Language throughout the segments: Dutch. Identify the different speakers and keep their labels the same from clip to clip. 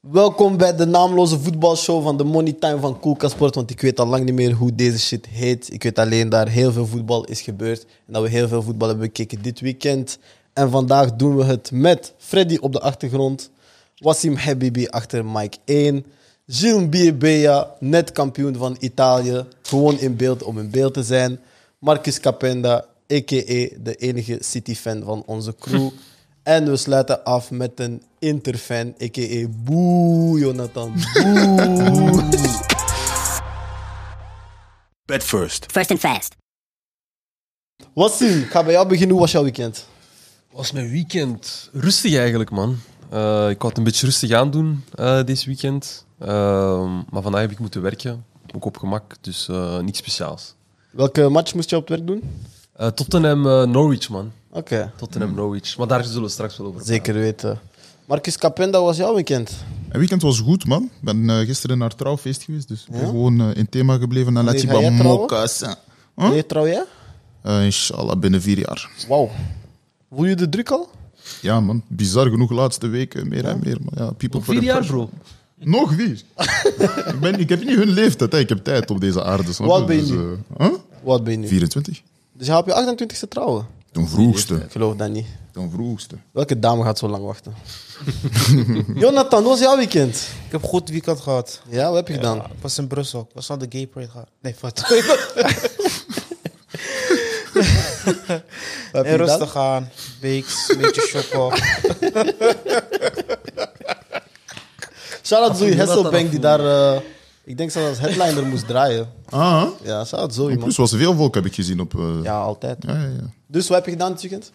Speaker 1: Welkom bij de naamloze voetbalshow van de Money Time van Koelkasport. Want ik weet al lang niet meer hoe deze shit heet. Ik weet alleen dat er heel veel voetbal is gebeurd. En dat we heel veel voetbal hebben bekeken dit weekend. En vandaag doen we het met Freddy op de achtergrond. Wassim Habibi achter Mike 1. Gilles Biebea, net kampioen van Italië. Gewoon in beeld om in beeld te zijn. Marcus Capenda, a.k.a. de enige City-fan van onze crew. En we sluiten af met een Interfan, a.k.a. Boe, Jonathan. Boe.
Speaker 2: Bed first.
Speaker 3: First and fast.
Speaker 1: Wassim, ik ga bij jou beginnen. Hoe was jouw weekend?
Speaker 4: was mijn weekend rustig eigenlijk, man. Eh, ik had het een beetje rustig aandoen eh dit weekend. Ehm, maar vandaag heb ik moeten werken, ook op gemak, dus eh, niks speciaals.
Speaker 1: Welke match moest je op het werk doen?
Speaker 4: Eh, Tottenham eh, Norwich, man.
Speaker 1: Oké,
Speaker 4: Tottenham Norwich. Maar daar zullen we straks wel over
Speaker 1: zeker weten. Marcus Capenda, hoe was jouw weekend?
Speaker 5: Het weekend was goed, man. Ik ben eh, gisteren naar trouwfeest geweest, dus ik ben gewoon eh, in thema gebleven. En laat je
Speaker 1: ga jij
Speaker 5: bij
Speaker 1: trouwen?
Speaker 5: mokka's. hè.
Speaker 1: Huh? Nee, trouw jij?
Speaker 5: Eh, inshallah, binnen vier jaar.
Speaker 1: Wauw. Voel je de druk al?
Speaker 5: Ja, man. Bizar genoeg, laatste weken meer en meer. Maar ja, people
Speaker 4: praten.
Speaker 5: for
Speaker 4: Vier
Speaker 5: the
Speaker 4: jaar,
Speaker 5: pressure.
Speaker 4: bro.
Speaker 5: Nog vier. ik, ben, ik heb niet hun leeftijd, hè. ik heb tijd op deze aarde. snap
Speaker 1: Wat
Speaker 5: je?
Speaker 1: ben je
Speaker 5: Dus,
Speaker 1: nu?
Speaker 5: eh, huh?
Speaker 1: Wat ben je nu?
Speaker 5: 24.
Speaker 1: Dus je gaat op je 28ste trouwen?
Speaker 5: Ten vroegste.
Speaker 1: Ik geloof dat niet.
Speaker 5: Ten vroegste.
Speaker 1: Welke dame gaat zo lang wachten? Jonathan, hoe was jouw weekend?
Speaker 6: Ik heb een goed weekend gehad.
Speaker 1: Ja, wat heb je gedaan?
Speaker 6: Ik was in Brussel. Ik was aan de Gay Parade gaan. Nee, wat?
Speaker 1: Wat heb je
Speaker 6: En
Speaker 1: gedaan?
Speaker 6: rustig aan. Bakes, een beetje shoppen.
Speaker 1: Shout-out Zoe Hesselbank die daar, eh, ik denk zelfs als headliner moest draaien.
Speaker 5: Ah, hè?
Speaker 1: Ja, shout-out Zoe,
Speaker 5: in
Speaker 1: man.
Speaker 5: plus was er veel volk, heb ik gezien op... eh,
Speaker 1: Ja, altijd.
Speaker 5: ja, ja, ja.
Speaker 1: Dus wat heb je gedaan dit weekend?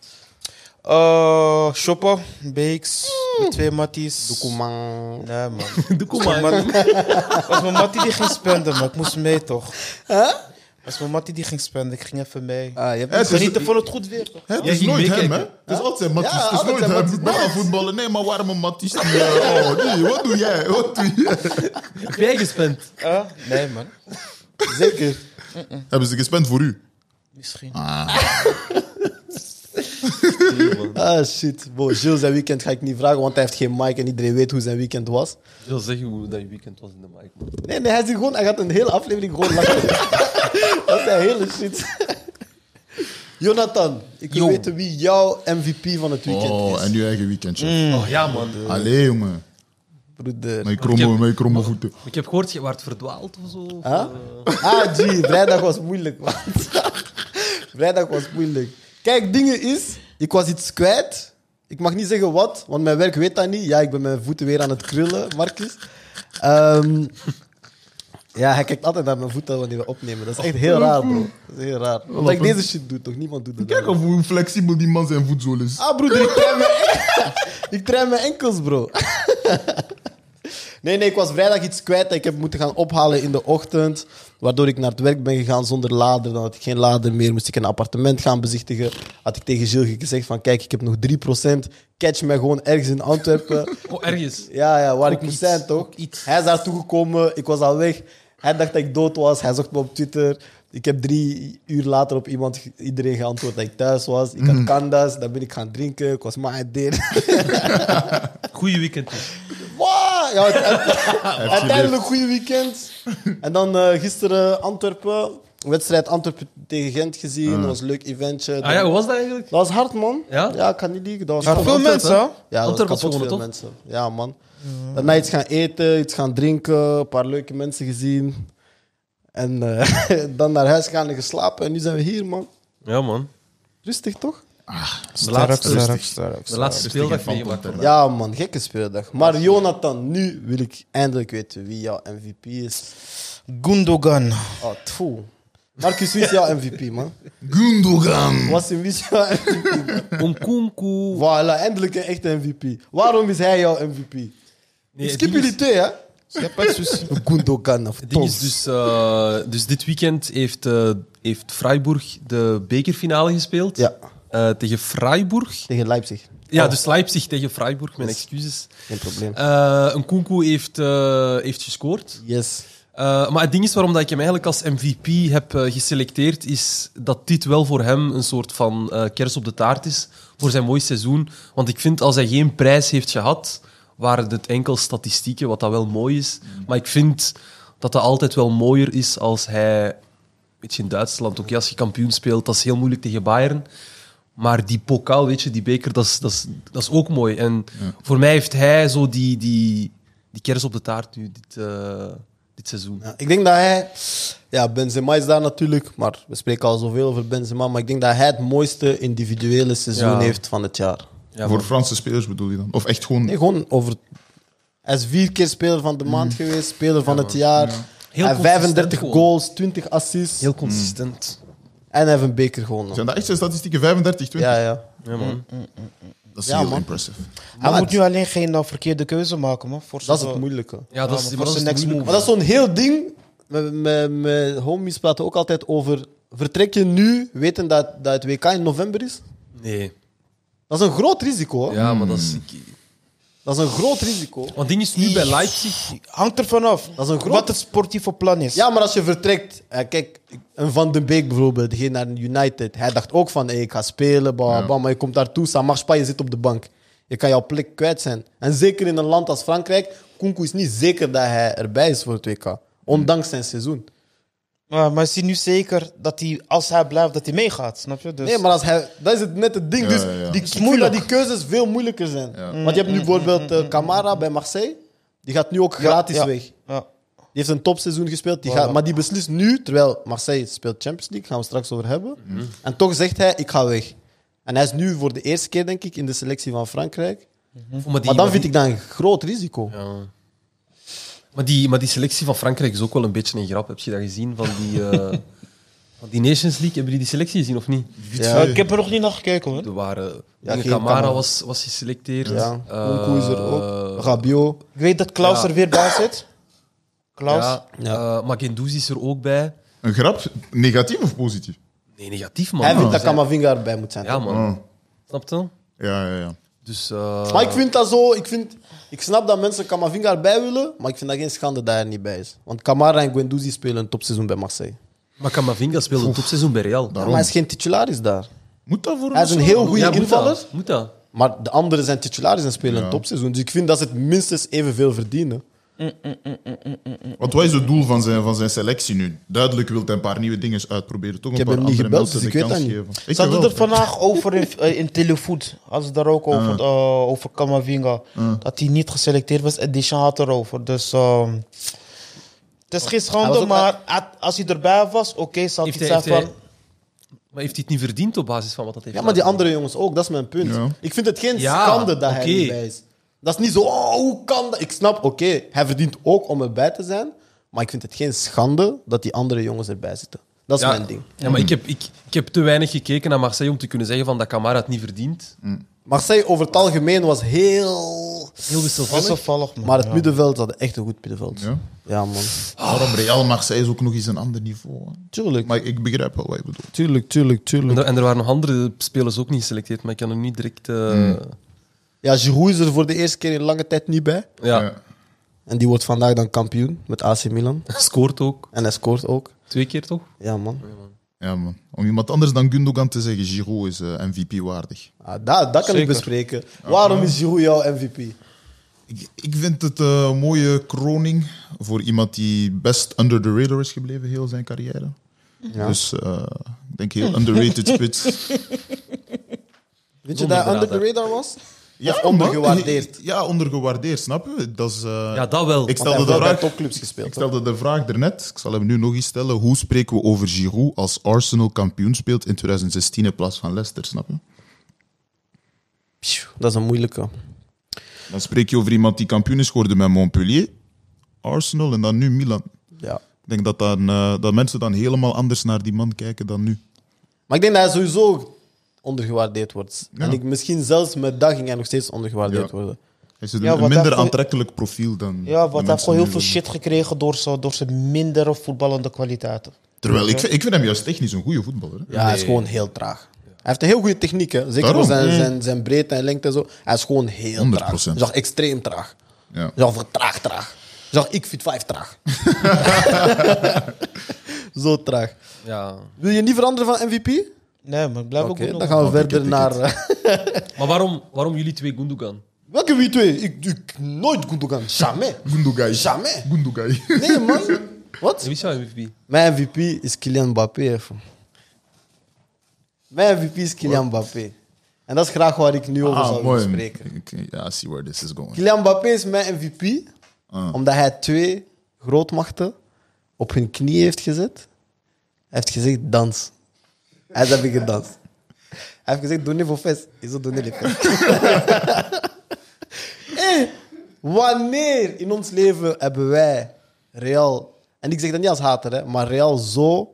Speaker 6: Eh, shoppen, bakes,
Speaker 1: Hmm.
Speaker 6: met twee matties.
Speaker 1: Koeman.
Speaker 6: Nee, man. man. was mijn mattie die ging spenden, maar ik moest mee toch? was mijn mattie die ging spenden. Ik ging even mee.
Speaker 1: Ah, je hebt
Speaker 5: Het is- dus-
Speaker 6: Genieten van het goed weer toch?
Speaker 5: Hè, Het is
Speaker 4: ging
Speaker 5: nooit hem,
Speaker 4: meekijken.
Speaker 5: hè? Het is altijd Matthijs.
Speaker 1: Ja,
Speaker 5: het is
Speaker 1: altijd zijn
Speaker 5: nooit hem.
Speaker 1: Matthijs.
Speaker 5: Ik ben gaan voetballen. Nee, maar waarom een Matthijs? Ja, oh, nee, wat doe jij? Wat doe jij?
Speaker 4: Heb jij gespend?
Speaker 6: Eh? Nee, man.
Speaker 1: zeker.
Speaker 5: Hebben ze gespend voor u?
Speaker 6: Misschien.
Speaker 1: Ah, shit. Bo, Gilles zijn weekend ga ik niet vragen, want hij heeft geen mic en iedereen weet hoe zijn weekend was.
Speaker 4: Ik wil zeggen hoe dat je weekend was in de mic, man.
Speaker 1: Nee, nee, hij, zit gewoon, hij gaat een hele aflevering gewoon lachen. Dat is zijn hele shit. Jonathan, ik wil
Speaker 4: Yo.
Speaker 1: weten wie jouw MVP van het weekend Mm.
Speaker 5: Oh,
Speaker 1: is.
Speaker 5: en je eigen weekendje.
Speaker 4: Oh ja, man.
Speaker 5: Allee, jongen.
Speaker 1: Broeder.
Speaker 5: Mijn kromme,
Speaker 4: Ik heb-
Speaker 5: mijn kromme voeten.
Speaker 4: Ik heb gehoord, je waart verdwaald of zo. Of,
Speaker 1: Huh?
Speaker 4: eh,
Speaker 1: Ah, G, vrijdag was moeilijk, man. vrijdag was moeilijk. Kijk, dingen is, ik was iets kwijt. Ik mag niet zeggen wat, want mijn werk weet dat niet. Ja, ik ben mijn voeten weer aan het krullen, Marcus. Ehm, ja, hij kijkt altijd naar mijn voeten wanneer we opnemen. Dat is echt heel raar, bro. Dat is heel raar. Omdat ik deze shit doe, toch? Niemand doet dat.
Speaker 5: Kijk of hoe flexibel die man zijn voetzool is.
Speaker 1: Ah, broeder, ik train mijn, ik train mijn enkels, bro. Nee, nee, ik was vrijdag iets kwijt. dat Ik heb moeten gaan ophalen in de ochtend. Waardoor ik naar het werk ben gegaan zonder lader. Dan had ik geen lader meer. Moest ik een appartement gaan bezichtigen. Had ik tegen Gilles gezegd van... Kijk, ik heb nog 3%. Catch mij gewoon ergens in Antwerpen.
Speaker 4: Oh, ergens.
Speaker 1: Ja, ja, waar ik moest
Speaker 4: iets,
Speaker 1: zijn, toch?
Speaker 4: ook iets.
Speaker 1: Hij is daar toegekomen, ik was al weg. Hij dacht dat ik dood was, hij zocht me op Twitter. Ik heb drie uur later op iemand, ge- iedereen geantwoord dat ik thuis was. Ik had kandas, daar ben ik gaan drinken, ik was maar aan het delen.
Speaker 4: Goeie weekend. dus.
Speaker 1: Wow! Ja, het-
Speaker 5: Hij heeft
Speaker 1: uiteindelijk
Speaker 5: geleefd.
Speaker 1: een goede weekend. En dan eh, gisteren Antwerpen, wedstrijd Antwerpen tegen Gent gezien. Dat was een leuk eventje.
Speaker 4: Ah ja, hoe was dat eigenlijk?
Speaker 1: Dat was hard, man.
Speaker 4: Ja?
Speaker 1: ik kan niet liegen. Dat was
Speaker 6: Maar
Speaker 1: hard.
Speaker 6: veel
Speaker 1: Antwerpen-
Speaker 6: mensen, hè?
Speaker 1: Ja, dat was
Speaker 4: Antwerpen
Speaker 1: kapot
Speaker 4: had gewonnen,
Speaker 1: veel
Speaker 4: toch?
Speaker 1: mensen. Ja, man. Daarna iets gaan eten, iets gaan drinken, een paar leuke mensen gezien. En eh, dan naar huis gaan en geslapen. En nu zijn we hier, man.
Speaker 4: Ja, man.
Speaker 1: Rustig, toch? Ah,
Speaker 6: De laatste.
Speaker 4: De laatste speeldag
Speaker 5: Van
Speaker 4: meegemaakt.
Speaker 5: Panter.
Speaker 1: Ja, man. Gekke speeldag. Maar Jonathan, nu wil ik eindelijk weten wie jouw MVP is.
Speaker 6: Gundogan.
Speaker 1: Oh, tfoe. Marcus, wie is jouw MVP, man?
Speaker 5: Gundogan.
Speaker 1: Was in wie is jouw MVP? man?
Speaker 4: Onkunku.
Speaker 1: Voilà, eindelijk een echte MVP. Waarom is hij jouw MVP?
Speaker 4: Nee,
Speaker 1: ik
Speaker 4: het
Speaker 1: skip
Speaker 4: ding is- dus.
Speaker 1: jullie twee, hè? Gundogan of
Speaker 4: Het ding is
Speaker 1: Tons.
Speaker 4: dus, eh, dus dit weekend heeft, eh, heeft Freiburg de bekerfinale gespeeld.
Speaker 1: Ja.
Speaker 4: Eh, tegen Freiburg.
Speaker 1: Tegen Leipzig.
Speaker 4: Ja, dus Leipzig tegen Freiburg, mijn excuses.
Speaker 1: Geen probleem.
Speaker 4: Eh een Kunku heeft, eh, heeft gescoord.
Speaker 1: Yes.
Speaker 4: Eh, maar het ding is waarom dat ik hem eigenlijk als MVP heb eh, geselecteerd, is dat dit wel voor hem een soort van eh, kers op de taart is voor zijn mooi seizoen. Want ik vind als hij geen prijs heeft gehad, waren het enkel statistieken, wat dat wel mooi is. Maar ik vind dat dat altijd wel mooier is als hij... Weet je, in Duitsland, ook als je kampioen speelt, dat is heel moeilijk tegen Bayern. Maar die pokaal, weet je, die beker, dat is, dat is, dat is ook mooi. En voor mij heeft hij zo die, die, die kers op de taart nu, dit, eh, dit seizoen.
Speaker 1: Ja, Nou, ik denk dat hij... Ja, Benzema is daar natuurlijk, maar we spreken al zoveel over Benzema. Maar ik denk dat hij het mooiste individuele seizoen
Speaker 4: Ja.
Speaker 1: heeft van het jaar.
Speaker 4: Ja,
Speaker 5: Voor
Speaker 4: man.
Speaker 5: Franse spelers bedoel je dan? Of echt gewoon...
Speaker 1: Nee, gewoon over... Hij is vier keer speler van
Speaker 4: Mm.
Speaker 1: de maand geweest, speler van het jaar.
Speaker 4: Heel
Speaker 1: hij heeft 35
Speaker 4: consistent
Speaker 1: goals, 20 assists.
Speaker 4: Heel consistent.
Speaker 1: En hij heeft een beker gewonnen.
Speaker 5: Zijn dat echt zijn statistieken? 35, 20?
Speaker 1: Ja, ja.
Speaker 4: Ja, man.
Speaker 5: Dat is
Speaker 1: Ja,
Speaker 5: heel
Speaker 1: man.
Speaker 5: impressive.
Speaker 6: Hij
Speaker 1: Maar
Speaker 6: moet nu alleen geen eh, verkeerde keuze maken, man. Voor
Speaker 1: Dat is
Speaker 6: zijn-
Speaker 1: het moeilijke.
Speaker 4: Ja, dat is,
Speaker 6: maar
Speaker 4: maar
Speaker 6: voor
Speaker 4: dat is
Speaker 6: zijn
Speaker 4: het
Speaker 6: next
Speaker 4: moeilijke.
Speaker 6: move.
Speaker 1: Maar dat is zo'n heel ding. Mijn- Mijn mijn homies praten ook altijd over... Vertrek je nu, weten dat, dat het WK in november is?
Speaker 4: Nee.
Speaker 1: Dat is een groot risico. hoor.
Speaker 4: Ja, maar dat is...
Speaker 1: Dat is een groot risico.
Speaker 4: Want het ding is nu bij Leipzig...
Speaker 6: Hangt er vanaf
Speaker 1: Dat is een groot-
Speaker 6: wat het sportieve plan is.
Speaker 1: Ja, maar als je vertrekt... eh, kijk, een Van den Beek bijvoorbeeld, die ging naar United. Hij dacht ook van, hey, ik ga spelen, bla, bla, maar je komt daartoe, ça marche pas, je zit op de bank. Je kan jouw plek kwijt zijn. En zeker in een land als Frankrijk, Kunku is niet zeker dat hij erbij is voor het WK. Ondanks zijn seizoen.
Speaker 6: Maar, maar is hij nu zeker dat hij, als hij blijft, dat hij meegaat? Snap je? Dus
Speaker 1: Nee, maar als hij, dat is het net het ding.
Speaker 5: Ja,
Speaker 1: dus
Speaker 5: ja, ja.
Speaker 1: Die,
Speaker 5: Het
Speaker 1: ik vind dat die keuzes veel moeilijker zijn. Want je hebt nu bijvoorbeeld eh, Camara bij Marseille. Die gaat nu ook gratis
Speaker 6: ja,
Speaker 1: weg. Die
Speaker 6: Ja.
Speaker 1: heeft een topseizoen gespeeld. Die gaat, maar die beslist nu, terwijl Marseille speelt Champions League, gaan we straks over hebben. En toch zegt hij, ik ga weg. En hij is nu voor de eerste keer, denk ik, in de selectie van Frankrijk.
Speaker 6: Mm.
Speaker 4: Oh, Maar, die,
Speaker 1: Maar dan vind ik dat een groot risico.
Speaker 4: Ja. Maar, die, maar die selectie van Frankrijk is ook wel een beetje een grap. Heb je dat gezien? Van die, eh, van die Nations League, hebben jullie die selectie gezien of niet?
Speaker 1: Ja.
Speaker 6: Eh, ik heb er nog niet naar gekeken, hoor.
Speaker 4: Er waren...
Speaker 1: Ja, geen
Speaker 4: Camara
Speaker 1: Camara.
Speaker 4: was, was geselecteerd.
Speaker 1: Ja.
Speaker 4: Eh,
Speaker 1: Nkunku is er ook. Rabiot.
Speaker 6: Ik weet dat Klaus
Speaker 4: Ja.
Speaker 6: er weer bij zit. Klaus.
Speaker 4: Ja,
Speaker 1: Ja.
Speaker 4: eh, maar Guendouzi is er ook bij.
Speaker 5: Een grap? Negatief of positief?
Speaker 4: Nee, negatief, man.
Speaker 1: Hij vindt
Speaker 4: Ja,
Speaker 1: dat Camavinga erbij moet zijn.
Speaker 4: Ja, man.
Speaker 5: Ah.
Speaker 4: Snap je?
Speaker 5: Ja, ja, ja.
Speaker 4: Dus... eh,
Speaker 1: Maar Ah, ik vind dat zo. Ik, vind, ik snap dat mensen Camavinga erbij willen, maar ik vind dat geen schande dat hij er niet bij is. Want Camara en Guendouzi spelen een topseizoen bij Marseille.
Speaker 4: maar Camavinga speelde een topseizoen bij Real.
Speaker 1: Ja,
Speaker 5: Daarom.
Speaker 1: maar hij is geen titularis daar.
Speaker 5: Moet dat voor
Speaker 1: Hij is een
Speaker 5: ons
Speaker 1: heel
Speaker 5: wel?
Speaker 1: goede
Speaker 4: Ja, moet
Speaker 1: invaller,
Speaker 4: dat? Moet dat?
Speaker 1: maar de anderen zijn titularis en spelen een topseizoen. Dus ik vind dat ze het minstens evenveel verdienen.
Speaker 5: Want wat is het doel van zijn, van zijn selectie nu? Duidelijk wil hij een paar nieuwe dingen uitproberen. Toch een
Speaker 1: heb
Speaker 5: paar
Speaker 1: hem niet
Speaker 5: andere
Speaker 1: gebeld, dus
Speaker 5: mensen de
Speaker 1: ik weet
Speaker 5: kans
Speaker 1: dat niet.
Speaker 5: geven.
Speaker 6: Ze
Speaker 5: Ik
Speaker 6: hadden
Speaker 5: wel.
Speaker 6: het vandaag over in, eh, in Telefoot. Als het daar ook over, eh, over Kamavinga. Dat hij niet geselecteerd was. En Deschamps had erover. Dus ehm, het is geen
Speaker 1: Hij
Speaker 6: schande,
Speaker 1: was ook-
Speaker 6: maar had- als hij erbij was, oké, zou ik
Speaker 4: Heeft
Speaker 6: het
Speaker 4: hij-
Speaker 6: zijn van...
Speaker 4: heeft Maar heeft hij het niet verdiend op basis van wat dat heeft
Speaker 1: Ja, maar die
Speaker 4: laten
Speaker 1: andere jongens ook, dat is mijn punt.
Speaker 5: Ja.
Speaker 1: Ik vind het geen
Speaker 4: Ja,
Speaker 1: schande dat hij
Speaker 4: oké.
Speaker 1: er niet bij is. Dat is niet zo, oh, hoe kan dat? Ik snap, oké, hij verdient ook om erbij te zijn, maar ik vind het geen schande dat die andere jongens erbij zitten. Dat is
Speaker 4: ja,
Speaker 1: mijn ding.
Speaker 4: Ja, maar ik heb, ik, ik heb te weinig gekeken naar Marseille om te kunnen zeggen van dat Camara het niet verdient.
Speaker 1: Marseille over het algemeen was heel.
Speaker 4: Heel wisselvallig.
Speaker 6: Wisselvallig, man.
Speaker 1: Maar het
Speaker 6: Ja.
Speaker 1: middenveld had echt een goed middenveld.
Speaker 5: Ja.
Speaker 1: Ja, man.
Speaker 5: Daarom Real Marseille is ook nog eens een ander niveau. hè.
Speaker 1: Tuurlijk.
Speaker 5: Maar ik begrijp wel wat je bedoelt.
Speaker 1: Tuurlijk, tuurlijk,
Speaker 4: En
Speaker 1: tuurlijk.
Speaker 4: er, en er waren nog andere spelers ook niet geselecteerd, maar ik kan er niet direct... eh,
Speaker 1: Ja, Giroud is er voor de eerste keer in lange tijd niet bij.
Speaker 4: ja,
Speaker 5: Ja.
Speaker 1: En die wordt vandaag dan kampioen met AC Milan.
Speaker 4: scoort ook.
Speaker 1: En hij scoort ook.
Speaker 4: Twee keer toch?
Speaker 1: Ja, man.
Speaker 5: Ja, man. Om iemand anders dan Gundogan te zeggen, Giroud is eh, MVP-waardig.
Speaker 1: Ah, dat, dat kan ik
Speaker 6: Zeker.
Speaker 1: bespreken. Waarom is Giroud jouw MVP?
Speaker 5: Ik, ik vind het eh, een mooie kroning voor iemand die best under the radar is gebleven heel zijn carrière.
Speaker 1: Ja.
Speaker 5: Dus eh, ik denk heel underrated spits.
Speaker 1: Weet je dat hij
Speaker 4: Zonder
Speaker 1: under
Speaker 4: de
Speaker 1: the radar was?
Speaker 5: Ja,
Speaker 1: of
Speaker 5: man.
Speaker 1: ondergewaardeerd?
Speaker 5: Ja, ondergewaardeerd, snap je? Dat is, eh,
Speaker 4: Ja, dat
Speaker 1: Want
Speaker 4: wel.
Speaker 5: Ik
Speaker 1: hij
Speaker 5: stelde
Speaker 1: heeft
Speaker 5: de
Speaker 1: wel bij
Speaker 5: vraag...
Speaker 1: topclubs
Speaker 5: Ik
Speaker 1: gespeeld. hè?
Speaker 5: stelde de vraag daarnet, ik zal hem nu nog eens stellen. Hoe spreken we over Giroud als Arsenal kampioen speelt in 2016 in plaats van Leicester, snap je?
Speaker 1: Pssch, Dat is een moeilijke.
Speaker 5: Dan spreek je over iemand die kampioen is geworden met Montpellier, Arsenal en dan nu Milan.
Speaker 1: Ja.
Speaker 5: Ik denk dat, dan, eh, dat mensen dan helemaal anders naar die man kijken dan nu.
Speaker 1: Maar ik denk dat hij sowieso ondergewaardeerd wordt.
Speaker 5: Ja.
Speaker 1: En ik, misschien zelfs met dat ging hij nog steeds ondergewaardeerd
Speaker 5: Ja.
Speaker 1: worden.
Speaker 5: Hij is een
Speaker 6: Ja, want hij
Speaker 5: minder
Speaker 6: heeft-
Speaker 5: aantrekkelijk profiel dan. de
Speaker 6: Ja, want hij
Speaker 5: mensen
Speaker 6: heeft gewoon heel
Speaker 5: nu
Speaker 6: veel
Speaker 5: willen.
Speaker 6: shit gekregen door, zo, door zijn mindere voetballende kwaliteiten.
Speaker 5: Terwijl ik, vind- ik vind hem juist technisch een goede voetballer. hè.
Speaker 1: Ja, hij is gewoon heel traag. Hij heeft een heel goede techniek, hè. zeker
Speaker 5: Daarom.
Speaker 1: voor zijn, zijn, zijn breedte en lengte en zo. Hij is gewoon heel traag.
Speaker 5: 100%.
Speaker 1: Hij zag extreem traag.
Speaker 5: Ja.
Speaker 1: Hij zag traag, traag. Hij zag ik fit 5 traag. zo traag.
Speaker 4: Ja.
Speaker 1: Wil je niet veranderen van MVP?
Speaker 6: Nee, maar ik blijf
Speaker 1: Oké,
Speaker 6: ook goed
Speaker 1: dan gaan we
Speaker 5: Oh,
Speaker 1: verder
Speaker 5: ticket,
Speaker 1: naar. eh,
Speaker 5: ticket.
Speaker 4: Maar waarom, waarom jullie twee Gundogan?
Speaker 1: Welke wie twee? Ik, ik nooit Gundogan. Jamais.
Speaker 5: Gundogai.
Speaker 1: Jamais.
Speaker 5: Gundogai.
Speaker 1: Nee, man. Wat?
Speaker 4: Wie is jouw MVP?
Speaker 1: Mijn MVP is Kylian Mbappé. even. Mijn MVP is Kylian Mbappé. En dat is graag waar ik nu over
Speaker 5: Ah,
Speaker 1: zou willen
Speaker 5: mooi.
Speaker 1: spreken.
Speaker 5: Oké, Ja, I see where this is going.
Speaker 1: Kylian Mbappé is mijn MVP,
Speaker 5: Ah.
Speaker 1: omdat hij twee grootmachten op hun knie heeft gezet. Hij heeft gezegd, dans. Hij heeft gedanst. Hij heeft gezegd, doe niet voor fest. Is dat doe niet voor fest. Hé, Eh, wanneer in ons leven hebben wij Real, en ik zeg dat niet als hater, hè, maar Real zo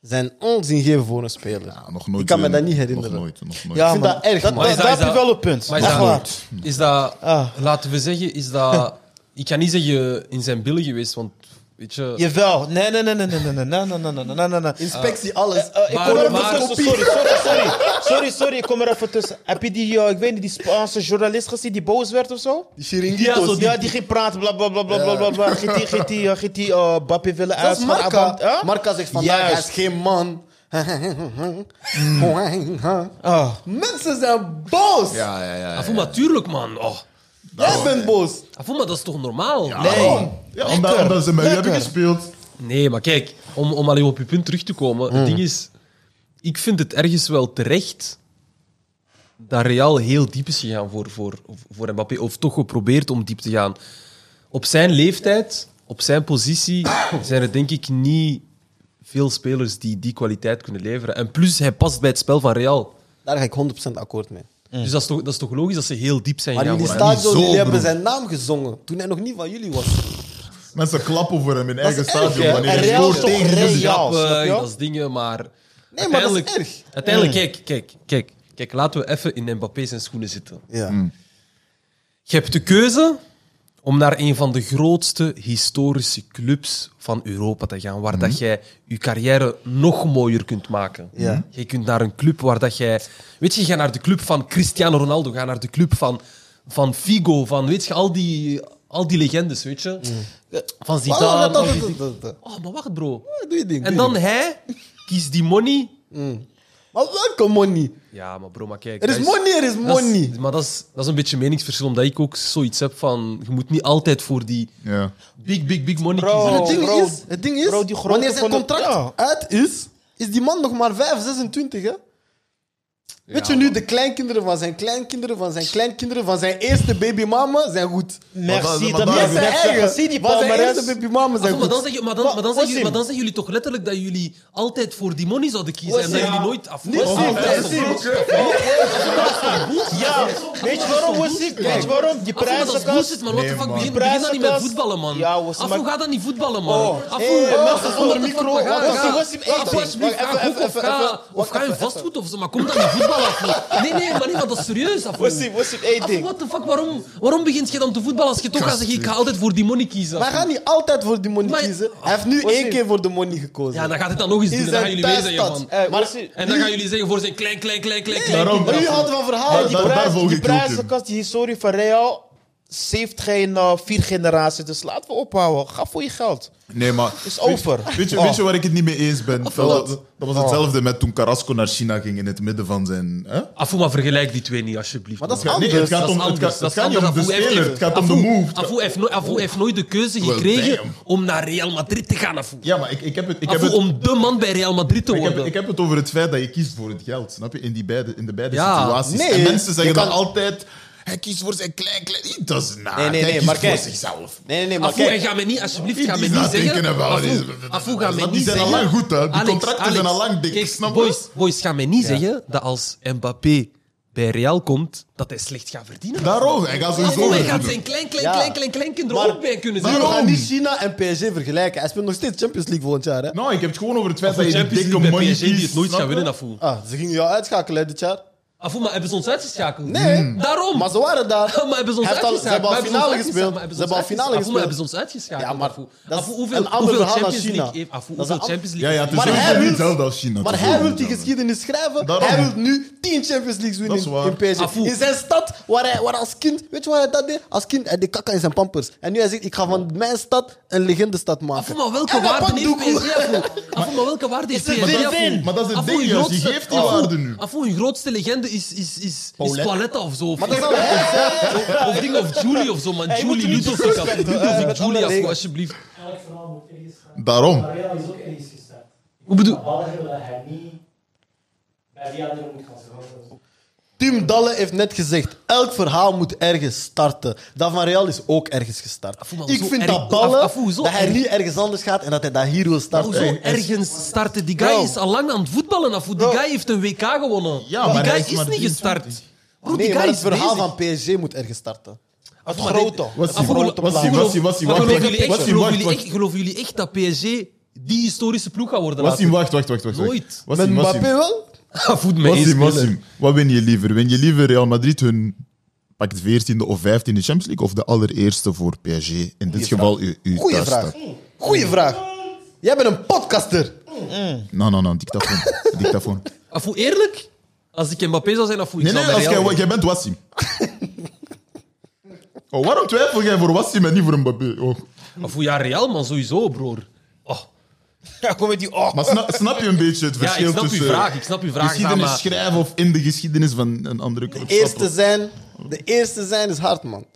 Speaker 1: zijn onzin geven voor een speler.
Speaker 5: Ja, nog nooit.
Speaker 1: ik kan me
Speaker 5: een-
Speaker 1: dat niet herinneren.
Speaker 5: Nog nooit, nog nooit.
Speaker 6: Ja,
Speaker 1: vind
Speaker 6: maar
Speaker 1: dat erg, man.
Speaker 6: dat,
Speaker 1: Maar
Speaker 4: is
Speaker 6: dat,
Speaker 4: dat- is
Speaker 6: dat heb je
Speaker 4: dat-
Speaker 6: wel een punt.
Speaker 4: Maar is
Speaker 6: Echt
Speaker 4: dat,
Speaker 6: waar.
Speaker 4: Is dat
Speaker 6: Ah.
Speaker 4: laten we zeggen, is dat. Ik kan niet zeggen in zijn billen geweest, want weet je.
Speaker 6: Jawel. Nee, nee, nee, nee, nee, nee, nee, nee, nee, nee, nee, nee, nee, nee.
Speaker 1: Inspectie, alles.
Speaker 6: Eh, ik
Speaker 4: Maar-
Speaker 6: kom er even
Speaker 4: maar-
Speaker 6: tussen, sorry, sorry, sorry. Sorry, sorry, ik kom er even tussen. Heb je die, eh, ik weet niet, die Spaanse journalist gezien die boos werd of zo?
Speaker 1: die
Speaker 6: Ja,
Speaker 1: Chiringuitos,
Speaker 6: zo,
Speaker 1: die-
Speaker 6: ja, die ging praten, bla bla bla bla bla bla. bla. Giet die, giet die, eh, giet die eh, Bappé willen eh? uit.
Speaker 1: Dat is Marca.
Speaker 6: Huh?
Speaker 1: Marca zegt vandaag, hij is
Speaker 6: Juist.
Speaker 1: geen man.
Speaker 6: Ah.
Speaker 1: Mensen zijn boos.
Speaker 5: Ja, ja, ja. ja,
Speaker 4: Afuma, tuurlijk man. Oh.
Speaker 1: Jij bent boos.
Speaker 4: Afuma, dat is toch normaal?
Speaker 5: ja. Nee. Ja, omdat, omdat ze met u hebben
Speaker 6: Lekker.
Speaker 5: gespeeld.
Speaker 4: Nee, maar kijk, om, om alleen op je punt terug te komen.
Speaker 1: Hmm.
Speaker 4: Het ding is, ik vind het ergens wel terecht dat Real heel diep is gegaan voor, voor, voor Mbappé. Of toch geprobeerd om diep te gaan. Op zijn leeftijd, op zijn positie, zijn er denk ik niet veel spelers die die kwaliteit kunnen leveren. En plus, hij past bij het spel van Real.
Speaker 1: Daar ga ik 100% akkoord mee.
Speaker 4: Dus dat is, toch, dat is toch logisch dat ze heel diep zijn
Speaker 1: Hmm. Maar
Speaker 4: gegaan
Speaker 1: jullie
Speaker 4: voor hem.
Speaker 5: staan-
Speaker 1: stadion,
Speaker 5: zo,
Speaker 1: jullie hebben
Speaker 5: broer.
Speaker 1: zijn naam gezongen toen hij nog niet van jullie was.
Speaker 5: Mensen klappen voor hem in eigen stadion.
Speaker 1: hè?
Speaker 5: Wanneer
Speaker 1: En
Speaker 5: hij
Speaker 1: Real
Speaker 5: scoort
Speaker 1: is toch
Speaker 5: tegen
Speaker 1: Real.
Speaker 5: jullie.
Speaker 6: Ja,
Speaker 4: grappen,
Speaker 6: snap je?
Speaker 4: dat is dingen, maar...
Speaker 1: Nee, maar dat is
Speaker 4: uiteindelijk-
Speaker 1: erg. Hmm.
Speaker 4: Uiteindelijk, kijk, kijk, kijk, kijk, laten we even in Mbappé zijn schoenen zitten.
Speaker 1: Ja.
Speaker 4: Je hebt de keuze om naar een van de grootste historische clubs van Europa te gaan, waar dat jij je carrière nog mooier kunt maken.
Speaker 1: Mhm.
Speaker 4: Mhm.
Speaker 1: Ja.
Speaker 4: Je kunt naar een club waar dat jij... Weet je, je gaat naar de club van Cristiano Ronaldo, ga naar de club van, van Figo, van weet je, al die, al die legendes, weet je. Eh, Van
Speaker 1: Waarom
Speaker 4: Zidane.
Speaker 1: Mhm. dat-
Speaker 4: al die-
Speaker 1: dat- dat- dat-
Speaker 4: Oh, maar wacht, bro.
Speaker 1: Doe je ding.
Speaker 4: En
Speaker 1: doe je
Speaker 4: dan hij kiest die money.
Speaker 1: ding. Maar welke money?
Speaker 4: Ja, maar bro, maar kijk.
Speaker 1: Er is
Speaker 4: dat
Speaker 1: money, er is
Speaker 4: dat is-
Speaker 1: money.
Speaker 4: maar dat is, dat is een beetje meningsverschil, omdat ik ook zoiets heb van... Je moet niet altijd voor die
Speaker 5: Ja.
Speaker 4: big, big, big money
Speaker 6: Bro.
Speaker 4: kiezen.
Speaker 1: het, ding
Speaker 6: bro,
Speaker 1: is, het ding is,
Speaker 6: bro, die grote
Speaker 1: wanneer zijn
Speaker 6: van de-
Speaker 1: contract
Speaker 6: Ja.
Speaker 1: uit is, is die man nog maar 5, 26, hè? Weet je nu, de kleinkinderen van zijn kleinkinderen, van zijn kleinkinderen, van zijn eerste babymama zijn goed.
Speaker 5: Maar-
Speaker 6: Merci,
Speaker 5: maar-
Speaker 6: dat
Speaker 5: maar-
Speaker 1: Ja,
Speaker 5: Ja,
Speaker 1: zijn eigen.
Speaker 6: Zie die
Speaker 1: Van zijn eerste
Speaker 6: palmarès.
Speaker 1: babymama zijn
Speaker 4: Ah, maar,
Speaker 1: goed.
Speaker 4: dan zeg je, maar, dan, maar, dan zeg je,
Speaker 6: Wassim.
Speaker 4: maar dan zeggen jullie toch letterlijk dat jullie altijd voor die money zouden kiezen en dat
Speaker 6: Wassim.
Speaker 4: jullie nooit af...
Speaker 1: Niet
Speaker 4: Wassim,
Speaker 1: zien,
Speaker 4: dat is
Speaker 1: niet
Speaker 4: toch-
Speaker 1: zien.
Speaker 6: Ja, weet je waarom, Wassim? Weet je waarom? Die
Speaker 4: Afo, maar dat is
Speaker 6: prijzenkast.
Speaker 4: bullshit, man. What the
Speaker 5: Nee,
Speaker 4: fuck?
Speaker 5: man.
Speaker 4: Begin,
Speaker 6: Die
Speaker 4: begin dan niet met
Speaker 6: prijzenkast.
Speaker 4: voetballen, man.
Speaker 6: Ja,
Speaker 4: Afo,
Speaker 6: Wassim, maar-
Speaker 4: ga dan niet voetballen, man.
Speaker 1: Oh.
Speaker 4: Afo,
Speaker 1: Hey,
Speaker 4: wat
Speaker 1: mensen
Speaker 4: the fuck,
Speaker 1: zonder
Speaker 4: what the
Speaker 1: micro.
Speaker 4: fuck, maar ga-
Speaker 1: Wassim,
Speaker 4: ga-
Speaker 6: Wassim,
Speaker 4: ga-
Speaker 6: één ding.
Speaker 4: alsjeblieft,
Speaker 6: Wacht,
Speaker 4: ga
Speaker 6: even,
Speaker 4: goed of
Speaker 6: even,
Speaker 4: ga-
Speaker 6: even,
Speaker 4: Of ga in vastgoed of zo, maar kom dan niet voetballen, Afo. Nee, nee, maar nee, maar dat is serieus, Afo.
Speaker 6: Wassim, Wassim, één
Speaker 4: Afo,
Speaker 6: ding.
Speaker 4: what the fuck, waarom, waarom begint je dan te voetballen als je toch gaat zeggen, ik ga altijd voor die money kiezen?
Speaker 1: Maar hij gaat niet altijd voor die money
Speaker 4: Maar-
Speaker 1: kiezen. Hij heeft nu één
Speaker 6: dit?
Speaker 1: keer voor de money gekozen.
Speaker 4: Ja, dan gaat het dan nog eens
Speaker 1: In
Speaker 4: doen, dan gaan
Speaker 1: zijn
Speaker 4: jullie wezen,
Speaker 1: thuisstad.
Speaker 4: man.
Speaker 6: Eh,
Speaker 1: Maar-
Speaker 6: Wassim,
Speaker 4: En dan gaan jullie zeggen voor zijn klein, klein, klein, klein, klein.
Speaker 5: Daarom.
Speaker 1: Maar jullie houden van verhalen.
Speaker 6: die
Speaker 5: daar- daar
Speaker 6: prijs-
Speaker 5: volg
Speaker 6: die
Speaker 5: ik ook in.
Speaker 6: prijzenkast, die historie van Real, ze heeft geen eh, vier generaties. Dus laten we ophouden. Ga voor je geld.
Speaker 5: Nee, maar...
Speaker 6: Is over.
Speaker 5: Weet, weet je,
Speaker 6: Oh.
Speaker 5: weet je waar ik het niet mee eens
Speaker 1: Oh,
Speaker 5: ben? Dat,
Speaker 4: wat?
Speaker 5: dat, dat was hetzelfde met toen Carrasco naar China ging in het midden van zijn... Hè?
Speaker 4: Afu, maar vergelijk die twee niet, alsjeblieft.
Speaker 1: Maar dat is
Speaker 4: man.
Speaker 5: Nee, het
Speaker 1: anders.
Speaker 5: gaat,
Speaker 4: Dat
Speaker 5: om,
Speaker 4: is
Speaker 5: het
Speaker 4: anders,
Speaker 5: gaat,
Speaker 4: dat
Speaker 5: het
Speaker 4: is
Speaker 5: gaat niet om de
Speaker 4: anders. Afu heeft-
Speaker 5: speler, het gaat om de
Speaker 4: Afu-
Speaker 5: move. Het
Speaker 4: Afu heeft, nooit- Afu heeft nooit de keuze
Speaker 5: Well,
Speaker 4: gekregen
Speaker 5: damn.
Speaker 4: om naar Real Madrid te gaan, Afu.
Speaker 5: Ja, maar ik, ik heb het... Ik
Speaker 4: Afu,
Speaker 5: heb het
Speaker 4: om de man bij Real Madrid te
Speaker 5: ik heb,
Speaker 4: worden.
Speaker 5: ik heb het over het feit dat je kiest voor het geld, snap je? In, die beide, in de beide
Speaker 4: Ja.
Speaker 5: situaties.
Speaker 1: Nee,
Speaker 5: en mensen zeggen
Speaker 1: je
Speaker 5: dan
Speaker 1: kan-
Speaker 5: altijd... Hij kiest voor zijn klein, klein... It does not.
Speaker 1: nee,
Speaker 5: hij
Speaker 1: nee,
Speaker 5: kiest
Speaker 1: maar
Speaker 5: voor
Speaker 1: kijk.
Speaker 5: zichzelf.
Speaker 1: Nee, nee, nee, maar
Speaker 4: Afu, en
Speaker 1: kijk.
Speaker 4: ga me niet, alsjeblieft,
Speaker 5: Niet
Speaker 4: ga me
Speaker 5: iets
Speaker 4: niet
Speaker 5: na
Speaker 4: zeggen.
Speaker 5: denken about
Speaker 4: Afu,
Speaker 5: it.
Speaker 4: Afu, ga me
Speaker 5: Die
Speaker 4: niet
Speaker 5: zijn
Speaker 4: zeggen.
Speaker 5: al lang goed, hè. Die
Speaker 4: Alex,
Speaker 5: contracten
Speaker 4: Alex,
Speaker 5: zijn al lang dik,
Speaker 4: kijk,
Speaker 5: snap je?
Speaker 4: Boys, boys, ga me niet zeggen dat als Mbappé bij Real komt, dat hij slecht gaat verdienen.
Speaker 5: Daarom, hij gaat sowieso
Speaker 4: Afu, hij gaat
Speaker 5: verdienen.
Speaker 4: zijn klein, klein,
Speaker 1: Ja.
Speaker 4: klein, klein, kleinkinderen
Speaker 1: Maar-
Speaker 4: ook bij kunnen
Speaker 1: Maar
Speaker 4: zijn.
Speaker 1: we gaan
Speaker 5: Waarom?
Speaker 1: niet China en PSG vergelijken. Hij speelt nog steeds Champions League volgend jaar. Hè?
Speaker 5: Nou, ik heb het gewoon over het feit dat je die
Speaker 4: Champions
Speaker 5: dikke
Speaker 4: League bij
Speaker 5: money
Speaker 4: PSG die het
Speaker 5: kiest,
Speaker 4: nooit
Speaker 5: snap
Speaker 4: gaat
Speaker 5: je?
Speaker 4: winnen, Afu.
Speaker 1: Ah, ze gingen jou uitschakelen hè, dit jaar.
Speaker 4: Afu, maar hebben ze ons uitgeschakeld?
Speaker 1: Nee,
Speaker 4: Daarom.
Speaker 1: maar ze waren daar.
Speaker 4: Maar hebben ze ons
Speaker 1: Hij heeft al-
Speaker 4: uitgeschakeld?
Speaker 1: Ze hebben al
Speaker 4: Maar hebben ze
Speaker 1: finale
Speaker 4: ons uitgeschakeld?
Speaker 1: gespeeld.
Speaker 4: Maar
Speaker 1: Ze
Speaker 4: hebben
Speaker 1: hebben al
Speaker 4: ons
Speaker 1: finale
Speaker 4: uitgeschakeld? Afu, maar hebben
Speaker 1: gespeeld.
Speaker 4: ze ons uitgeschakeld?
Speaker 1: Ja, maar
Speaker 4: Afu?
Speaker 1: dat is
Speaker 4: Afu,
Speaker 1: een ander
Speaker 4: hoeveel
Speaker 1: verhaal dan
Speaker 4: Champions
Speaker 1: China.
Speaker 4: League heeft
Speaker 1: Dat
Speaker 4: Afu?
Speaker 1: is
Speaker 4: Hoeveel
Speaker 1: een
Speaker 4: Champions League
Speaker 5: Ja, ja,
Speaker 4: heeft
Speaker 5: het is
Speaker 1: Maar
Speaker 5: sowieso
Speaker 1: hij wil-
Speaker 5: niet hetzelfde als China.
Speaker 1: Maar
Speaker 5: het is
Speaker 1: hij wil
Speaker 5: sowieso
Speaker 1: die
Speaker 5: niet hetzelfde.
Speaker 1: geschiedenis schrijven.
Speaker 5: Daarom.
Speaker 1: Hij wil nu 10 Champions Leagues
Speaker 5: Dat is
Speaker 1: winnen
Speaker 5: waar.
Speaker 1: in PSG.
Speaker 4: Afu.
Speaker 1: In zijn stad waar hij waar als kind... Weet je wat hij dat deed? Als kind, hij deed kakka in zijn pampers. En nu hij zegt, ik ga van mijn stad een legendestad maken.
Speaker 4: Afu, Ah, maar welke
Speaker 1: En hij
Speaker 4: waarde
Speaker 1: pakt
Speaker 4: heeft
Speaker 1: Doekoe.
Speaker 4: PSG? Afu? Afu, maar welke waarde heeft
Speaker 6: het
Speaker 4: PSG?
Speaker 6: win-win?
Speaker 4: Afu?
Speaker 5: Maar dat is het
Speaker 4: Afu,
Speaker 5: ding
Speaker 4: hun
Speaker 5: juist, die
Speaker 4: grootste-
Speaker 5: geeft die
Speaker 4: Afu,
Speaker 5: waarde nu.
Speaker 4: Afu, hun grootste legende is, is, is, is
Speaker 1: Paulette.
Speaker 4: Pauletta of zo. Of,
Speaker 1: Maar dat is al
Speaker 4: of, of ding of Julie of zo, man.
Speaker 6: Hey, je moet
Speaker 4: Julie,
Speaker 6: er
Speaker 4: niet
Speaker 6: niet
Speaker 4: of
Speaker 6: zo
Speaker 4: ik had-
Speaker 6: respecten,
Speaker 4: Liet of
Speaker 6: eh,
Speaker 4: ik Julie, als-
Speaker 1: alleen.
Speaker 4: alsjeblieft.
Speaker 2: Elk verhaal moet ergens gaan.
Speaker 5: Daarom.
Speaker 2: Barella is ook ergens gestart.
Speaker 4: Hoe bedoel
Speaker 2: Ballen hebben dat hij niet bij die anderen moet gaan zorgen.
Speaker 1: Tim Dalle heeft net gezegd, elk verhaal moet ergens starten. Dat van Real is ook ergens gestart.
Speaker 4: Afoe, Ah, maar
Speaker 1: Ik
Speaker 4: hoezo
Speaker 1: vind
Speaker 4: erg-
Speaker 1: dat Dalle,
Speaker 4: af- af- hoezo
Speaker 1: dat hij
Speaker 4: erg?
Speaker 1: niet ergens anders gaat en dat hij daar hier wil starten.
Speaker 4: Hoezo
Speaker 1: Hey, en-
Speaker 4: ergens starten? Die guy
Speaker 6: Bro.
Speaker 4: is al lang aan het voetballen af. Die guy heeft een WK gewonnen.
Speaker 5: Ja,
Speaker 4: die
Speaker 5: maar
Speaker 4: guy
Speaker 5: hij is
Speaker 4: is,
Speaker 5: maar
Speaker 4: niet
Speaker 5: 23.
Speaker 4: gestart. Bro, die
Speaker 1: Nee,
Speaker 4: guy
Speaker 1: maar het
Speaker 4: is
Speaker 1: verhaal
Speaker 4: bezig.
Speaker 1: van PSG moet ergens starten.
Speaker 6: Het
Speaker 4: Maar dit-
Speaker 6: grote.
Speaker 5: Wat
Speaker 4: Maar
Speaker 5: is
Speaker 4: geloof-
Speaker 5: wat is
Speaker 4: maar
Speaker 5: wat is wat is
Speaker 4: geloof- maar geloven jullie echt-
Speaker 5: wat
Speaker 4: geloven jullie
Speaker 5: is
Speaker 4: echt- Geloven jullie echt dat PSG die historische ploeg gaat worden?
Speaker 5: Wassim,
Speaker 4: later?
Speaker 5: wacht, wacht, wacht. wacht.
Speaker 4: Nooit.
Speaker 1: Met
Speaker 5: Wassim, Wassim.
Speaker 1: Mbappé wel?
Speaker 4: Voet me eens,
Speaker 5: Wassim,
Speaker 4: speler.
Speaker 5: Wassim. Wat win je liever? Win je liever Real Madrid hun pakt 14e of 15e Champions League of de allereerste voor PSG? In dit geval u, u
Speaker 1: Goeie vraag. Goeie vraag. Jij bent een podcaster.
Speaker 5: Nou, nou, nou, dictafoon. dictafoon.
Speaker 4: Afoe, eerlijk? Als ik Mbappé zou zijn, afoe, ik
Speaker 5: Nee, nee,
Speaker 4: zou
Speaker 5: als
Speaker 4: bij Real
Speaker 5: jij, jij bent Wassim. Oh, waarom twijfel jij voor Wassim en niet voor Mbappé? Oh.
Speaker 4: Afoe, ja, Real, man, sowieso, broer. Oh.
Speaker 6: Ja, kom met die... Oh.
Speaker 5: Maar snap, snap je een beetje het
Speaker 4: Ah. Ja,
Speaker 5: verschil
Speaker 4: ik snap uw
Speaker 5: tussen
Speaker 4: vraag. Ik snap uw vraag,
Speaker 5: geschiedenis
Speaker 4: maar-
Speaker 5: schrijven of in de geschiedenis van een andere
Speaker 1: De
Speaker 5: club?
Speaker 1: eerste
Speaker 5: stappen?
Speaker 1: zijn, de eerste zijn is hard, man.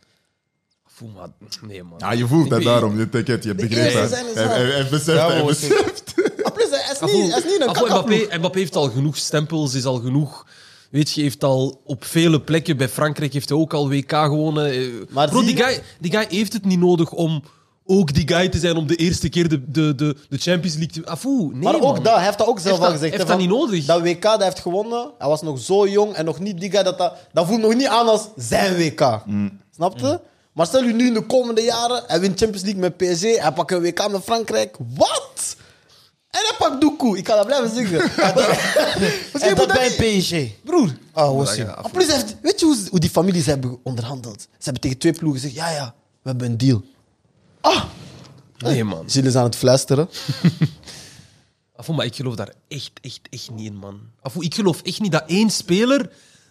Speaker 4: Afoe, man. Nee, man.
Speaker 5: Ja, je voelt
Speaker 4: Ik
Speaker 5: dat
Speaker 4: weet-
Speaker 5: daarom. Je ticket, je
Speaker 1: eerste
Speaker 5: begrijpt
Speaker 1: zijn is
Speaker 5: dat. Hij- Hij hij beseft,
Speaker 6: Ja,
Speaker 5: hij
Speaker 6: hoor, zeker.
Speaker 5: beseft.
Speaker 1: Maar Ah, plus, hij is
Speaker 4: Afoe,
Speaker 1: niet, hij is niet een
Speaker 4: afoe,
Speaker 1: kakkaploeg.
Speaker 4: Ah, Mbappé, Mbappé heeft al genoeg stempels, is al genoeg... Weet je, heeft al op vele plekken... Bij Frankrijk heeft hij ook al WK gewonnen. eh.
Speaker 1: Maar
Speaker 4: Bro,
Speaker 1: zie
Speaker 4: die
Speaker 1: je-
Speaker 4: guy, die guy heeft het niet nodig om ook die guy te zijn om de eerste keer de, de, de, de Champions League te... Afoe, nee,
Speaker 1: Maar ook
Speaker 4: man.
Speaker 1: dat, hij heeft dat ook zelf
Speaker 4: Heeft
Speaker 1: al
Speaker 4: dat-
Speaker 1: gezegd.
Speaker 4: heeft
Speaker 1: hè,
Speaker 4: dat
Speaker 1: van,
Speaker 4: niet nodig.
Speaker 1: Dat WK dat hij heeft gewonnen, hij was nog zo jong en nog niet die guy dat dat... Dat voelt nog niet aan als zijn WK.
Speaker 4: Mm.
Speaker 1: Snap je? Maar stel je nu in de komende jaren, hij wint Champions League met PSG, hij pakt een WK met Frankrijk. Wat? En hij pakt Doekoe. Ik kan dat blijven zeggen. En dat- Misschien
Speaker 6: En
Speaker 1: moet
Speaker 6: dat bij
Speaker 1: dat niet-
Speaker 6: PSG.
Speaker 1: Broer.
Speaker 6: Ah, Wassim.
Speaker 1: En plus, hij heeft- weet je hoe, ze- hoe die families hebben onderhandeld? Ze hebben tegen twee ploegen gezegd, ja, ja, we hebben een deal.
Speaker 4: Nee, man.
Speaker 1: Gilles is aan het fluisteren.
Speaker 4: Afoe, maar ik geloof daar echt, echt, echt niet in, man. Afoe, ik geloof echt niet dat één speler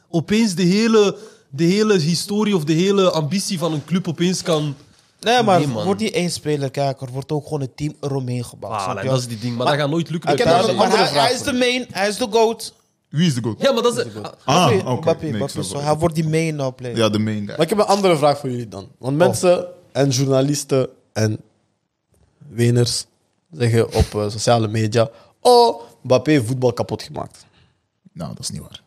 Speaker 4: opeens de hele, de hele historie of de hele ambitie van een club opeens kan...
Speaker 6: Nee, maar
Speaker 4: Nee,
Speaker 6: wordt
Speaker 4: man.
Speaker 6: wordt niet één speler, kijk, er wordt ook gewoon een team eromheen gebouwd.
Speaker 4: Ah,
Speaker 6: snap
Speaker 4: en
Speaker 6: je?
Speaker 4: dat is die ding, maar, dat gaat nooit lukken.
Speaker 1: ik
Speaker 4: met
Speaker 1: heb nog
Speaker 6: Maar
Speaker 1: een
Speaker 4: Parijs.
Speaker 1: andere
Speaker 6: hij,
Speaker 1: vraag
Speaker 6: hij is
Speaker 1: voor
Speaker 6: de main, hij is de GOAT.
Speaker 5: Wie is de goat?
Speaker 4: Ja, maar dat is... ah,
Speaker 5: Ah,
Speaker 6: Mbappé,
Speaker 5: oké.
Speaker 6: Mbappé,
Speaker 5: Nee, ik
Speaker 6: Mbappé,
Speaker 5: snap
Speaker 6: zo.
Speaker 5: wel.
Speaker 6: Hij wordt die main nou player.
Speaker 5: Ja, de main guy.
Speaker 1: Maar ik heb een andere vraag voor jullie dan. Want mensen en journalisten en weners zeggen op eh, sociale media... Oh, Mbappé heeft voetbal kapot gemaakt.
Speaker 5: Nou, dat is niet waar.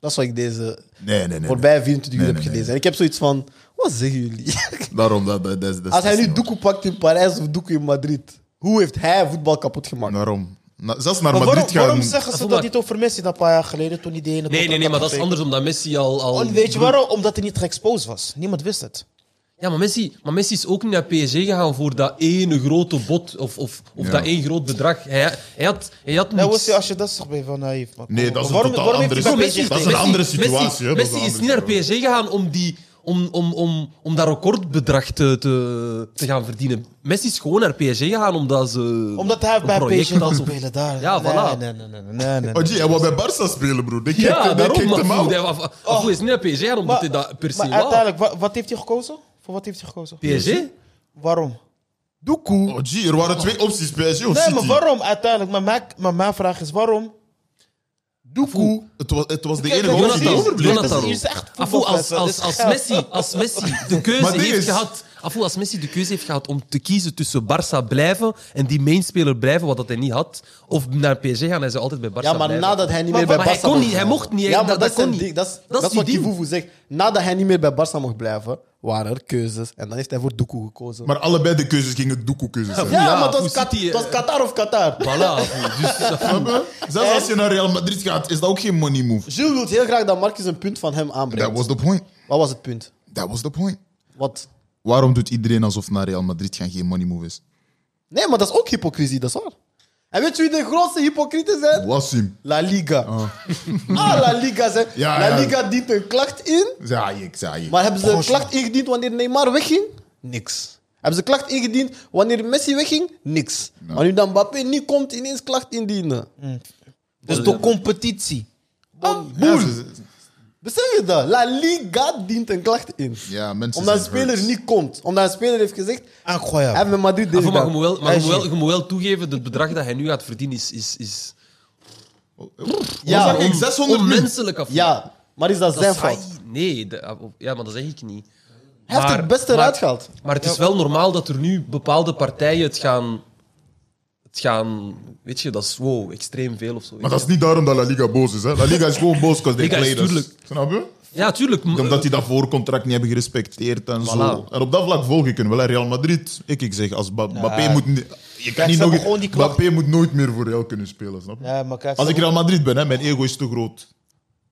Speaker 1: Dat is wat ik deze
Speaker 5: Nee, nee, nee.
Speaker 1: voorbij 24 uur
Speaker 5: Nee,
Speaker 1: heb
Speaker 5: nee,
Speaker 1: gelezen.
Speaker 5: nee.
Speaker 1: En ik heb zoiets van... Wat zeggen jullie?
Speaker 5: nee. Daarom, dat, dat, dat, dat
Speaker 1: Als hij
Speaker 5: dat is
Speaker 1: nu
Speaker 5: niet
Speaker 1: Doekoe pakt in Parijs of Doekoe in Madrid... Hoe heeft hij voetbal kapot
Speaker 5: waar.
Speaker 1: gemaakt?
Speaker 5: Daarom. Na- zelfs naar
Speaker 6: Maar waarom,
Speaker 5: Madrid gaan...
Speaker 6: waarom zeggen ze
Speaker 4: Afoe,
Speaker 6: dat
Speaker 4: maar-
Speaker 6: niet over Messi dan een paar jaar geleden toen hij die ene
Speaker 4: Nee, nee, nee, maar dat is
Speaker 6: contract
Speaker 4: anders, omdat Messi al... al
Speaker 6: had getekend? En weet je waarom? Omdat hij niet geëxposed was. Niemand wist het.
Speaker 4: Ja, maar Messi, maar Messi is ook niet naar PSG gegaan voor dat ene grote bot of, of, of
Speaker 5: Ja.
Speaker 4: dat één groot bedrag. Hij, hij had, hij had
Speaker 6: Nou,
Speaker 4: niks.
Speaker 6: was als je dat zegt, ben je wel naïef. man.
Speaker 5: Nee,
Speaker 6: Maar
Speaker 5: dat is een
Speaker 6: waarom-
Speaker 5: totaal
Speaker 6: waarom heeft
Speaker 5: andere
Speaker 6: hij bij
Speaker 5: situatie. Dat
Speaker 6: PSG
Speaker 5: is een
Speaker 6: getekend?
Speaker 5: andere situatie, hè.
Speaker 4: Messi,
Speaker 5: Dat is
Speaker 4: Messi
Speaker 5: een
Speaker 4: is
Speaker 5: andere
Speaker 4: niet naar PSG
Speaker 5: situatie.
Speaker 4: gegaan om, die, om, om, om, om dat recordbedrag te, te, te gaan verdienen. Messi is gewoon naar PSG gegaan omdat ze.
Speaker 6: Omdat hij
Speaker 4: een
Speaker 6: bij
Speaker 4: project
Speaker 6: PSG kan
Speaker 4: hadden.
Speaker 6: spelen daar.
Speaker 4: Ja,
Speaker 6: nee,
Speaker 4: voilà.
Speaker 6: Nee, nee, nee, nee, nee, nee.
Speaker 5: Oh, gee, hij wou bij Barca spelen, broer. Die kijkt,
Speaker 4: Ja,
Speaker 5: die
Speaker 4: daarom.
Speaker 5: kijkt
Speaker 4: Maar
Speaker 5: hem
Speaker 4: Foe,
Speaker 5: af.
Speaker 4: hij wa- wa- Foe is niet naar PSG gegaan omdat hij dat per se
Speaker 6: Oh. maar
Speaker 4: wou.
Speaker 6: uiteindelijk, wa- wat heeft hij gekozen? Voor wat heeft hij gekozen?
Speaker 4: PSG?
Speaker 6: Waarom?
Speaker 1: Doekoe...
Speaker 5: Oh, gee, er waren twee opties, PSG of
Speaker 6: Nee,
Speaker 5: City.
Speaker 6: maar waarom uiteindelijk? Maar mijn, maar mijn vraag is waarom?
Speaker 5: Doekoe, het was, het was de
Speaker 6: Kijk,
Speaker 5: enige
Speaker 6: dat
Speaker 5: optie die
Speaker 6: is-
Speaker 4: Jonathan,
Speaker 5: overbleef.
Speaker 6: Jonathan. dat is
Speaker 4: Jonathan.
Speaker 6: echt
Speaker 4: Afoe, als,
Speaker 6: voetbalfeest,
Speaker 4: als,
Speaker 6: dat
Speaker 4: als,
Speaker 6: is-
Speaker 4: Messi, als Messi de
Speaker 5: Maar
Speaker 4: keuze
Speaker 5: dit
Speaker 4: heeft
Speaker 5: is-
Speaker 4: gehad... Afoe, als Messi de keuze heeft gehad om te kiezen tussen Barça blijven en die mainspeler blijven, wat dat hij niet had, of naar PSG gaan, hij zou altijd bij Barça
Speaker 1: Ja,
Speaker 4: blijven.
Speaker 1: maar nadat hij niet
Speaker 6: Maar-
Speaker 1: meer bij
Speaker 6: maar
Speaker 4: hij
Speaker 1: Barca
Speaker 4: kon
Speaker 1: mocht
Speaker 4: niet, hij
Speaker 1: blijven.
Speaker 4: mocht niet, hè.
Speaker 1: Ja, maar
Speaker 4: Dat-
Speaker 1: dat,
Speaker 4: dat
Speaker 1: is
Speaker 4: kon
Speaker 1: een
Speaker 4: niet.
Speaker 1: ding, Dat is,
Speaker 4: Dat
Speaker 1: dat
Speaker 4: is
Speaker 1: is
Speaker 4: die
Speaker 1: wat
Speaker 4: ding.
Speaker 1: Kivuvu zegt. Nadat hij niet meer bij Barca mocht blijven, waren er keuzes. En dan heeft hij voor Doekoe gekozen.
Speaker 5: Maar allebei de keuzes gingen Doekoe-keuzes zijn.
Speaker 1: ja,
Speaker 4: Ja,
Speaker 1: maar dat was,
Speaker 4: hoe
Speaker 1: Kat-
Speaker 4: zit die,
Speaker 1: dat was
Speaker 4: eh,
Speaker 1: Qatar of Qatar.
Speaker 4: Voilà, Afoe. Dus,
Speaker 5: Snap je? Zelfs als je naar Real Madrid gaat, is dat ook geen money move.
Speaker 1: Jules wil heel graag dat Marcus een punt van hem
Speaker 5: That
Speaker 1: aanbrengt.
Speaker 5: was the point.
Speaker 1: Wat was het punt?
Speaker 5: That was the point.
Speaker 1: Wat?
Speaker 5: Waarom doet iedereen alsof naar Real Madrid gaan geen money move is?
Speaker 1: Nee, maar dat is ook hypocrisie, dat is waar. En weet je wie de grootste hypocrieten zijn?
Speaker 5: Wassim.
Speaker 1: La Liga. Ah, La Liga. Ze.
Speaker 5: Ja,
Speaker 1: La
Speaker 5: ja.
Speaker 1: Liga dient een klacht in.
Speaker 5: Zaaiek, zaaiek.
Speaker 1: Maar hebben ze een klacht ingediend wanneer Neymar wegging? Niks. Hebben ze klacht ingediend wanneer Messi wegging? Niks. Maar nu dan Mbappé niet komt, ineens klacht indienen.
Speaker 6: Dus de competitie.
Speaker 1: Ah,
Speaker 5: Ja,
Speaker 1: boel.
Speaker 5: ze- ze-
Speaker 1: Besef je dat? La Liga dient een klacht in.
Speaker 5: Ja, mensen
Speaker 1: Omdat een
Speaker 5: zijn
Speaker 1: speler
Speaker 5: hurt.
Speaker 1: niet komt. Omdat een speler heeft gezegd, hij heeft
Speaker 6: Incroyable.
Speaker 1: met Madrid deze
Speaker 4: Afoe, maar je
Speaker 1: gedaan.
Speaker 4: moet wel, maar je moet
Speaker 6: Hij is-
Speaker 4: wel, je moet wel toegeven, het bedrag dat hij nu gaat verdienen is... is, is
Speaker 1: Ja,
Speaker 5: Ja,
Speaker 1: on-
Speaker 5: 600 mensen.
Speaker 4: onmenselijk af.
Speaker 1: Ja, maar is dat,
Speaker 4: dat
Speaker 1: zijn
Speaker 4: is
Speaker 1: fout?
Speaker 4: saai. Nee, dat- ja, maar dat zeg ik niet.
Speaker 1: Hij heeft
Speaker 4: Maar-
Speaker 1: het beste
Speaker 4: maar-
Speaker 1: eruit gehaald.
Speaker 4: Maar het is wel normaal dat er nu bepaalde partijen het gaan. Het gaan weet je, dat is wow, extreem veel of zo.
Speaker 5: Maar dat is niet daarom dat La Liga boos is. Hè. La Liga is gewoon boos because they
Speaker 4: Liga is
Speaker 5: played us.
Speaker 4: tuurlijk.
Speaker 5: Snap je?
Speaker 4: Ja, tuurlijk. m-
Speaker 6: Eh.
Speaker 5: Omdat die dat voorcontract niet hebben gerespecteerd en zo. En op dat vlak volg ik hun wel. hè. Real Madrid, ik, ik zeg, als Ba- Mbappé moet... ni- Je kan niet
Speaker 6: ze hebben
Speaker 5: nog...
Speaker 6: gewoon die klok.
Speaker 5: Mbappé moet nooit meer voor Real kunnen spelen, snap je?
Speaker 6: Ja, maar kijk,
Speaker 5: Als
Speaker 6: ze-
Speaker 5: ik Real Madrid ben, hè, mijn ego is te groot.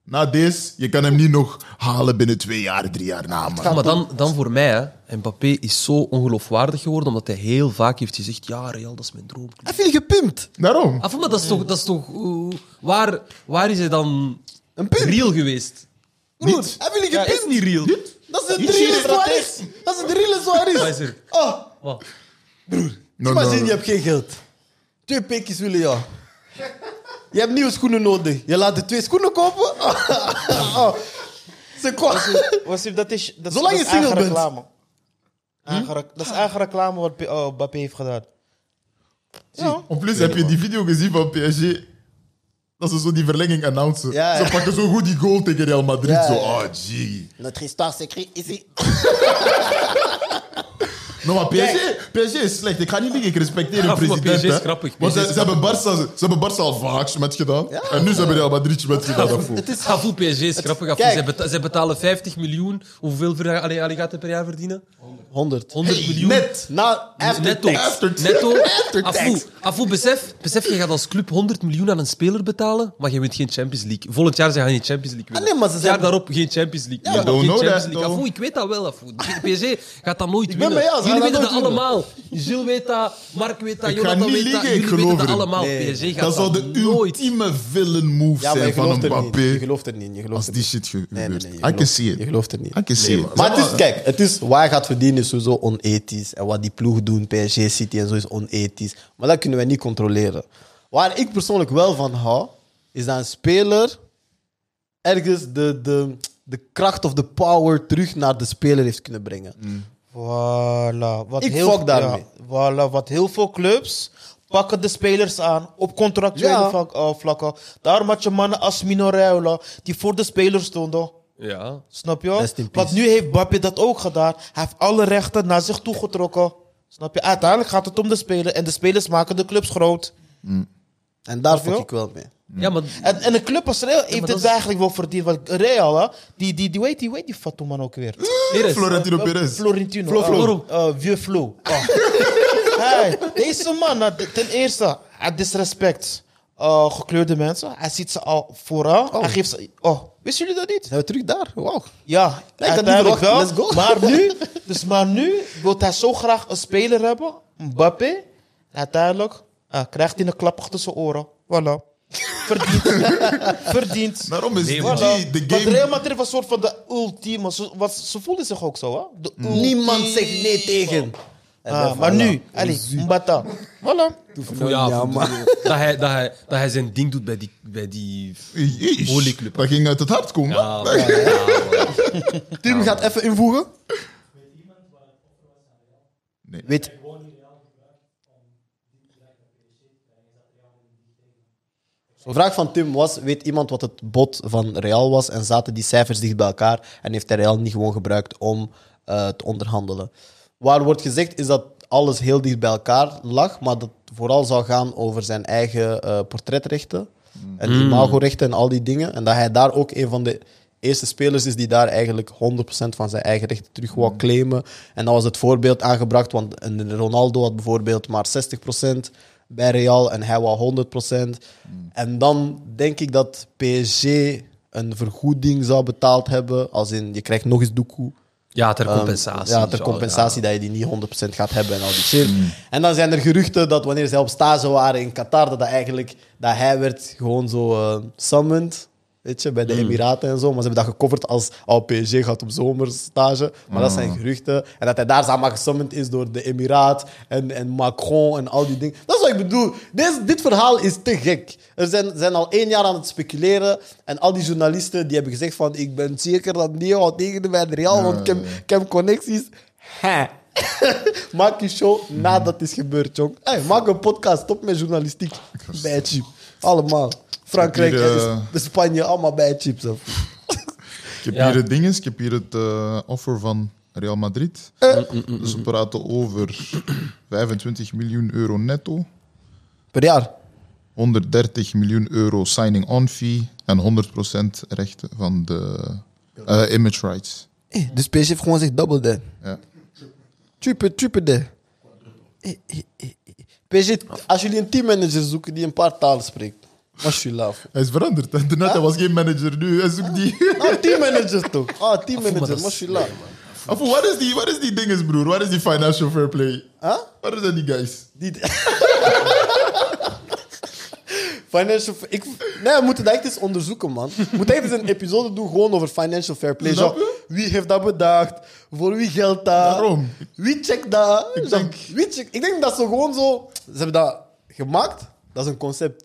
Speaker 5: Na deze, je kan hem niet nog halen binnen twee jaar, drie jaar na, man.
Speaker 4: eh, maar dan, dan voor mij, hè. Mbappé is zo ongeloofwaardig geworden omdat hij heel vaak heeft gezegd: Ja, Real, dat is mijn droom.
Speaker 1: Hij heeft je gepimpt.
Speaker 5: Daarom.
Speaker 4: Af, maar dat is toch. Dat is toch eh, waar, waar is hij dan
Speaker 1: Een pimp.
Speaker 4: real geweest?
Speaker 1: Broer, hij heeft je
Speaker 4: Dat is
Speaker 1: gepimpt.
Speaker 4: niet real.
Speaker 1: Dat is de
Speaker 4: Niet
Speaker 1: drille
Speaker 4: serieus.
Speaker 1: Suarez. Dat is de drille
Speaker 4: Wat
Speaker 1: Suarez.
Speaker 4: is er?
Speaker 1: Oh,
Speaker 4: Wat?
Speaker 5: No, no,
Speaker 1: imagine,
Speaker 5: no.
Speaker 1: je hebt geen geld. Twee pikjes willen jou. Je hebt nieuwe schoenen nodig. Je laat de twee schoenen kopen. Oh. Ze kwam.
Speaker 6: Wasim, dat is, dat is,
Speaker 1: Zolang
Speaker 6: dat
Speaker 1: je
Speaker 6: is
Speaker 1: single
Speaker 6: eigen
Speaker 1: bent.
Speaker 6: reclame. Eigen rec- Dat is eigen reclame wat P- oh, Mbappé heeft gedaan. Ja.
Speaker 5: En plus heb je die video gezien van PSG. Dat ze zo die verlenging announcen.
Speaker 1: Ja, ja.
Speaker 5: Ze pakken zo goed die goal tegen Real Madrid.
Speaker 1: Ja,
Speaker 5: zo,
Speaker 1: ja.
Speaker 5: ah, gee.
Speaker 1: Notre histoire s'écrit ici.
Speaker 5: No, maar PSG, PSG is slecht. Ik ga niet liegen, ik respecteer
Speaker 4: Ja,
Speaker 5: hun
Speaker 4: maar
Speaker 5: president.
Speaker 4: PSG is
Speaker 5: hè.
Speaker 4: grappig.
Speaker 5: Want ze,
Speaker 4: PSG is
Speaker 5: ze hebben Barca, ze hebben Barca al vaak met gedaan. En nu ze hebben Real Madrid met gedaan daarvoor.
Speaker 4: Het is Havu PSG is grappig. Af.
Speaker 1: Kijk.
Speaker 4: Zij, beta- zij betalen 50 miljoen. Hoeveel ver- allee, allee, gaat hij per jaar verdienen?
Speaker 1: 100.
Speaker 4: 100 miljoen.
Speaker 5: Net.
Speaker 1: Na, after
Speaker 4: Netto.
Speaker 1: tax.
Speaker 5: After tax.
Speaker 4: Netto.
Speaker 5: After tax.
Speaker 4: Afu, Afu, besef, besef, je gaat als club 100 miljoen aan een speler betalen, maar je wint geen Champions League. Volgend jaar zijn je geen Champions League winnen.
Speaker 1: Ah, nee, maar ze
Speaker 4: Het
Speaker 1: zijn-
Speaker 4: jaar daarop geen Champions League.
Speaker 5: maar
Speaker 4: meer,
Speaker 5: don't
Speaker 4: geen
Speaker 5: know
Speaker 4: Champions
Speaker 5: that,
Speaker 4: League.
Speaker 5: though.
Speaker 4: Afu, ik weet dat wel, Afu. PSG gaat dat nooit
Speaker 1: ben
Speaker 4: winnen.
Speaker 1: bij jou, ze
Speaker 4: jullie
Speaker 1: gaan dat
Speaker 4: weten dat
Speaker 1: nooit winnen.
Speaker 4: allemaal. Gilles weet dat, Mark weet dat,
Speaker 5: Ik ga
Speaker 4: Jonathan
Speaker 5: niet
Speaker 4: weet dat.
Speaker 5: liegen, ik
Speaker 4: Jullie weten
Speaker 5: geloof
Speaker 4: dat
Speaker 5: erin.
Speaker 4: allemaal.
Speaker 1: Nee.
Speaker 4: PSG gaat
Speaker 5: Dat zou de
Speaker 4: nooit
Speaker 5: ultieme villain move
Speaker 1: Ja, maar je
Speaker 5: zijn van
Speaker 1: gelooft er niet. Je
Speaker 5: Mbappé.
Speaker 1: gelooft er niet. Je gelooft
Speaker 5: Als
Speaker 1: er
Speaker 5: die
Speaker 1: niet.
Speaker 5: shit gebeurt.
Speaker 1: Nee, nee, nee, je
Speaker 5: I can
Speaker 1: gelooft-
Speaker 5: see it.
Speaker 1: Je gelooft het niet.
Speaker 5: I can see it.
Speaker 1: Maar het is, kijk, het is, waar hij gaat verdienen is sowieso onethisch. En wat die ploeg doen, PSG, City en zo, is onethisch. Maar dat kunnen wij niet controleren. Waar ik persoonlijk wel van hou, is dat een speler ergens de, de, de kracht of de power terug naar de speler heeft kunnen brengen.
Speaker 5: Mm.
Speaker 6: Voilà. Wat
Speaker 1: Ik
Speaker 6: heel,
Speaker 1: fuck daarmee.
Speaker 6: ja, voilà, wat heel veel clubs pakken de spelers aan op contractuele
Speaker 1: Ja.
Speaker 6: vlak- eh, vlakken. Daarom had je mannen als Mino Raiola die voor de spelers stonden.
Speaker 4: Ja.
Speaker 6: Snap
Speaker 1: Rest
Speaker 6: je?
Speaker 1: in peace.
Speaker 6: Want nu heeft Mbappé dat ook gedaan. Hij heeft alle rechten naar zich toegetrokken. Snap je? Uiteindelijk gaat het om de speler. En de spelers maken de clubs groot.
Speaker 1: En daar fuck
Speaker 6: je?
Speaker 1: ik wel mee.
Speaker 4: ja, maar
Speaker 1: Eh,
Speaker 6: En, en een club als Real heeft
Speaker 4: dat
Speaker 6: het
Speaker 4: is-
Speaker 6: eigenlijk wel verdiend. Want Real, hè, die, die, die, weet die, weet die Fatouman ook weer?
Speaker 4: Perez,
Speaker 5: Florentino
Speaker 6: Eh,
Speaker 5: Perez.
Speaker 6: Florentino.
Speaker 4: Flo, Flo.
Speaker 6: Eh, eh, vieux Flo. Ah. Hey, deze man, eh, de- ten eerste, hij disrespect eh, gekleurde mensen. Hij ziet ze al vooraan. Hij geeft ze... Oh, wisten jullie dat niet?
Speaker 1: Zijn we terug daar? Wauw.
Speaker 6: Ja,
Speaker 1: Nee, ik had niet
Speaker 6: uiteindelijk wel.
Speaker 1: verwacht. Let's go.
Speaker 6: Maar nu, dus maar nu wil hij zo graag een speler hebben, Mbappé. En uiteindelijk eh, krijgt hij een klap achter zijn oren. Voilà. Verdiend. Verdiend.
Speaker 5: Daarom is
Speaker 4: Nee,
Speaker 5: die-
Speaker 4: maar-
Speaker 5: die-
Speaker 6: Voilà.
Speaker 5: de
Speaker 6: Want Real
Speaker 5: game...
Speaker 6: Madrid was een soort van de ultieme. Ze, was, ze voelden zich ook zo, hè? De
Speaker 1: Niemand
Speaker 6: ultieme.
Speaker 1: zegt nee tegen. En
Speaker 6: Ah,
Speaker 1: dan
Speaker 6: maar
Speaker 1: voilà.
Speaker 6: nu, allez, Mbata. Voilà.
Speaker 4: Voor jou,
Speaker 1: Ja,
Speaker 4: voor- dat, hij, dat, hij, dat hij zijn ding doet bij die. Bij die
Speaker 5: Jeez,
Speaker 4: Olieclub.
Speaker 5: Dat ging uit het hart komen.
Speaker 4: ja, maar- ja, maar-
Speaker 1: Tim gaat even invoegen.
Speaker 5: Nee.
Speaker 1: Weet, De vraag van Tim was: weet iemand wat het bod van Real was? En zaten die cijfers dicht bij elkaar? En heeft hij Real niet gewoon gebruikt om eh, te onderhandelen? Waar wordt gezegd is dat alles heel dicht bij elkaar lag, maar dat het vooral zou gaan over zijn eigen eh, portretrechten en imagorechten en al die dingen. En dat hij daar ook een van de eerste spelers is die daar eigenlijk 100% van zijn eigen rechten terug wou claimen. En dan was het voorbeeld aangebracht, want een Ronaldo had bijvoorbeeld maar 60% bij Real en hij wou 100%. En dan denk ik dat PSG een vergoeding zou betaald hebben. Als in, je krijgt nog eens doekoe.
Speaker 4: ja, ter
Speaker 1: Ehm,
Speaker 4: compensatie.
Speaker 1: Ja, ter
Speaker 4: zo,
Speaker 1: compensatie dat je die niet 100% gaat hebben en al die shit. En dan zijn er geruchten dat wanneer zij op stage waren in Qatar, dat, dat, eigenlijk, dat hij werd gewoon zo eh, summoned. Weet je, bij de Emiraten en zo. Maar ze hebben dat gecoverd als oh, PSG gaat op zomerstage. Maar dat zijn geruchten. En dat hij daar allemaal gesummand is door de Emiraat en, en Macron en al die dingen. Dat is wat ik bedoel. Dit, dit verhaal is te gek. Er zijn, zijn al één jaar aan het speculeren. En al die journalisten die hebben gezegd van... Ik ben zeker dat Neo tegen de bij de Real, want ik heb, ik heb connecties. Ha. maak je show nadat het is gebeurd, jong. Hey, maak een podcast. Stop met journalistiek. Bijtje. Allemaal. Frankrijk,
Speaker 5: Hier,
Speaker 1: en
Speaker 5: eh,
Speaker 1: Sp- Spanje, allemaal bij chips. Of.
Speaker 5: Ik heb
Speaker 4: Ja.
Speaker 5: hier het ding eens, ik heb hier het eh, offer van Real Madrid. Dus we praten over 25 miljoen euro netto,
Speaker 1: Per jaar.
Speaker 5: 130 miljoen euro signing-on fee en 100% rechten van de eh, image rights.
Speaker 1: Eh, dus PSG heeft gewoon zich double dan.
Speaker 5: Ja.
Speaker 1: Triple, triple dan. Eh, eh, eh, eh. PSG, als jullie een teammanager zoeken die een paar talen spreekt, was je laf.
Speaker 5: Hij is veranderd. hè. Daarnet, hij was geen manager nu. Hij zoekt die...
Speaker 1: Ah, teammanager toch? Ah, teammanager,
Speaker 4: dat is-
Speaker 1: was je laf.
Speaker 5: Afu, waar is die, waar is die dinges, broer? Waar is die financial fair play?
Speaker 1: Huh?
Speaker 5: Waar zijn die guys?
Speaker 1: Die... financial... Ik... Nee, we moeten dat echt eens onderzoeken, man. We moeten even een episode doen gewoon over financial fair play.
Speaker 5: Snap
Speaker 1: Zo,
Speaker 5: je?
Speaker 1: wie heeft dat bedacht? Voor wie geldt dat?
Speaker 5: Daarom.
Speaker 1: Wie checkt dat?
Speaker 5: Ik
Speaker 1: Zo,
Speaker 5: denk-
Speaker 1: wie check- Ik denk dat ze gewoon zo... Ze hebben dat gemaakt. Dat is een concept.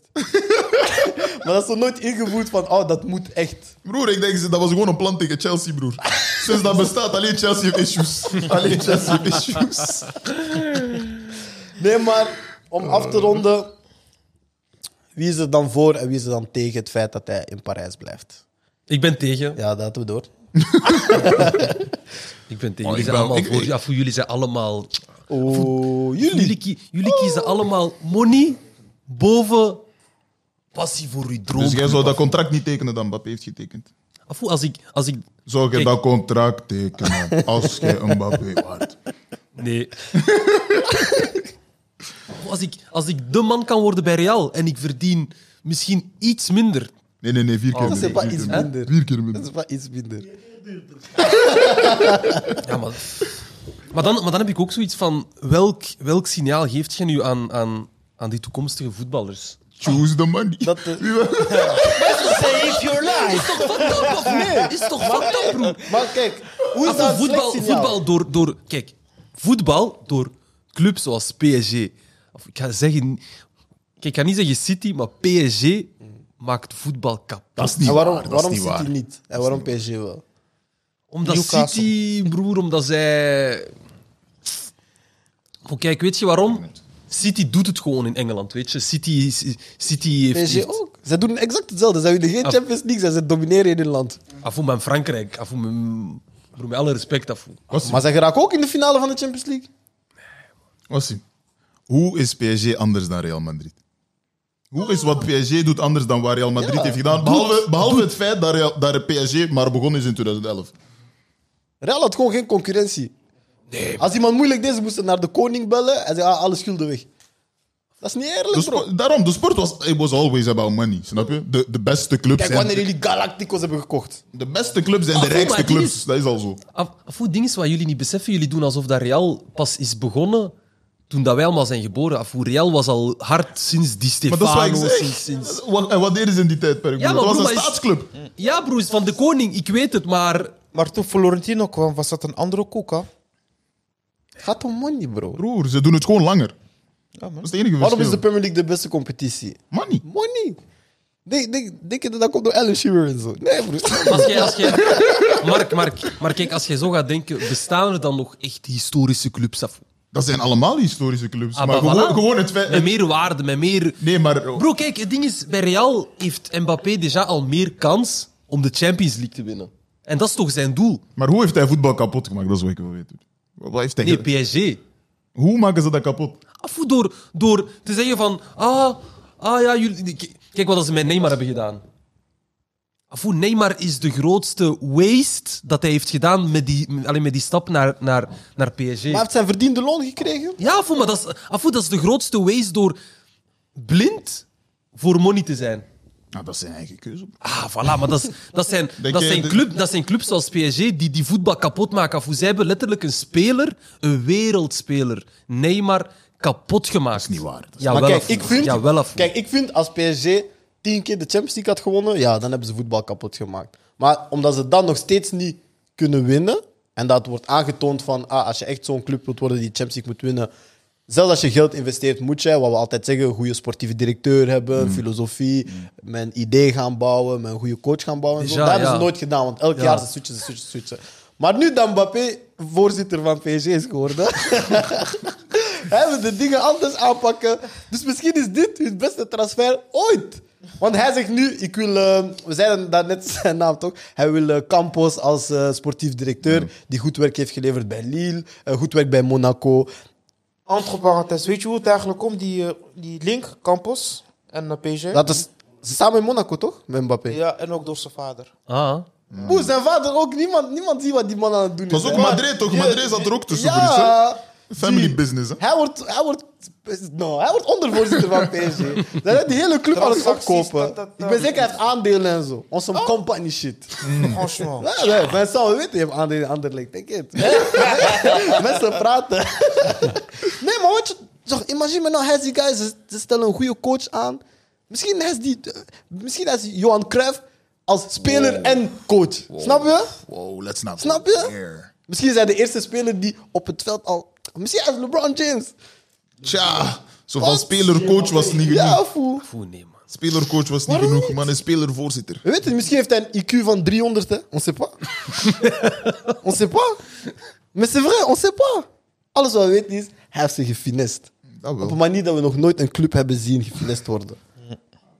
Speaker 1: maar dat is zo nooit ingevoerd van... Oh, dat moet echt.
Speaker 5: Broer, ik denk, dat was gewoon een plan tegen Chelsea, broer. Sinds dat bestaat, alleen Chelsea heeft issues. Alleen Chelsea heeft issues.
Speaker 1: Nee, maar om af te ronden... Wie is er dan voor en wie is er dan tegen het feit dat hij in Parijs blijft?
Speaker 4: Ik ben tegen.
Speaker 1: Ja, dat hadden we door.
Speaker 4: Ik ben tegen.
Speaker 5: Oh,
Speaker 4: jullie zijn
Speaker 5: ik ben-
Speaker 4: allemaal
Speaker 5: ik-
Speaker 4: voor.
Speaker 5: ik-
Speaker 4: Ja, voor jullie zijn allemaal...
Speaker 1: Oh,
Speaker 4: Jullie, kie- jullie kiezen allemaal money boven passie voor uw droom.
Speaker 5: Dus jij zou dat contract niet tekenen dat Mbappé heeft getekend?
Speaker 4: Afoe, als ik, als ik...
Speaker 5: Zou je
Speaker 4: Kijk.
Speaker 5: dat contract tekenen als jij Mbappé waard?
Speaker 4: Nee. Afoe, als, ik, als ik de man kan worden bij Real en ik verdien misschien iets minder...
Speaker 5: Nee, nee, nee, vier keer
Speaker 4: Oh,
Speaker 1: Dat is
Speaker 5: minder.
Speaker 1: wel
Speaker 5: vier
Speaker 1: iets
Speaker 5: keer
Speaker 1: minder.
Speaker 5: minder. Vier keer
Speaker 1: Dat
Speaker 5: minder.
Speaker 1: is wel iets minder.
Speaker 4: Ja, maar... Maar dan, maar dan heb ik ook zoiets van... Welk, welk signaal geeft je nu aan, aan, aan die toekomstige voetballers?
Speaker 5: Choose the money.
Speaker 1: Dat, eh,
Speaker 5: Wie wil-
Speaker 6: Save your life.
Speaker 4: Is toch fucked up, of nee? Is toch fucked up, broer?
Speaker 1: Maar kijk, hoe is
Speaker 4: Afel,
Speaker 1: dat een slecht
Speaker 4: voetbal,
Speaker 1: signaal?
Speaker 4: voetbal door, door... Kijk, voetbal door clubs zoals PSG... Of ik ga zeggen... Kijk, ik ga niet zeggen City, maar PSG maakt voetbal kapot.
Speaker 5: Dat is niet
Speaker 1: En waarom,
Speaker 5: waar. Dat
Speaker 1: waarom
Speaker 5: is niet
Speaker 1: City
Speaker 5: waar.
Speaker 1: niet? En waarom PSG wel?
Speaker 4: Omdat
Speaker 6: Newcastle.
Speaker 4: City, broer, omdat zij... Oh, kijk, weet je waarom? City doet het gewoon in Engeland, weet je. City, is, is- City heeft...
Speaker 1: PSG
Speaker 4: heeft-
Speaker 1: ook. Ze doen exact hetzelfde. Ze winnen geen
Speaker 5: Ah.
Speaker 4: Af-
Speaker 1: Champions League en ze domineren in hun land.
Speaker 4: Afoe, maar in Frankrijk. Afoe, mijn- broer, met alle respect, afoe.
Speaker 5: Was-
Speaker 1: Maar ze geraken ook in de finale van de Champions League.
Speaker 5: Wassim, hoe is PSG anders dan Real Madrid? Hoe is wat PSG doet anders dan wat Real Madrid
Speaker 1: Ja,
Speaker 5: heeft gedaan? Behalve, behalve het feit dat, Real, dat PSG maar begonnen is in 2011.
Speaker 1: Real had gewoon geen concurrentie. Als iemand moeilijk deed, ze moesten naar de koning bellen en ze ah, alle schulden weg. Dat is niet
Speaker 5: De
Speaker 1: eerlijk, bro.
Speaker 5: sport- daarom, de sport was, it was always about money, snap je? De, de beste clubs
Speaker 1: Kijk,
Speaker 5: zijn
Speaker 1: wanneer Oh,
Speaker 5: de,
Speaker 1: jullie Galacticos hebben gekocht.
Speaker 5: beste clubs en de
Speaker 4: Ah, maar
Speaker 5: rijkste
Speaker 4: die
Speaker 5: clubs.
Speaker 4: is-
Speaker 5: Dat is al zo.
Speaker 4: Af, af hoe ding is wat jullie niet beseffen, jullie doen alsof dat Real pas is begonnen toen dat wij allemaal zijn geboren. Af hoe Real was al hard sinds Di
Speaker 5: Maar dat is wat
Speaker 4: Stefano.
Speaker 5: ik zeg.
Speaker 4: Sinds, sinds...
Speaker 5: Wat- En wat deden ze in die tijdperk?
Speaker 4: Ja,
Speaker 5: broer?
Speaker 4: maar
Speaker 5: dat was
Speaker 4: broer,
Speaker 5: een
Speaker 4: maar is-
Speaker 5: staatsclub.
Speaker 4: Ja, broers, van de koning, ik weet het, maar...
Speaker 6: Maar toen Florentino kwam, was dat een andere koek, hè?
Speaker 1: Het gaat om money, bro.
Speaker 5: Broer, ze doen het gewoon langer.
Speaker 6: Ja,
Speaker 5: Dat
Speaker 6: man.
Speaker 5: is het enige
Speaker 1: Waarom is
Speaker 5: verschil.
Speaker 1: de Premier League de beste competitie?
Speaker 5: Money.
Speaker 1: Money. Denk, denk, denk je dat dat komt door Alan Shearer en zo? Nee, broer.
Speaker 4: Als jij, als jij... Mark, Mark, maar kijk, als jij zo gaat denken, bestaan er dan nog echt historische clubs? Af?
Speaker 5: Dat zijn allemaal historische clubs.
Speaker 4: Ah,
Speaker 5: maar
Speaker 4: bah,
Speaker 5: gewoon,
Speaker 4: voilà.
Speaker 5: gewoon het feit...
Speaker 4: Met meer waarde, met meer...
Speaker 5: Nee, maar...
Speaker 4: Bro, kijk, het ding is, bij Real heeft Mbappé déjà al meer kans om de Champions League te winnen. En dat is toch zijn doel?
Speaker 5: Maar hoe heeft hij voetbal kapot gemaakt? Dat is wat ik wil weten. Wat heeft hij
Speaker 4: Nee,
Speaker 5: gedaan?
Speaker 4: PSG.
Speaker 5: Hoe maken ze dat kapot?
Speaker 4: Afoe, door, door te zeggen van... Ah, ah ja, jullie... k- Kijk wat ze met Neymar hebben gedaan. Afoe, Neymar is de grootste waste dat hij heeft gedaan met die, met- alleen met die stap naar, naar, naar PSG.
Speaker 1: Maar hij heeft zijn verdiende loon gekregen.
Speaker 4: Ja, afoe, maar dat is, afoe, dat is de grootste waste door blind voor money te zijn.
Speaker 5: Nou, dat is zijn eigen keuze.
Speaker 4: Ah, voilà, maar dat, is, dat, zijn,
Speaker 5: Denk
Speaker 4: dat,
Speaker 5: jij
Speaker 4: zijn
Speaker 5: de-
Speaker 4: club, dat zijn clubs zoals PSG die die voetbal kapot maken. Afoe, zij hebben letterlijk een speler, een wereldspeler, Neymar, kapot gemaakt. Dat is
Speaker 5: niet waar. Dat is-
Speaker 4: Jawel,
Speaker 1: maar kijk,
Speaker 4: afoe.
Speaker 1: ik vind,
Speaker 4: Jawel, afoe.
Speaker 1: kijk, ik vind als PSG tien keer de Champions League had gewonnen, ja, dan hebben ze voetbal kapot gemaakt. Maar omdat ze dan nog steeds niet kunnen winnen, en dat wordt aangetoond van, ah, als je echt zo'n club wilt worden die Champions League moet winnen, zelfs als je geld investeert, moet je, wat we altijd zeggen, een goede sportieve directeur hebben,
Speaker 4: Mm.
Speaker 1: filosofie, met een idee gaan bouwen, met een goede coach gaan bouwen. en zo.
Speaker 4: Ja,
Speaker 1: dat hebben ze
Speaker 4: ja.
Speaker 1: nooit gedaan, want elk
Speaker 4: Ja.
Speaker 1: jaar ze switchen, ze switchen, ze switchen. Maar nu dat Mbappé voorzitter van PSG is geworden... Hij moet de dingen anders aanpakken. Dus misschien is dit hun beste transfer ooit. Want hij zegt nu, ik wil, eh, we zeiden dat net zijn naam toch? Hij wil eh, Campos als eh, sportief directeur, die goed werk heeft geleverd bij Lille, eh, goed werk bij Monaco.
Speaker 6: Entre parenthèses, weet je hoe het eigenlijk komt? Die, eh, die link, Campos en eh, PSG.
Speaker 1: Dat is samen in Monaco toch? Met Mbappé.
Speaker 6: Ja, en ook door zijn vader.
Speaker 4: Ah,
Speaker 1: Boe, zijn vader ook, niemand, niemand ziet wat die man aan het doen is.
Speaker 5: Dat was ook
Speaker 1: hè.
Speaker 5: Madrid, toch? Madrid zat er ook tussen. Brussel.
Speaker 1: Ja,
Speaker 5: Family
Speaker 1: Zie.
Speaker 5: business, hè?
Speaker 1: hij wordt, hij wordt, no, hij wordt ondervoorzitter van PSG. Daar is die hele club aan het
Speaker 6: Transacties,
Speaker 1: opkopen.
Speaker 6: dat, dat,
Speaker 1: Ik
Speaker 6: dat.
Speaker 1: ben zeker, hij heeft aandelen en zo. On some company shit.
Speaker 6: Franchement.
Speaker 1: Ja, nee, Vincent, we weten, je hebt aandelen in Anderlecht, denk het. Mensen praten. nee, maar wat je... Toch, imagine me nou, hij is die guy, ze, ze stellen een goede coach aan. Misschien is die... eh, Misschien is Johan Cruijff als speler en coach. Snap je?
Speaker 5: Wow, let's not.
Speaker 1: Snap
Speaker 5: go
Speaker 1: je?
Speaker 5: there.
Speaker 1: Misschien is hij de eerste speler die op het veld al... Misschien hij is LeBron James.
Speaker 5: Tja, zo van speler-coach was niet
Speaker 1: Ja,
Speaker 5: genoeg.
Speaker 1: foe.
Speaker 4: voel nee, man.
Speaker 5: Speler-coach was niet
Speaker 1: Waarom
Speaker 5: genoeg,
Speaker 1: niet?
Speaker 5: man. Een speler-voorzitter.
Speaker 1: We weten, misschien heeft hij een IQ van 300, hè? On sait pas. on sait pas. Maar c'est vrai, on sait pas. Alles wat we weten is, hij heeft ze gefinest.
Speaker 5: Dat
Speaker 1: Op een
Speaker 5: wel.
Speaker 1: manier dat we nog nooit een club hebben zien gefinest worden.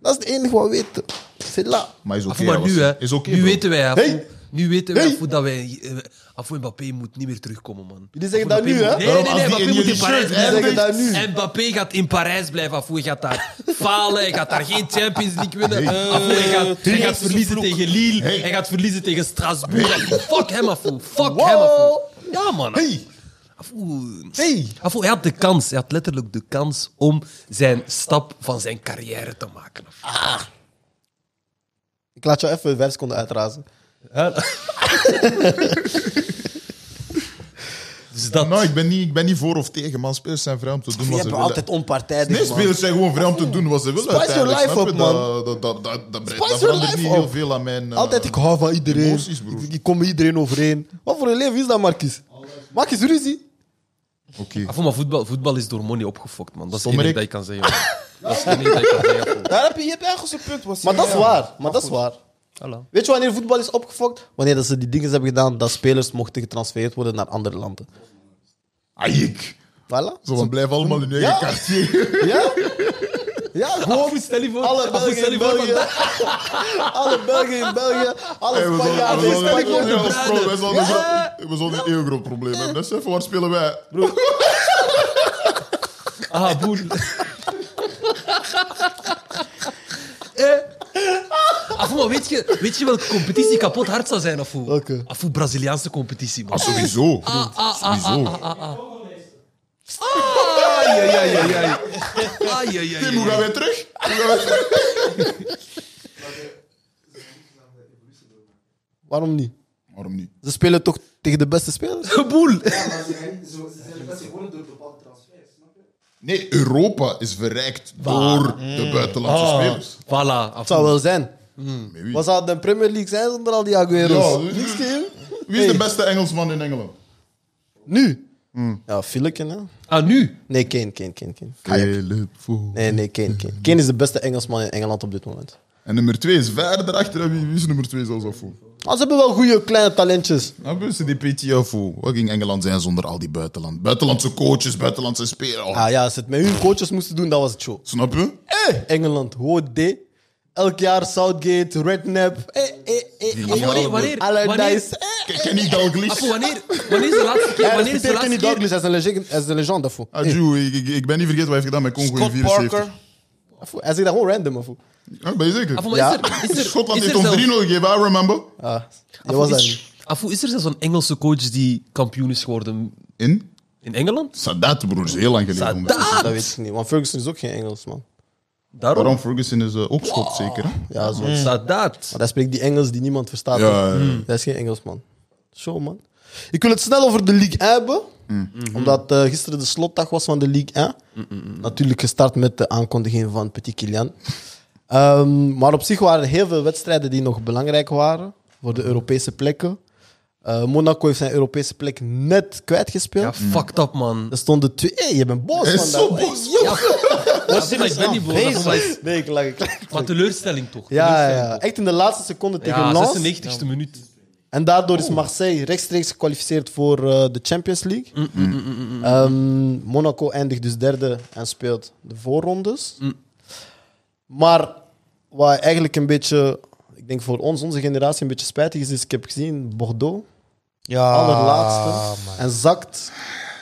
Speaker 1: Dat is het enige wat we weten. C'est là.
Speaker 5: Maar is oké.
Speaker 4: Afu, maar
Speaker 5: Abbas.
Speaker 4: nu, hè.
Speaker 5: Is oké,
Speaker 4: nu
Speaker 5: bro.
Speaker 4: weten wij, Afu.
Speaker 1: Hey.
Speaker 4: Nu weten wij,
Speaker 1: Hey.
Speaker 4: Afu, dat wij... eh, Afu Mbappé moet niet meer terugkomen, man.
Speaker 1: Jullie zeggen
Speaker 4: Afu,
Speaker 1: dat nu,
Speaker 4: Mbappé
Speaker 1: hè?
Speaker 4: moet- Nee, nee, nee,
Speaker 5: Daarom, als die
Speaker 4: Mbappé
Speaker 5: in
Speaker 4: moet in
Speaker 5: jullie
Speaker 4: Parijs
Speaker 5: shirt
Speaker 1: Jullie
Speaker 4: blijven.
Speaker 1: zeggen dat nu.
Speaker 4: En Mbappé gaat in Parijs blijven. Afu, je gaat daar falen. Hij gaat daar geen Champions League winnen.
Speaker 5: Hey.
Speaker 4: Afu, hij gaat, hij
Speaker 6: Hey.
Speaker 4: gaat verliezen tegen Lille.
Speaker 5: Hey.
Speaker 4: Hij gaat verliezen tegen Strasbourg. Afu, fuck hem, Afu. Fuck
Speaker 1: Wow.
Speaker 4: hem, Afu. Ja, man.
Speaker 1: Hey.
Speaker 4: Afu,
Speaker 1: Hey.
Speaker 4: Afu, hij had de kans. Hij had letterlijk de kans om zijn stap van zijn carrière te maken. Afu.
Speaker 1: Ik laat jou even vijf seconden uitrazen.
Speaker 4: Dus dat...
Speaker 5: Nou, ik ben, niet, ik ben niet voor of tegen, man. Spelers zijn vrij om te doen
Speaker 1: Je
Speaker 5: wat ze
Speaker 1: bent
Speaker 5: willen.
Speaker 1: altijd onpartijdig,
Speaker 5: Nee,
Speaker 1: man.
Speaker 5: spelers zijn gewoon vrij om te doen wat ze willen.
Speaker 1: Spice
Speaker 5: uiteindelijk,
Speaker 1: your life
Speaker 5: snap je?
Speaker 1: up, man.
Speaker 5: Dat, dat, dat, dat, dat,
Speaker 1: Spice
Speaker 5: dat
Speaker 1: your
Speaker 5: verandert
Speaker 1: life
Speaker 5: niet heel
Speaker 1: up.
Speaker 5: veel aan mijn... eh,
Speaker 1: Altijd, ik hou van iedereen.
Speaker 5: emoties, broer.
Speaker 1: ik, ik kom met iedereen overeen. Wat voor een leven is dat, Marcus? Marcus, ruzie.
Speaker 5: Oké.
Speaker 4: Afo, maar voetbal, voetbal is door money opgefokt, man. Dat is het
Speaker 5: Sommerik.
Speaker 4: enige dat ik kan zeggen. man. Dat is het enige dat ik kan zeggen. Afo.
Speaker 6: Daar heb je, je hebt ergens een punt. Was
Speaker 1: Maar dat is waar. Maar dat is waar.
Speaker 4: Voilà.
Speaker 1: Weet je wanneer voetbal is opgefokt? Wanneer dat ze die dingen hebben gedaan dat spelers mochten getransfereerd worden naar andere landen.
Speaker 5: Ayik.
Speaker 1: Voilà.
Speaker 5: Zo van, blijf allemaal in je eigen
Speaker 1: Ja.
Speaker 5: quartier.
Speaker 1: Ja? Ja, gewoon.
Speaker 4: stel je voor-
Speaker 1: Alle
Speaker 4: Afo,
Speaker 1: Belgen
Speaker 4: stel
Speaker 1: in
Speaker 4: je voor
Speaker 1: België. Alle Belgen in België. Alle
Speaker 5: Hey, we zouden-
Speaker 1: Spanjaarden
Speaker 5: we
Speaker 1: in
Speaker 5: zouden-
Speaker 1: Spanje.
Speaker 5: ja, we zouden- we zouden-
Speaker 4: Ja.
Speaker 5: We zouden een heel groot probleem hebben. Dat is even, waar spelen wij?
Speaker 4: Ah, boel. Afo, Eh, ah, maar weet je, weet je welke competitie kapot hard zou zijn, Afo?
Speaker 1: Welke?
Speaker 4: Afo, Braziliaanse competitie, man.
Speaker 5: Ah, sowieso.
Speaker 1: ah,
Speaker 5: Sowieso.
Speaker 4: Ai, ai, ai, ai, ai. Ai, ai, ai,
Speaker 5: Tim, hoe gaan
Speaker 4: ai.
Speaker 5: wij terug? Hoe gaan wij terug?
Speaker 1: Waarom niet?
Speaker 5: Waarom niet?
Speaker 1: Ze spelen toch tegen de beste spelers?
Speaker 4: Boel.
Speaker 5: Nee, Europa is verrijkt door
Speaker 1: Mm.
Speaker 5: de buitenlandse spelers.
Speaker 4: Voilà, Ah,
Speaker 1: Het zou
Speaker 4: Afo.
Speaker 1: wel zijn.
Speaker 5: Hmm, Met wie?
Speaker 1: Wat zou de Premier League zijn zonder al die Aguero's?
Speaker 5: Ja,
Speaker 1: Niks tegen.
Speaker 5: Wie is
Speaker 1: Hey.
Speaker 5: de beste Engelsman in Engeland?
Speaker 1: Nu? Ja, Fileken, hè?
Speaker 4: Ah, nu?
Speaker 1: Nee, Kane, Kane, Kane, Kane.
Speaker 5: Caleb Foe.
Speaker 1: Nee, nee, Kane, Kane. Kane is de beste Engelsman in Engeland op dit moment.
Speaker 5: En nummer 2 is verder achter. En Wie wie is nummer 2 zelfs Afo?
Speaker 1: Maar ze hebben wel goede kleine talentjes.
Speaker 5: Hebben ze die PT Afo? Wat ging Engeland zijn zonder al die buitenland? buitenlandse coaches, buitenlandse spelers? Oh,
Speaker 1: Ah ja, als ze het met hun coaches moesten doen, dat was het show.
Speaker 5: Snap je?
Speaker 1: Eh, Engeland, WD. Elk jaar Southgate, Redknapp. Eh, eh, eh, eh.
Speaker 4: Afo, wanneer? wanneer, wanneer
Speaker 1: Allardyce. Eh,
Speaker 5: Ken- Kenny Dalglish.
Speaker 4: Afo, Ah, wanneer, wanneer is de laatste keer?
Speaker 1: Hij
Speaker 4: Wanneer is de
Speaker 1: respecteert
Speaker 4: laatste
Speaker 1: Kenny
Speaker 4: keer?
Speaker 1: Douglas, hij is een legende- hij is een legende. foe. Eh,
Speaker 5: Adju, Ah, ik, ik, ik ben niet vergeten wat hij heeft gedaan met Congo in
Speaker 6: Scott
Speaker 5: 74.
Speaker 6: Parker.
Speaker 1: foe, Hij zegt dat gewoon random. foe.
Speaker 5: Ja, ben je zeker?
Speaker 4: Afo, maar
Speaker 1: Ja.
Speaker 4: Ah, is er, is er,
Speaker 5: Schotland
Speaker 4: is er
Speaker 5: heeft ons 3-0
Speaker 4: zelf-
Speaker 5: gegeven, I remember.
Speaker 1: Ah, je
Speaker 4: Afu,
Speaker 1: was dat
Speaker 4: is-
Speaker 1: niet.
Speaker 4: Afu, is er zelfs een Engelse coach die kampioen is geworden
Speaker 5: In?
Speaker 4: in Engeland?
Speaker 5: Sadat, broer, is heel lang geleden.
Speaker 4: Sadat!
Speaker 5: ondertussen.
Speaker 1: Dat weet ik niet, want Ferguson is ook geen Engelsman.
Speaker 4: Daarom?
Speaker 5: Waarom Ferguson is eh, ook Schot, zeker? Hè?
Speaker 1: Ja, zo.
Speaker 4: Sadat.
Speaker 1: Maar hij spreekt die Engels die niemand verstaat.
Speaker 5: Ja, ja, ja.
Speaker 1: Dat is geen Engelsman. Zo, man. Ik wil het snel over de Ligue 1 hebben.
Speaker 5: Mhm.
Speaker 1: Omdat eh, gisteren de slotdag was van de Ligue 1. Natuurlijk gestart met de aankondiging van Petit Kilian. Ehm, maar op zich waren er heel veel wedstrijden die nog belangrijk waren voor de Europese plekken. Eh, Monaco heeft zijn Europese plek net
Speaker 4: Ja,
Speaker 1: kwijtgespeeld.
Speaker 4: fucked up, man.
Speaker 1: Er stonden twee. Hey, je bent boos
Speaker 5: Hij is
Speaker 1: vandaag.
Speaker 5: zo boos.
Speaker 4: Afu, maar ik ben niet boos. Afu, maar is-
Speaker 1: Nee, ik lach. ik lach.
Speaker 4: Maar teleurstelling toch?
Speaker 1: Ja,
Speaker 4: Teleurstelling
Speaker 1: ja,
Speaker 4: toch?
Speaker 1: echt in de laatste seconde tegen
Speaker 4: Ja,
Speaker 1: Lens.
Speaker 4: 96e minuut.
Speaker 1: En daardoor is Marseille rechtstreeks gekwalificeerd voor eh, de Champions League. Ehm, Monaco eindigt dus derde en speelt de voorrondes. Maar Wat eigenlijk een beetje, ik denk voor ons, onze generatie, een beetje spijtig is, is ik heb gezien Bordeaux,
Speaker 6: Ja,
Speaker 1: allerlaatste,
Speaker 6: Ah, man.
Speaker 1: en zakt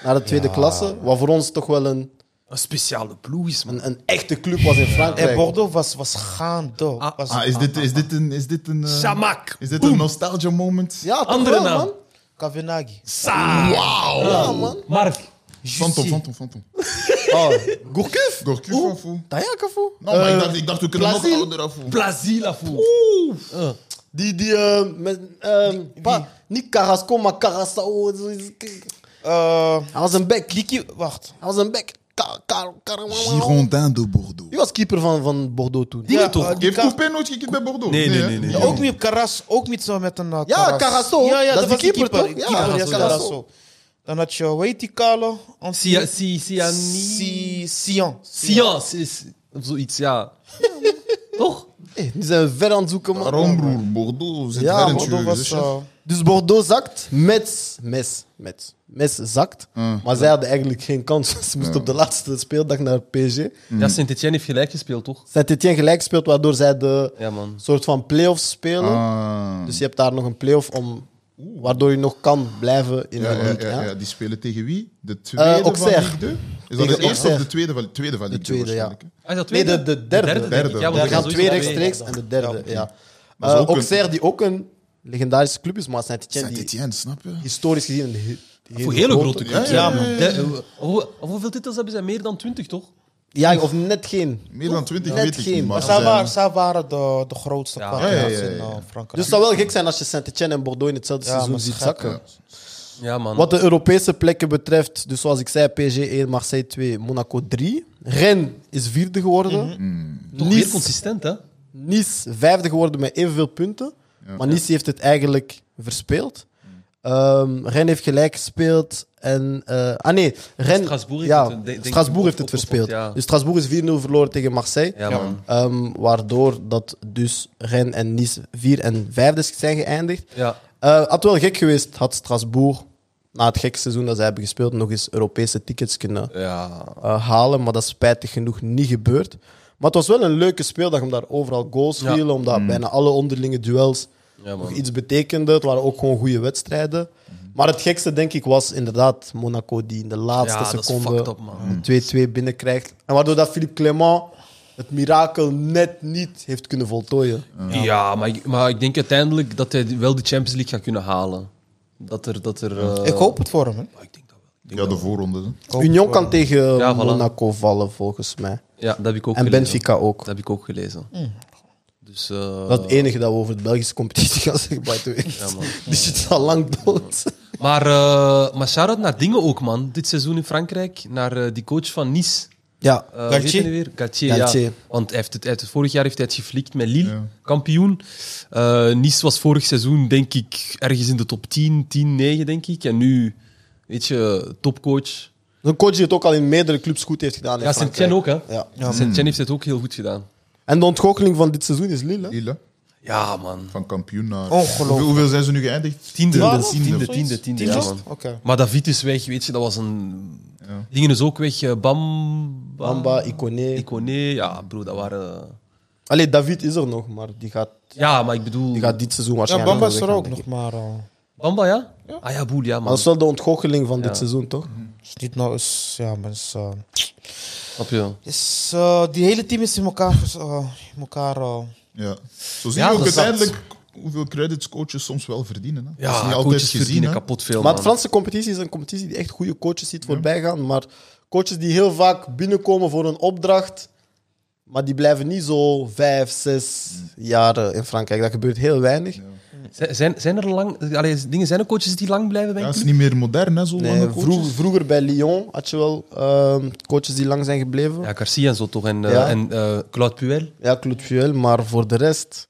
Speaker 1: naar de tweede klasse. Wat voor ons toch wel een,
Speaker 4: Een speciale ploeg is, man.
Speaker 1: een, een echte club was in Frankrijk.
Speaker 6: En Eh, Bordeaux was, was gaande. Was-
Speaker 5: Ah, is dit, is dit een... Is dit een, eh,
Speaker 4: Samak.
Speaker 5: is dit een nostalgia moment?
Speaker 1: Ja, toch
Speaker 4: Andere
Speaker 1: wel,
Speaker 4: naam.
Speaker 1: man.
Speaker 6: Kavenagi.
Speaker 4: Sa.
Speaker 1: Ja, man.
Speaker 4: Mark.
Speaker 5: Phantom, Phantom, Phantom.
Speaker 1: Oh, Gourcuff.
Speaker 5: Gorky van Fou.
Speaker 1: Tayakafu.
Speaker 5: Nou, maar ik dacht, ik dacht, we kunnen nog
Speaker 1: Plazin.
Speaker 5: ouder af. Fou.
Speaker 4: Plazila voel.
Speaker 1: Die, die, eh, met, eh, pa- niet Carrasco, maar Carrasco. Hij
Speaker 6: Eh,
Speaker 1: was een bek.
Speaker 6: Kiki, wacht.
Speaker 1: Hij was een bek. Ka- ka- ka-
Speaker 5: Girondin de Bordeaux.
Speaker 1: Die was keeper van, van Bordeaux toen.
Speaker 4: Dingen toch?
Speaker 6: eh, die
Speaker 5: Heeft
Speaker 6: Ka-
Speaker 5: Coupé nooit gekeken bij Bordeaux?
Speaker 4: Nee, nee,
Speaker 5: hè?
Speaker 4: nee, nee,
Speaker 5: Ja,
Speaker 4: nee.
Speaker 6: ook niet Karas, ook niet zo met een eh,
Speaker 1: Ja, Carrasco.
Speaker 6: Ja,
Speaker 1: Dat
Speaker 6: ja, dat,
Speaker 1: is
Speaker 6: was
Speaker 1: die
Speaker 6: die
Speaker 1: keeper,
Speaker 6: keeper.
Speaker 1: toch? Ja,
Speaker 6: Keeper, ja,
Speaker 1: Carrasco.
Speaker 6: Carrasco. Dan had je, weet die kale?
Speaker 4: Sia, si, sia,
Speaker 6: Si- Sion.
Speaker 4: Science is of zoiets, ja. toch?
Speaker 1: Hey, die zijn ver aan het zoeken, man.
Speaker 5: Waarom, broer? Bordeaux zit
Speaker 1: Ja,
Speaker 5: ver in het
Speaker 6: Bordeaux
Speaker 5: jeugen,
Speaker 6: was...
Speaker 5: zeg.
Speaker 6: eh,
Speaker 1: Dus Bordeaux zakt. Met, mes, met. Mes zakt. Maar zij hadden eigenlijk geen kans. Ze moesten op de laatste speeldag naar PSG.
Speaker 4: Ja, Saint-Etienne heeft gelijk gespeeld, toch?
Speaker 1: Saint-Etienne gelijk speelt, waardoor zij de
Speaker 4: Ja, man.
Speaker 1: soort van play-offs spelen.
Speaker 5: Ah.
Speaker 1: Dus je hebt daar nog een play-off om... Waardoor je nog kan blijven in
Speaker 5: Ja,
Speaker 1: de
Speaker 5: ja,
Speaker 1: league.
Speaker 5: ja,
Speaker 1: hè?
Speaker 5: ja. Die spelen tegen wie? De tweede van
Speaker 1: Eh, Auxerre.
Speaker 5: Ligue 2? Is dat
Speaker 1: Tegen
Speaker 5: de eerste
Speaker 1: Auxerre.
Speaker 5: of de tweede van, tweede van Ligue 2
Speaker 1: tweede, ja.
Speaker 5: waarschijnlijk,
Speaker 4: Ah,
Speaker 5: hè?
Speaker 4: is dat
Speaker 1: Nee, de,
Speaker 4: tweede?
Speaker 1: de derde.
Speaker 4: derde, denk ik.
Speaker 5: Derde.
Speaker 4: Ja, want
Speaker 5: Daar
Speaker 1: Er
Speaker 4: er
Speaker 1: gaan
Speaker 4: sowieso
Speaker 1: twee
Speaker 4: twee.
Speaker 1: rechtstreeks en de derde, ja.
Speaker 5: Maar ze
Speaker 1: Eh,
Speaker 5: ook een-
Speaker 1: Auxerre, die ook een legendarische club is, maar Saint-Etienne, die
Speaker 5: Saint-Étienne, snap je?
Speaker 1: historisch gezien een he-
Speaker 4: Voor hele grote
Speaker 5: Ja,
Speaker 4: clubs.
Speaker 5: ja,
Speaker 4: hè.
Speaker 5: ja, ja.
Speaker 4: De- hoe- hoe- hoeveel titels hebben zij? Meer dan 20, toch?
Speaker 1: Ja, of net geen.
Speaker 5: Meer dan 20
Speaker 1: Net
Speaker 5: weet ik
Speaker 1: geen.
Speaker 5: niet,
Speaker 6: Maar
Speaker 5: maar...
Speaker 6: zij,
Speaker 5: zijn-
Speaker 6: waren, zij waren de, de grootste
Speaker 4: Ja.
Speaker 6: pagina's
Speaker 5: Ja, ja, ja, ja.
Speaker 6: in eh, Frankrijk.
Speaker 1: Dus het zou wel gek zijn als je Saint-Etienne en Bordeaux in hetzelfde
Speaker 6: Ja,
Speaker 1: seizoen
Speaker 6: maar
Speaker 1: ziet
Speaker 6: gek,
Speaker 1: zakken.
Speaker 5: ja.
Speaker 4: Ja, man.
Speaker 1: Wat de Europese plekken betreft, dus zoals ik zei, PSG 1, Marseille 2, Monaco 3. Rennes is vierde
Speaker 4: Mhm.
Speaker 1: geworden.
Speaker 4: Toch weer
Speaker 1: Nice,
Speaker 4: consistent, hè?
Speaker 1: Nice vijfde geworden met evenveel punten. Maar Nice heeft het eigenlijk verspeeld. Ehm Rennes heeft gelijk gespeeld. En, eh, ah nee, Rennes,
Speaker 4: Strasbourg heeft
Speaker 1: ja,
Speaker 4: het, denk ik,
Speaker 1: Strasbourg
Speaker 4: op-
Speaker 1: heeft het
Speaker 4: op- op-
Speaker 1: verspeeld.
Speaker 4: ja.
Speaker 1: Dus Strasbourg is 4-0 verloren tegen Marseille.
Speaker 4: Ja, man.
Speaker 1: Ehm, waardoor dat dus Rennes en Nice 4 en 5 zijn geëindigd.
Speaker 4: Ja.
Speaker 1: Eh, had wel gek geweest, had Strasbourg na het gekke seizoen dat zij hebben gespeeld nog eens Europese tickets kunnen
Speaker 4: Ja.
Speaker 1: eh, halen. Maar dat is spijtig genoeg niet gebeurd. Maar het was wel een leuke speeldag om daar overal goals
Speaker 4: Ja.
Speaker 1: vielen. Omdat bijna alle onderlinge duels
Speaker 4: Ja, man. Mhm.
Speaker 1: nog iets betekenden. Het waren ook gewoon goede wedstrijden. Maar het gekste, denk ik, was inderdaad Monaco die in de laatste
Speaker 4: Ja, dat is
Speaker 1: seconde
Speaker 4: fucked up, man.
Speaker 1: een 2-2 binnenkrijgt. En waardoor dat Philippe Clement het mirakel net niet heeft kunnen voltooien.
Speaker 4: Ja, maar ik, maar ik denk uiteindelijk dat hij wel de Champions League gaat kunnen halen. Dat er... Dat er eh,
Speaker 6: ik hoop het voor hem. hè.
Speaker 4: ah, ik denk dat wel. Ik denk
Speaker 5: Ja,
Speaker 4: dat
Speaker 5: de voorronde. hè.
Speaker 6: Hoop
Speaker 1: Union
Speaker 6: het voor
Speaker 1: kan tegen
Speaker 4: Ja, voilà.
Speaker 1: Monaco vallen, volgens mij.
Speaker 4: wel. ja, dat heb ik ook
Speaker 1: En
Speaker 4: gelezen.
Speaker 1: Benfica ook.
Speaker 4: Dat heb ik ook gelezen. Dus... eh,
Speaker 1: Dat is het enige dat we over de Belgische competitie gaan zeggen, by the way. Die shit is al lang dood.
Speaker 4: Maar, eh maar shout-out naar dingen ook, man. Dit seizoen in Frankrijk. Naar eh, die coach van Nice.
Speaker 1: Ja,
Speaker 4: Eh,
Speaker 6: Galtier.
Speaker 4: weet je die weer? Galtier,
Speaker 1: Galtier.
Speaker 4: ja. Want hij heeft het, hij heeft het- vorig jaar heeft hij het geflikt met Lille, kampioen. Eh, nice was vorig seizoen, denk ik, ergens in de top 10, 10, 9, denk ik. En nu, weet je, topcoach.
Speaker 1: een coach die het ook al in meerdere clubs goed heeft gedaan. in
Speaker 4: Ja,
Speaker 1: Frankrijk.
Speaker 4: Saint-Etienne ook, hè?
Speaker 1: Ja.
Speaker 4: Saint-Etienne heeft het ook heel goed gedaan.
Speaker 1: En de ontgoocheling van dit seizoen is Lille. hè?
Speaker 5: Lille,
Speaker 4: Ja, man.
Speaker 5: van kampioen naar...
Speaker 6: Ongelooflijk.
Speaker 5: Hoeveel, hoeveel zijn ze nu geëindigd?
Speaker 4: Tiende,
Speaker 6: Twaalf,
Speaker 4: tiende,
Speaker 6: of zoiets?
Speaker 4: tiende, tiende,
Speaker 6: Tiende?
Speaker 4: ja, man.
Speaker 6: Oké.
Speaker 4: Maar David is weg, weet je, dat was een... Dingen is ook weg. eh, Bam...
Speaker 1: Bamba, Iconé.
Speaker 4: Iconé, ja, bro, dat waren...
Speaker 1: Allee, David is er nog, maar die gaat,
Speaker 4: Ja, maar ik bedoel...
Speaker 1: die gaat dit seizoen
Speaker 6: Ja,
Speaker 1: waarschijnlijk...
Speaker 6: Bamba is
Speaker 1: wel
Speaker 6: er
Speaker 1: weggaan,
Speaker 6: ook
Speaker 1: denk ik.
Speaker 6: nog, maar... eh,
Speaker 4: Bamba, ja? Ah ja, boel, ja,
Speaker 1: Maar
Speaker 4: man.
Speaker 1: dat is wel de ontgoocheling van dit seizoen, toch?
Speaker 6: is niet nou is... Ja, maar is... eh,
Speaker 4: Snap je?
Speaker 6: is eh, die hele team is in elkaar... vers- eh, in elkaar eh,
Speaker 5: Ja. Zo zie
Speaker 4: Ja,
Speaker 5: je ook
Speaker 4: dat is-
Speaker 5: uiteindelijk hoeveel credits coaches soms wel verdienen. Hè.
Speaker 4: Ja,
Speaker 5: dat is niet altijd
Speaker 4: coaches
Speaker 5: gezien.
Speaker 4: verdienen
Speaker 5: hè.
Speaker 4: kapot veel,
Speaker 1: Maar de
Speaker 4: man.
Speaker 1: Franse competitie is een competitie die echt goede coaches ziet voorbij gaan. Maar coaches die heel vaak binnenkomen voor een opdracht. Maar die blijven niet zo vijf, zes jaar eh, in Frankrijk. Dat gebeurt heel weinig.
Speaker 4: Z- Zijn, zijn er lang... Allee, dingen, zijn er coaches die lang blijven bij
Speaker 5: Ja,
Speaker 4: een
Speaker 5: het is
Speaker 4: club?
Speaker 5: niet meer modern, hè, zo
Speaker 1: Nee,
Speaker 5: lange coaches.
Speaker 1: Eh, vroeg- vroeger bij Lyon had je wel ehm, coaches die lang zijn gebleven. Ja,
Speaker 4: Ja, Garcia en zo toch. En, eh,
Speaker 1: Ja.
Speaker 4: en eh, Claude Puel.
Speaker 1: Claude Puel, maar voor de rest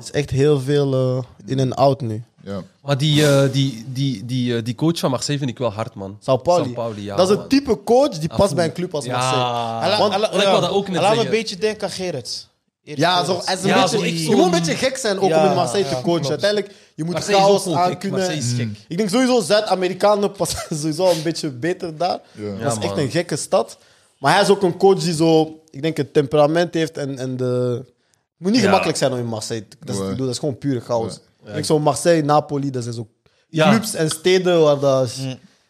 Speaker 1: is echt heel veel eh, in en out nu.
Speaker 5: Ja.
Speaker 4: Maar die, eh, die, die, die, eh, die coach van Marseille vind ik wel hard, man.
Speaker 1: Sao Pauli.
Speaker 4: Sao Pauli, ja.
Speaker 1: dat is
Speaker 4: man.
Speaker 1: een type coach die past
Speaker 4: goed.
Speaker 1: bij een club als
Speaker 4: Ja.
Speaker 1: Marseille.
Speaker 6: Alla-
Speaker 1: Want-
Speaker 6: alla-
Speaker 4: Want ik
Speaker 6: ja,
Speaker 4: wou dat ook net
Speaker 6: Laat me een
Speaker 4: zeggen.
Speaker 6: beetje denken aan Gerrit. Erik
Speaker 1: Ja, zo,
Speaker 6: Gerrits.
Speaker 1: hij is een
Speaker 4: Ja,
Speaker 1: beetje,
Speaker 4: zo ik-
Speaker 1: je moet een beetje gek zijn ook
Speaker 6: Ja,
Speaker 1: om in Marseille
Speaker 6: ja,
Speaker 1: te coachen.
Speaker 6: klopt.
Speaker 1: Uiteindelijk, je moet
Speaker 4: Marseille is
Speaker 1: chaos
Speaker 4: ook
Speaker 1: aan
Speaker 4: gek.
Speaker 1: kunnen.
Speaker 4: Marseille is gek.
Speaker 1: Ik denk sowieso Zuid-Amerikanen passen sowieso een beetje beter daar.
Speaker 5: Ja.
Speaker 1: Dat is
Speaker 4: Ja,
Speaker 1: echt
Speaker 4: man.
Speaker 1: een gekke stad. Maar hij is ook een coach die zo, ik denk, het temperament heeft en, en de, moet niet
Speaker 4: Ja.
Speaker 1: gemakkelijk zijn om in Marseille. te- Dat is,
Speaker 5: Ja.
Speaker 1: ik bedoel, dat is gewoon pure chaos. Ik zo Marseille, Napoli, dat zijn zo
Speaker 4: Ja. Mm.
Speaker 1: clubs en steden waar dat...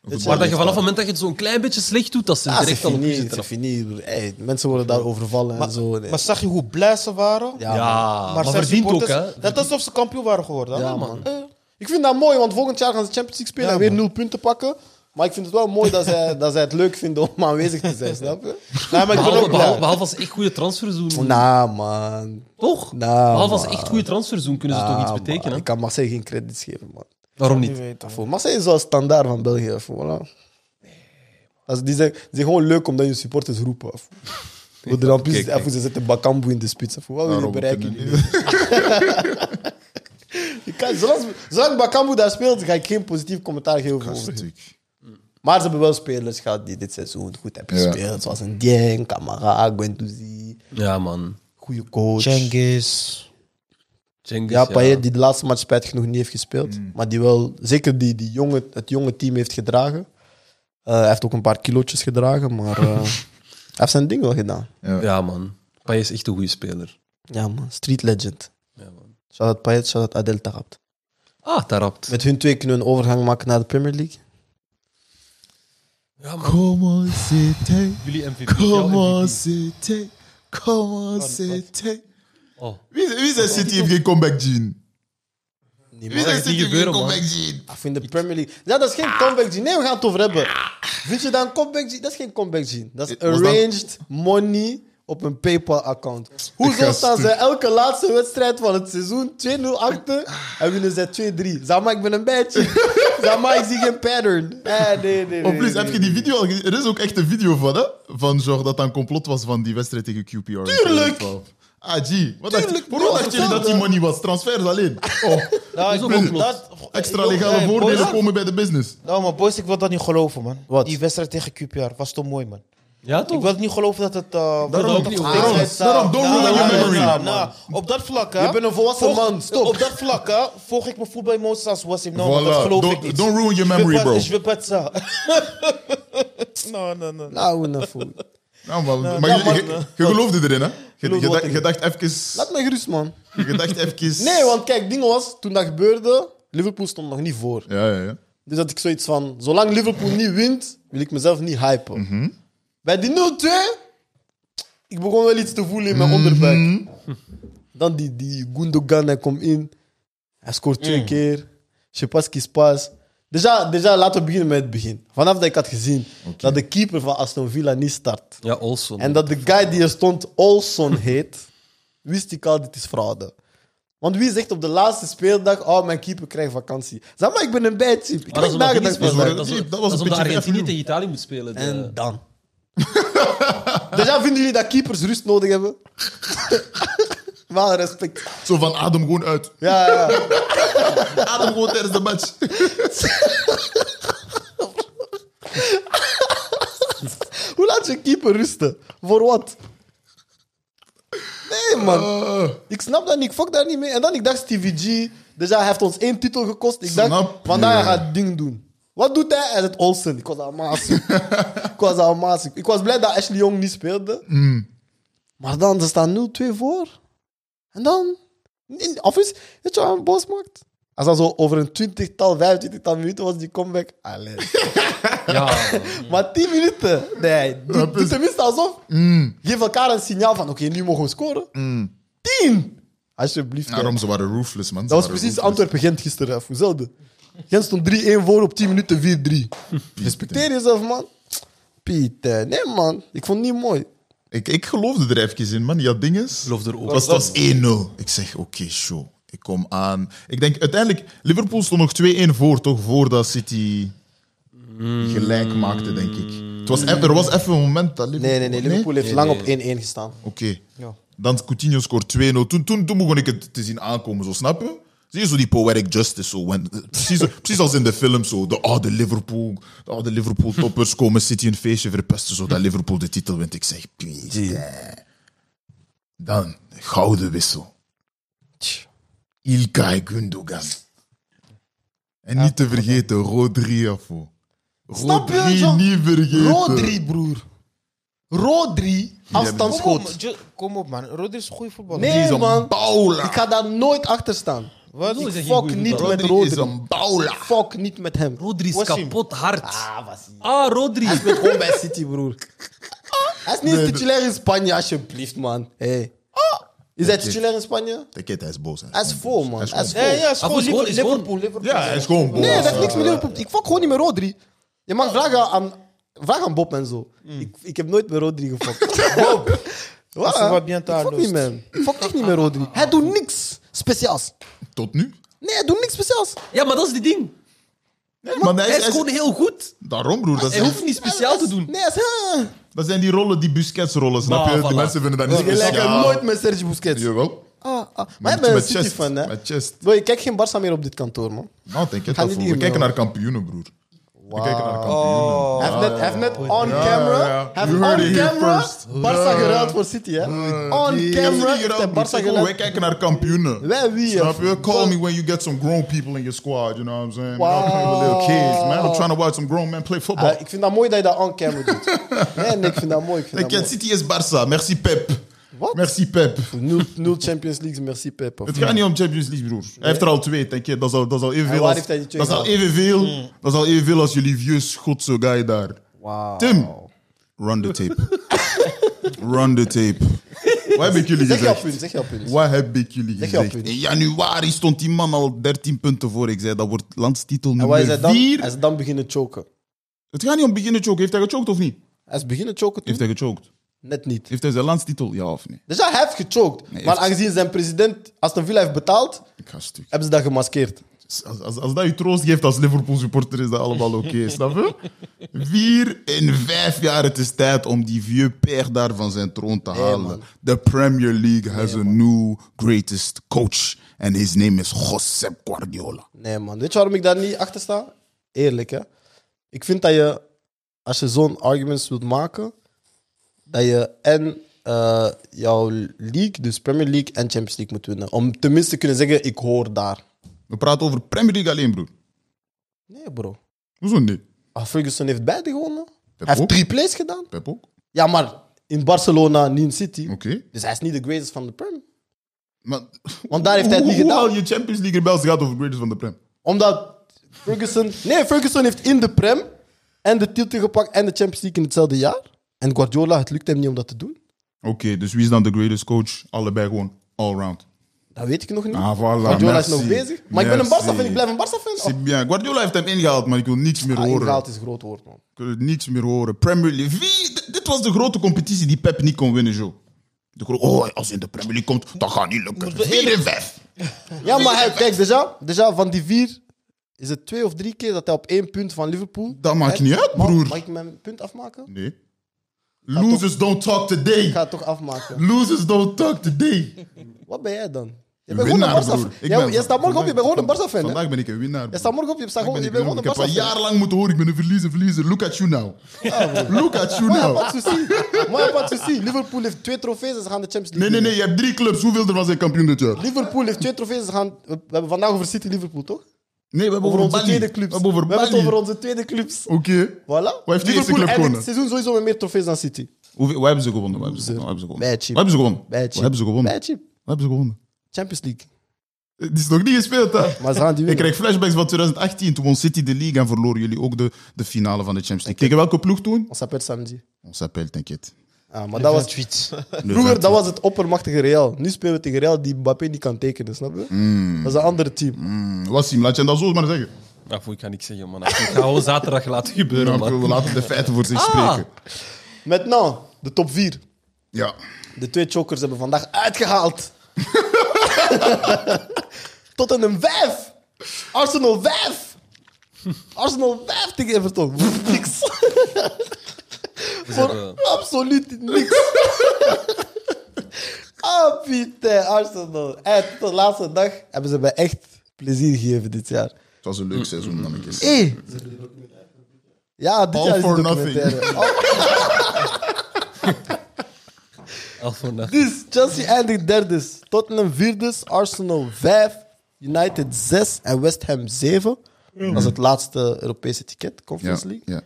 Speaker 1: dat
Speaker 4: Waar dat je vanaf het moment dat je het zo'n klein beetje slecht doet, dat ze
Speaker 1: Ja,
Speaker 4: direct al op je
Speaker 1: Ah, niet,
Speaker 4: zitten.
Speaker 1: mensen worden daar overvallen en zo. nee.
Speaker 6: Maar zag je hoe blij ze waren?
Speaker 1: ja, man.
Speaker 4: Ja, maar
Speaker 6: zijn
Speaker 4: verdient ook,
Speaker 6: supporters-
Speaker 4: hè?
Speaker 6: Dat is alsof ze kampioen waren geworden. hè?
Speaker 1: Ja, man. Ik vind dat mooi, want volgend jaar gaan ze Champions League spelen en weer nul punten pakken. Maar ik vind het wel mooi dat zij, dat zij het leuk vinden om aanwezig te zijn, snap je?
Speaker 6: Nee, maar ik ben
Speaker 4: Behalve,
Speaker 6: ook blij.
Speaker 4: behalve, behalve als ze echt goede transfers doen,
Speaker 1: Nou, man.
Speaker 4: toch?
Speaker 1: Nou,
Speaker 4: behalve als ze
Speaker 1: man.
Speaker 4: echt goede transfers doen, kunnen ze toch
Speaker 1: Ah,
Speaker 4: iets
Speaker 1: man.
Speaker 4: betekenen?
Speaker 1: Ik kan Marseille geen credits geven, man.
Speaker 4: Waarom niet?
Speaker 1: Daarvoor. Marseille is wel standaard van België. Voilà. Dat is- die, zijn, die zijn gewoon leuk omdat je supporters roepen. af. Voor de rampjes,
Speaker 4: kijk,
Speaker 1: af, ze zetten Bakambu in de spits. af. Wat
Speaker 4: Nou,
Speaker 1: wil je
Speaker 5: Waarom
Speaker 1: bereiken?
Speaker 5: kunnen
Speaker 1: jullie? Je kan- Zolang, zolang Bakambu daar speelt, ga ik geen positief commentaar geven over hem.
Speaker 5: Natuurlijk.
Speaker 1: Maar ze hebben wel spelers gehad die dit seizoen goed hebben
Speaker 5: Ja.
Speaker 1: gespeeld. Zoals een Dieng, Camara, Guendouzi.
Speaker 4: Ja, man.
Speaker 1: Goede coach.
Speaker 6: Cengiz.
Speaker 4: Cengiz,
Speaker 1: Ja, Payet die de laatste match spijtig genoeg niet heeft gespeeld. Maar die wel, zeker die, die jonge, het jonge team heeft gedragen. Eh, hij heeft ook een paar kilootjes gedragen, maar eh, hij heeft zijn ding wel gedaan.
Speaker 4: Ja, man. Payet is echt een goede speler.
Speaker 1: Ja man, street legend.
Speaker 4: Ja, man.
Speaker 1: Shout-out Payet, shout-out Adel Tarabt.
Speaker 4: Ah, Tarapt.
Speaker 1: Met hun twee kunnen we een overgang maken naar de Premier League.
Speaker 4: Ja, man.
Speaker 5: Comment c'était,
Speaker 4: Jullie MVP.
Speaker 5: comment c'était, comment c'était.
Speaker 4: Oh.
Speaker 5: Wie, wie zijn City heeft geen comeback Jean? Wie
Speaker 1: Niemand.
Speaker 5: zijn
Speaker 4: het
Speaker 5: City
Speaker 4: niet
Speaker 5: heeft geen
Speaker 4: gebeuren, man?
Speaker 5: comeback Jean?
Speaker 1: Ik vind de Premier League... Ja, dat is geen comeback gene. Nee, we gaan het over hebben. Vind je dat een comeback gene? Dat is geen comeback gene. Dat is
Speaker 5: Was dat-
Speaker 1: arranged money op een PayPal-account. Hoezo
Speaker 5: ga
Speaker 1: staan ze
Speaker 5: stuk.
Speaker 1: elke laatste wedstrijd van het seizoen 2-0 achter en winnen ze 2-3? Zama, ik ben een beetje. Zama, ik zie geen pattern. Eh, nee, nee,
Speaker 5: Oh,
Speaker 1: nee,
Speaker 5: plus,
Speaker 1: nee,
Speaker 5: heb je die video al gezien? Er is ook echt een video van, hè? Van George dat dat een complot was van die wedstrijd tegen QPR.
Speaker 1: Tuurlijk!
Speaker 5: Ah, G. Wat dacht,
Speaker 1: Tuurlijk,
Speaker 5: waarom
Speaker 1: dat was
Speaker 5: dacht jullie dat die
Speaker 1: hetzelfde.
Speaker 5: money was? Transfers alleen. Oh,
Speaker 6: Nou, ik
Speaker 4: ook
Speaker 6: wil
Speaker 4: complot.
Speaker 6: dat-
Speaker 5: extra
Speaker 6: Yo,
Speaker 5: legale
Speaker 6: hey,
Speaker 5: voordelen
Speaker 6: boys.
Speaker 5: komen bij de business.
Speaker 6: Nou, maar boys, ik wil dat niet geloven, man.
Speaker 1: Wat?
Speaker 6: Die wedstrijd tegen QPR was toch mooi, man.
Speaker 4: Ja,
Speaker 6: Ik
Speaker 4: toch?
Speaker 6: wil niet geloven dat het... eh
Speaker 5: Daarom,
Speaker 4: ook niet
Speaker 5: daarom,
Speaker 4: over.
Speaker 5: daarom, daarom, don't
Speaker 6: Nou,
Speaker 5: ruin
Speaker 6: nou,
Speaker 5: your
Speaker 6: nou,
Speaker 5: memory.
Speaker 6: nou, nou, op dat vlak, hè.
Speaker 1: Je bent een volwassen man, stop.
Speaker 6: Op dat vlak, hè, volg ik mijn voetbalmoties als Wassim. Nou, maar dat
Speaker 5: Voilà,
Speaker 6: geloof ik
Speaker 5: don't,
Speaker 6: niet.
Speaker 5: don't ruin your memory, bro.
Speaker 6: Je wil pas ça. No, no, no.
Speaker 1: Nou, nou, fool.
Speaker 5: Nou, maar, maar je, je- je geloofde erin, hè? Je, je, dacht, je dacht even...
Speaker 1: Laat me gerust, man.
Speaker 5: Je dacht even...
Speaker 1: Nee, want kijk, ding was, toen dat gebeurde, Liverpool stond nog niet voor.
Speaker 5: Ja, ja, ja.
Speaker 1: Dus dat ik zoiets van, zolang Liverpool niet wint, wil ik mezelf niet hypen. Bij die 0-2, ik begon wel iets te voelen in mijn
Speaker 4: Mhm.
Speaker 5: Mhm.
Speaker 1: onderbuik. Dan die, die Gundogan, hij komt in. Hij scoort twee keer. Je sais pas ce qui se passe. Déjà, déjà, laten we beginnen met het begin. Vanaf dat ik had gezien dat de keeper van Aston Villa niet start.
Speaker 4: Ja, Olson.
Speaker 1: En dat de guy die er stond Olson heet, wist ik al, dit is fraude. Want wie zegt op de laatste speeldag, oh, mijn keeper krijgt vakantie. Zeg maar, ik ben een bijchip. Ik
Speaker 4: Maar
Speaker 1: heb
Speaker 4: dat is omdat
Speaker 1: nagedacht
Speaker 4: Griezmann-
Speaker 1: van zijn.
Speaker 5: was-
Speaker 4: dat is-
Speaker 5: Nee, dat was
Speaker 4: dat is
Speaker 5: een
Speaker 4: omdat
Speaker 5: beetje
Speaker 4: Argentinië
Speaker 5: afternoon.
Speaker 4: tegen Italië moet spelen. de-
Speaker 1: En dan. Déjà vinden jullie dat keepers rust nodig hebben? Wel respect.
Speaker 5: Zo van adem gewoon uit.
Speaker 1: Ja, ja, ja.
Speaker 5: Adem gewoon tijdens de match.
Speaker 1: Hoe laat je een keeper rusten? Voor wat? Nee, man.
Speaker 5: Eh,
Speaker 1: Ik snap dat niet. Ik fuck daar niet mee. En dan ik dacht Stevie G. Dus hij heeft ons één titel gekost. Ik dacht,
Speaker 5: Snap je?
Speaker 1: vandaag hij gaat ding doen. Wat doet hij? Hij zet Olsen. Ik was aan maas. ik was aan maas. Ik was blij dat Ashley Young niet speelde.
Speaker 5: Mm.
Speaker 1: Maar dan, ze staan 0-2 voor. En dan... in- Of is... Weet je wat hem boos maakt? Als dat zo over een twintigtal, vijfentwintigtal minuten was, die comeback. Allee.
Speaker 4: Ja,
Speaker 1: maar tien minuten? Nee. Doe, doe tenminste alsof... Geef elkaar een signaal van, oké, nu mogen we scoren. Tien! Alsjeblieft. hè.
Speaker 5: daarom, ze waren roofless, man. Ze
Speaker 1: Dat was
Speaker 5: waren
Speaker 1: precies
Speaker 5: ruthless.
Speaker 1: Antwerpen-Gent gisteren. hè. Hetzelfde. Gent stond 3-1 voor op 10 minuten 4-3. Respecteer jezelf, man. Pieter, nee, man. Ik vond het niet mooi.
Speaker 5: Ik, ik geloofde er even in, man. Ja, dinges.
Speaker 4: Geloofde er ook.
Speaker 5: Het was, het was 1-0. Ik zeg, oké, show. Ik kom aan. Ik denk, uiteindelijk... Liverpool stond nog 2-1 voor, toch? Voordat City gelijk maakte, denk ik. Het was, eff- er was even een moment dat Liverpool...
Speaker 1: Nee, nee, nee. Liverpool heeft lang op 1-1 gestaan.
Speaker 5: Oké.
Speaker 6: Ja.
Speaker 5: Dan Coutinho scoort 2-0. Toen, toen, toen begon ik het te zien aankomen, zo snap je? Zie je zo die poetic justice? Zo, when- precies, precies als in de film, zo. De oude Liverpool, de oude Liverpool toppers komen City een feestje verpesten, zodat Liverpool de titel wint. Ik zeg, putain. Dan, gouden wissel. Ilkay Gundogan. En niet te vergeten, Rodri, afo.
Speaker 1: Snap je,
Speaker 5: Rodri
Speaker 1: John?
Speaker 5: niet vergeten.
Speaker 1: Rodri, broer. Rodri
Speaker 6: Kom op,
Speaker 1: afstandsschoot.
Speaker 6: Jo- kom op, man. Rodri is een goede voetballer.
Speaker 1: Nee,
Speaker 5: Die is een
Speaker 1: man.
Speaker 5: bowler.
Speaker 1: Ik ga daar nooit achter staan.
Speaker 6: Wat?
Speaker 1: Ik
Speaker 4: is dat geen
Speaker 1: fuck
Speaker 4: goeie
Speaker 1: niet met
Speaker 5: Rodri is
Speaker 1: Rodri.
Speaker 5: een bowler.
Speaker 1: Fuck niet met hem.
Speaker 4: Rodri is
Speaker 6: Was hem.
Speaker 4: kapot hard.
Speaker 1: Ah, was hij.
Speaker 4: Ah, Rodri.
Speaker 1: Hij speelt gewoon bij City, broer. Hij is niet
Speaker 5: Nee,
Speaker 1: titulair in Spanje, alsjeblieft, man. Hey. Is hij titulair in Spanje?
Speaker 5: De kid, hij is boos. Hij
Speaker 1: Hij is vol, man. Hij is vol.
Speaker 6: Ja, ja, is
Speaker 4: Maar
Speaker 6: gewoon
Speaker 4: goed,
Speaker 6: Liverpool.
Speaker 4: is gewoon-
Speaker 6: Liverpool, Liverpool.
Speaker 5: Ja, hij is gewoon boos.
Speaker 1: Nee, dat heeft niks met Liverpool. Ik fuck gewoon niet met Rodri. Je mag vragen aan, vraag aan Bob en zo. Ik, ik heb nooit met Rodri gefokt. Bob. Wat?
Speaker 6: Als ze wat bien
Speaker 1: ik
Speaker 6: taal
Speaker 1: fuck niet
Speaker 6: lust.
Speaker 1: met hem. Ik fuck echt niet met Rodri. Hij doet niks speciaals.
Speaker 5: Tot nu.
Speaker 1: Nee, hij doet niks speciaals.
Speaker 4: Ja, maar dat is die ding.
Speaker 5: maar hij is,
Speaker 4: Hij is
Speaker 5: hij is-
Speaker 4: gewoon heel goed.
Speaker 5: Daarom, broer. Dat
Speaker 4: Hij
Speaker 5: zijn,
Speaker 4: hoeft niet speciaal te doen.
Speaker 1: Nee, hij is... huh.
Speaker 5: dat zijn die rollen, die Busquets-rollen, snap
Speaker 4: Bah,
Speaker 5: je?
Speaker 4: voilà.
Speaker 5: De mensen vinden dat niet
Speaker 1: Ah, Je lijkt
Speaker 5: speciaal.
Speaker 1: nooit met Serge Busquets.
Speaker 5: Jawel.
Speaker 1: Ah, ah.
Speaker 5: Maar
Speaker 1: Maar
Speaker 5: niet
Speaker 1: ik ben een
Speaker 5: met chest.
Speaker 1: City-fan, hè.
Speaker 5: Met chest.
Speaker 1: Bro, je kijkt geen Barça meer op dit kantoor, man.
Speaker 5: Nou, denk
Speaker 1: Ga
Speaker 5: ik
Speaker 1: niet
Speaker 5: dat voor. We
Speaker 1: hiermee, hoor.
Speaker 5: kijken naar kampioenen, broer. We kijken naar kampioenen.
Speaker 6: Oh.
Speaker 1: Hij heeft net, hij heeft net on
Speaker 5: Ja,
Speaker 1: camera,
Speaker 5: ja, ja.
Speaker 1: hij heeft
Speaker 5: You heard
Speaker 1: on
Speaker 5: it here
Speaker 1: camera
Speaker 5: first.
Speaker 1: Barça geruild voor City, hè? On camera heeft hij Barça
Speaker 5: Wij
Speaker 1: geruild.
Speaker 5: kijken naar kampioenen.
Speaker 1: Wij wie, hè?
Speaker 5: Snap je? Call me when you get some grown people in your squad, you know what I'm saying? We're
Speaker 1: Wow.
Speaker 5: not playing with little kids, man. I'm trying to watch some grown men play football.
Speaker 1: Ah, ik vind dat mooi dat je dat on camera doet. Nee, nee, ik vind dat mooi. Ik vind
Speaker 5: Kijk,
Speaker 1: dat mooi.
Speaker 5: City is Barça. Merci Pep.
Speaker 1: Wat?
Speaker 5: Merci Pep.
Speaker 1: Nul, nul Champions League, merci Pep.
Speaker 5: Het gaat niet om Champions League, broer. Hij heeft er al twee, denk je. Dat is al, dat is al
Speaker 1: En
Speaker 5: evenveel
Speaker 1: waar
Speaker 5: als...
Speaker 1: heeft hij die twee Hmm.
Speaker 5: Dat is al
Speaker 1: gehaald?
Speaker 5: evenveel, dat is al evenveel als jullie vieux Schotse guy daar. Tim, run the tape. run the tape. Wat heb ik jullie
Speaker 1: Zeg jouw
Speaker 5: gezegd?
Speaker 1: punt, zeg jouw punt.
Speaker 5: Wat heb ik jullie
Speaker 1: Zeg jouw
Speaker 5: gezegd?
Speaker 1: punt.
Speaker 5: In januari stond die man al 13 punten voor. Ik zei, dat wordt landstitel
Speaker 1: En wat is
Speaker 5: nummer
Speaker 1: hij dan?
Speaker 5: 4.
Speaker 1: Hij is dan beginnen choken.
Speaker 5: Het gaat niet om beginnen choken. Heeft hij gechoked of niet?
Speaker 1: Hij is beginnen choken toen?
Speaker 5: Heeft hij gechoked?
Speaker 1: Net niet.
Speaker 5: Heeft hij zijn landstitel? Ja of nee?
Speaker 1: Dus hij heeft gechoked.
Speaker 5: Nee,
Speaker 1: maar
Speaker 5: heeft-
Speaker 1: aangezien zijn president Aston Villa heeft betaald,
Speaker 5: Ik ga stuk.
Speaker 1: hebben ze dat gemaskeerd.
Speaker 5: Als, als, als dat je troost geeft als Liverpool-supporter, is dat allemaal oké, snap je? Vier in vijf jaar, het is tijd om die vieux père daar van zijn troon te halen. De Premier League has a new greatest coach. And his name is Josep Guardiola.
Speaker 1: Nee, man. Weet je waarom ik daar niet achter sta? Eerlijk, hè. Ik vind dat je, als je zo'n arguments wilt maken, dat je en eh, jouw league, dus Premier League en Champions League moet winnen. Om tenminste te kunnen zeggen, ik hoor daar.
Speaker 5: We praten over Premier League alleen, broer.
Speaker 1: Nee, bro.
Speaker 5: Hoezo niet?
Speaker 1: Ah, Ferguson heeft beide gewonnen.
Speaker 5: Pep
Speaker 1: Hij heeft
Speaker 5: ook.
Speaker 1: drie plays gedaan.
Speaker 5: Pep ook?
Speaker 1: Ja, maar in Barcelona, niet in City.
Speaker 5: Oké.
Speaker 1: Dus hij is niet de greatest van de Prem.
Speaker 5: Maar
Speaker 1: Want daar heeft hij het
Speaker 5: hoe,
Speaker 1: niet
Speaker 5: hoe
Speaker 1: gedaan.
Speaker 5: haal je Champions League rebels gaat over greatest van de Prem?
Speaker 1: Omdat Ferguson... Nee, Ferguson heeft in de Prem en de titel gepakt en de Champions League in hetzelfde jaar. En Guardiola, het lukt hem niet om dat te doen.
Speaker 5: Oké, dus wie is dan de greatest coach? Allebei gewoon allround.
Speaker 1: Dat weet ik nog niet.
Speaker 5: Ah, voilà,
Speaker 1: Guardiola is
Speaker 5: merci.
Speaker 1: nog bezig. Maar ik ben een
Speaker 5: Merci.
Speaker 1: Barca fan, ik blijf een Barca fan.
Speaker 5: C'est bien. Guardiola heeft hem ingehaald, maar ik wil niets meer
Speaker 1: Oh, ah,
Speaker 5: horen.
Speaker 1: ingehaald is een groot woord, man.
Speaker 5: Ik wil niets meer horen. Premier League. Wie? D- dit was de grote competitie die Pep niet kon winnen, Jo. De gro- oh, als hij in de Premier League komt, dat gaat niet lukken. 4 en 5.
Speaker 1: Ja, maar hij, kijk, déjà, déjà van die vier is het twee of drie keer dat hij op één punt van Liverpool...
Speaker 5: Dat maakt
Speaker 1: Hè?
Speaker 5: niet uit,
Speaker 1: Mag-
Speaker 5: broer.
Speaker 1: Mag ik mijn punt afmaken?
Speaker 5: Nee. Losers don't talk
Speaker 1: Ik
Speaker 5: today.
Speaker 1: ga het toch afmaken.
Speaker 5: Losers don't talk today.
Speaker 1: Wat ben jij dan? Je bent gewoon een
Speaker 5: Winnaar,
Speaker 1: Barca fan.
Speaker 5: broer. Ik
Speaker 1: Jij-
Speaker 5: ben-
Speaker 1: Jij staat morgen op, je bent gewoon een Barca fan. hè?
Speaker 5: Vandaag ben ik een winnaar.
Speaker 1: Jij
Speaker 5: broer.
Speaker 1: staat morgen op, je staat
Speaker 5: Ik
Speaker 1: gewoon-
Speaker 5: ben
Speaker 1: je
Speaker 5: een
Speaker 1: bent
Speaker 5: winnaar.
Speaker 1: gewoon
Speaker 5: Ik
Speaker 1: een
Speaker 5: heb
Speaker 1: Barca
Speaker 5: al
Speaker 1: fan.
Speaker 5: jarenlang moeten horen, ik ben een verliezer, verliezer. Look at you now. Look at you
Speaker 1: Maar ja,
Speaker 5: now.
Speaker 1: pas souci. Maar ja, pas souci. Liverpool heeft twee trofees en ze gaan de Champions League.
Speaker 5: Nee, nee,
Speaker 1: winnen.
Speaker 5: nee, je hebt drie clubs. Hoeveel er was zijn kampioen dit jaar?
Speaker 1: Liverpool heeft twee trofees. Ze gaan... We hebben vandaag over City Liverpool, toch?
Speaker 5: Nee, we hebben
Speaker 1: Over onze
Speaker 5: Bali.
Speaker 1: tweede
Speaker 5: We
Speaker 1: clubs.
Speaker 5: hebben over
Speaker 1: We hebben het
Speaker 5: Bali.
Speaker 1: over onze tweede clubs.
Speaker 5: Oké.
Speaker 1: Voilà.
Speaker 5: Waar heeft de eerste
Speaker 1: Liverpool eh,
Speaker 5: club
Speaker 1: eindigt
Speaker 5: gewonnen?
Speaker 1: het seizoen sowieso met meer trofees dan City.
Speaker 5: Hoeveel- Waar hebben ze gewonnen? Waar hebben ze
Speaker 1: Zero.
Speaker 5: gewonnen? Waar hebben
Speaker 1: Bij
Speaker 5: ze gewonnen?
Speaker 1: cheap.
Speaker 5: Waar hebben ze gewonnen? Waar
Speaker 1: Bij cheap.
Speaker 5: hebben ze gewonnen?
Speaker 1: Bij cheap.
Speaker 5: Waar hebben ze gewonnen?
Speaker 1: Champions League.
Speaker 5: Het is nog niet gespeeld, hè?
Speaker 1: Maar ze gaan die
Speaker 5: Ik
Speaker 1: winnen.
Speaker 5: krijg flashbacks van 2018. Toen won City de league en verloren jullie ook de, de finale van de Champions League. Tegen welke ploeg toen?
Speaker 1: On s'appelle samedi.
Speaker 5: On s'appelle, t'inquiète.
Speaker 1: Ah, maar dat was...
Speaker 6: tweet.
Speaker 1: Vroeger, dat was het oppermachtige Real. Nu spelen we tegen Real die Mbappé niet kan tekenen, snap je? Dat is een ander team.
Speaker 5: Wassim, laat je dat zo maar zeggen.
Speaker 4: Ja, voor Ah, ik ga niks zeggen, man. Ik ga gewoon zaterdag laten gebeuren,
Speaker 5: Dan-
Speaker 4: man.
Speaker 5: We laten de feiten voor zich
Speaker 4: Ah.
Speaker 5: spreken.
Speaker 1: Maintenant, de top 4.
Speaker 5: Ja.
Speaker 1: De twee chokers hebben vandaag uitgehaald. Tot een 5. Arsenal 5. Arsenal 5 tegen Everton. Niks. Voor
Speaker 4: hebben-
Speaker 1: absoluut niks. Ah, Pieter, Arsenal. En tot de laatste dag hebben ze mij echt plezier gegeven dit jaar.
Speaker 5: Het was een leuk seizoen, mannetjes.
Speaker 1: Hé. Ja, dit
Speaker 5: All
Speaker 1: jaar is
Speaker 5: for
Speaker 1: een documentaire. Al-
Speaker 4: Elf voor nacht.
Speaker 1: Dus Chelsea eindigt derde. Tottenham vierde. Arsenal vijf. United zes. En West Ham zeven. Dat is het laatste Europese ticket, Conference
Speaker 5: Ja.
Speaker 1: League.
Speaker 5: ja.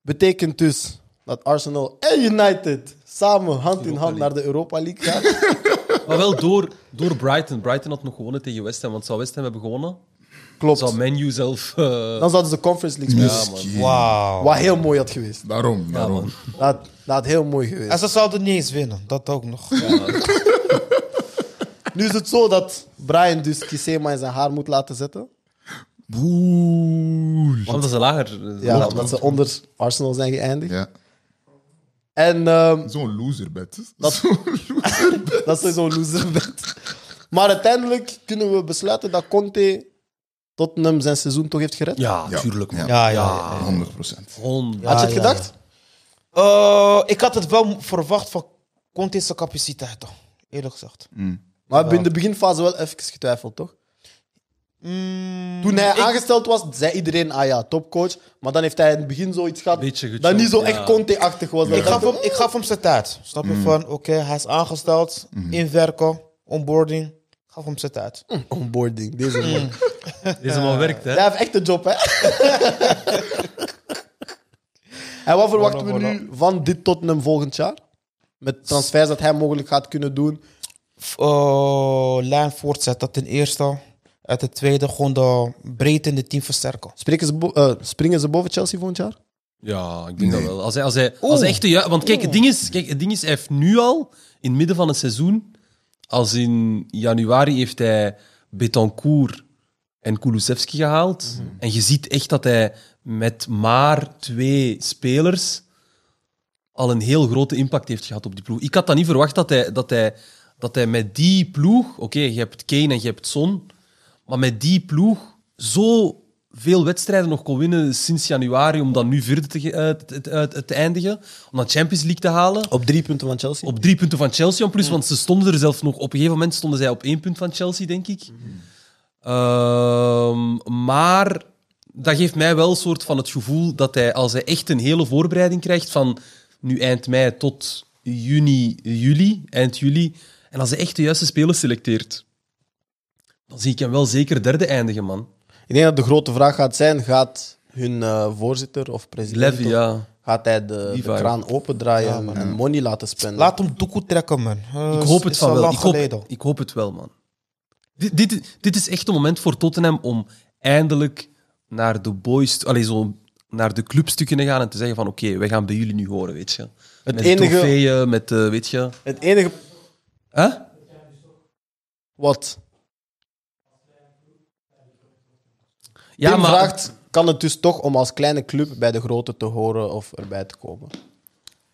Speaker 1: Betekent dus dat Arsenal en United samen hand in hand naar de Europa League gaan.
Speaker 4: Maar wel door, door Brighton. Brighton had nog gewonnen tegen West Ham. Want zou West Ham hebben gewonnen, zou
Speaker 1: Klopt.
Speaker 4: Menu zelf... eh,
Speaker 1: Dan zouden ze de Conference League spelen.
Speaker 5: Misschien.
Speaker 6: Wauw.
Speaker 1: Wat heel mooi had geweest.
Speaker 5: Daarom, daarom.
Speaker 1: Dat, dat had heel mooi geweest.
Speaker 6: En ze zouden niet eens winnen. Dat ook nog.
Speaker 1: Nu is het zo dat Brian dus Kisema in zijn haar moet laten zetten.
Speaker 5: Boel.
Speaker 4: omdat ze lager... eh,
Speaker 1: Ja,
Speaker 4: lager-
Speaker 1: omdat ze onder Arsenal zijn geëindigd.
Speaker 5: Ja.
Speaker 1: En ehm,
Speaker 5: Zo'n loserbed.
Speaker 1: Dat- dat is zo'n loser bent. Maar uiteindelijk kunnen we besluiten dat Conte Tottenham zijn seizoen toch heeft gered.
Speaker 4: Ja,
Speaker 5: Ja.
Speaker 4: tuurlijk. man.
Speaker 6: Ja, ja.
Speaker 5: Ja, 100 procent.
Speaker 4: Honderd.
Speaker 1: Had je het
Speaker 6: Ja, ja.
Speaker 1: gedacht?
Speaker 6: Eh, ik had het wel verwacht van Conte's capaciteiten. Eerlijk gezegd.
Speaker 1: Maar we hebben in de beginfase wel even getwijfeld, toch?
Speaker 6: Mm,
Speaker 1: Toen hij
Speaker 6: ik-
Speaker 1: aangesteld was, zei iedereen, ah ja, topcoach. Maar dan heeft hij in het begin zoiets gehad
Speaker 4: Beetje gechoked,
Speaker 1: dat niet zo echt
Speaker 4: ja.
Speaker 1: Conte-achtig was. Dat
Speaker 6: Ik gaf,
Speaker 1: dacht,
Speaker 6: hem, ik gaf hem zijn tijd. Snap je? Van, oké, hij is aangesteld. Inwerken, onboarding. Ik gaf hem zijn tijd.
Speaker 1: "Oh, Onboarding, deze man.
Speaker 4: Deze man werkt, hè?
Speaker 1: Hij heeft echt een job, hè? en wat verwachten we nu van dit Tottenham volgend jaar? Met transfers dat hij mogelijk gaat kunnen doen.
Speaker 6: F- eh, lijn voortzetten, dat ten eerste. Uit de tweede, gewoon de breedte in het team versterken.
Speaker 1: Spreken ze bo- eh, springen ze boven Chelsea volgend jaar?
Speaker 4: Ja, ik denk dat wel. Als hij, als hij, als hij echt de ju- Want kijk het, ding is, kijk, het ding is, hij heeft nu al, in het midden van het seizoen, als in januari heeft hij Betancourt en Kulusevski gehaald. En je ziet echt dat hij met maar twee spelers al een heel grote impact heeft gehad op die ploeg. Ik had dan niet verwacht dat hij, dat hij, dat hij met die ploeg... Oké, je hebt Kane en je hebt Son. Maar met die ploeg zo veel wedstrijden nog kon winnen sinds januari... om dan nu verder te, ge- eh, te, te- te- te eindigen. Om dan Champions League te halen.
Speaker 1: Op drie punten van Chelsea.
Speaker 4: Op drie punten van Chelsea, en plus, want ze stonden er zelf nog. Op een gegeven moment stonden zij op één punt van Chelsea, denk ik. Ehm, maar dat geeft mij wel een soort van het gevoel dat hij, als hij echt een hele voorbereiding krijgt, van nu eind mei tot juni, juli, eind juli, en als hij echt de juiste spelers selecteert, dan zie ik hem wel zeker derde eindigen, man.
Speaker 1: Ik denk dat de grote vraag gaat zijn, gaat hun eh, voorzitter of president...
Speaker 4: Levy,
Speaker 1: of-
Speaker 4: ja.
Speaker 1: Gaat hij de, de
Speaker 4: vibe.
Speaker 1: kraan opendraaien en money laten spenden?
Speaker 6: Laat hem doekoe trekken, man. Eh,
Speaker 4: Ik hoop het
Speaker 6: is
Speaker 4: van
Speaker 6: al
Speaker 4: wel.
Speaker 6: lang
Speaker 4: Ik hoop,
Speaker 6: geleden.
Speaker 4: ik hoop het wel, man. Dit, dit, dit is echt het moment voor Tottenham om eindelijk naar de boys, allee, zo naar de clubs te kunnen gaan en te zeggen van oké, wij gaan bij jullie nu horen, weet je. Het met
Speaker 1: enige-
Speaker 4: de trofeeën, met eh, weet je.
Speaker 1: Het enige
Speaker 4: Huh?
Speaker 1: wat
Speaker 4: Ja,
Speaker 1: Tim vraagt, kan het dus toch om als kleine club bij de grote te horen of erbij te komen?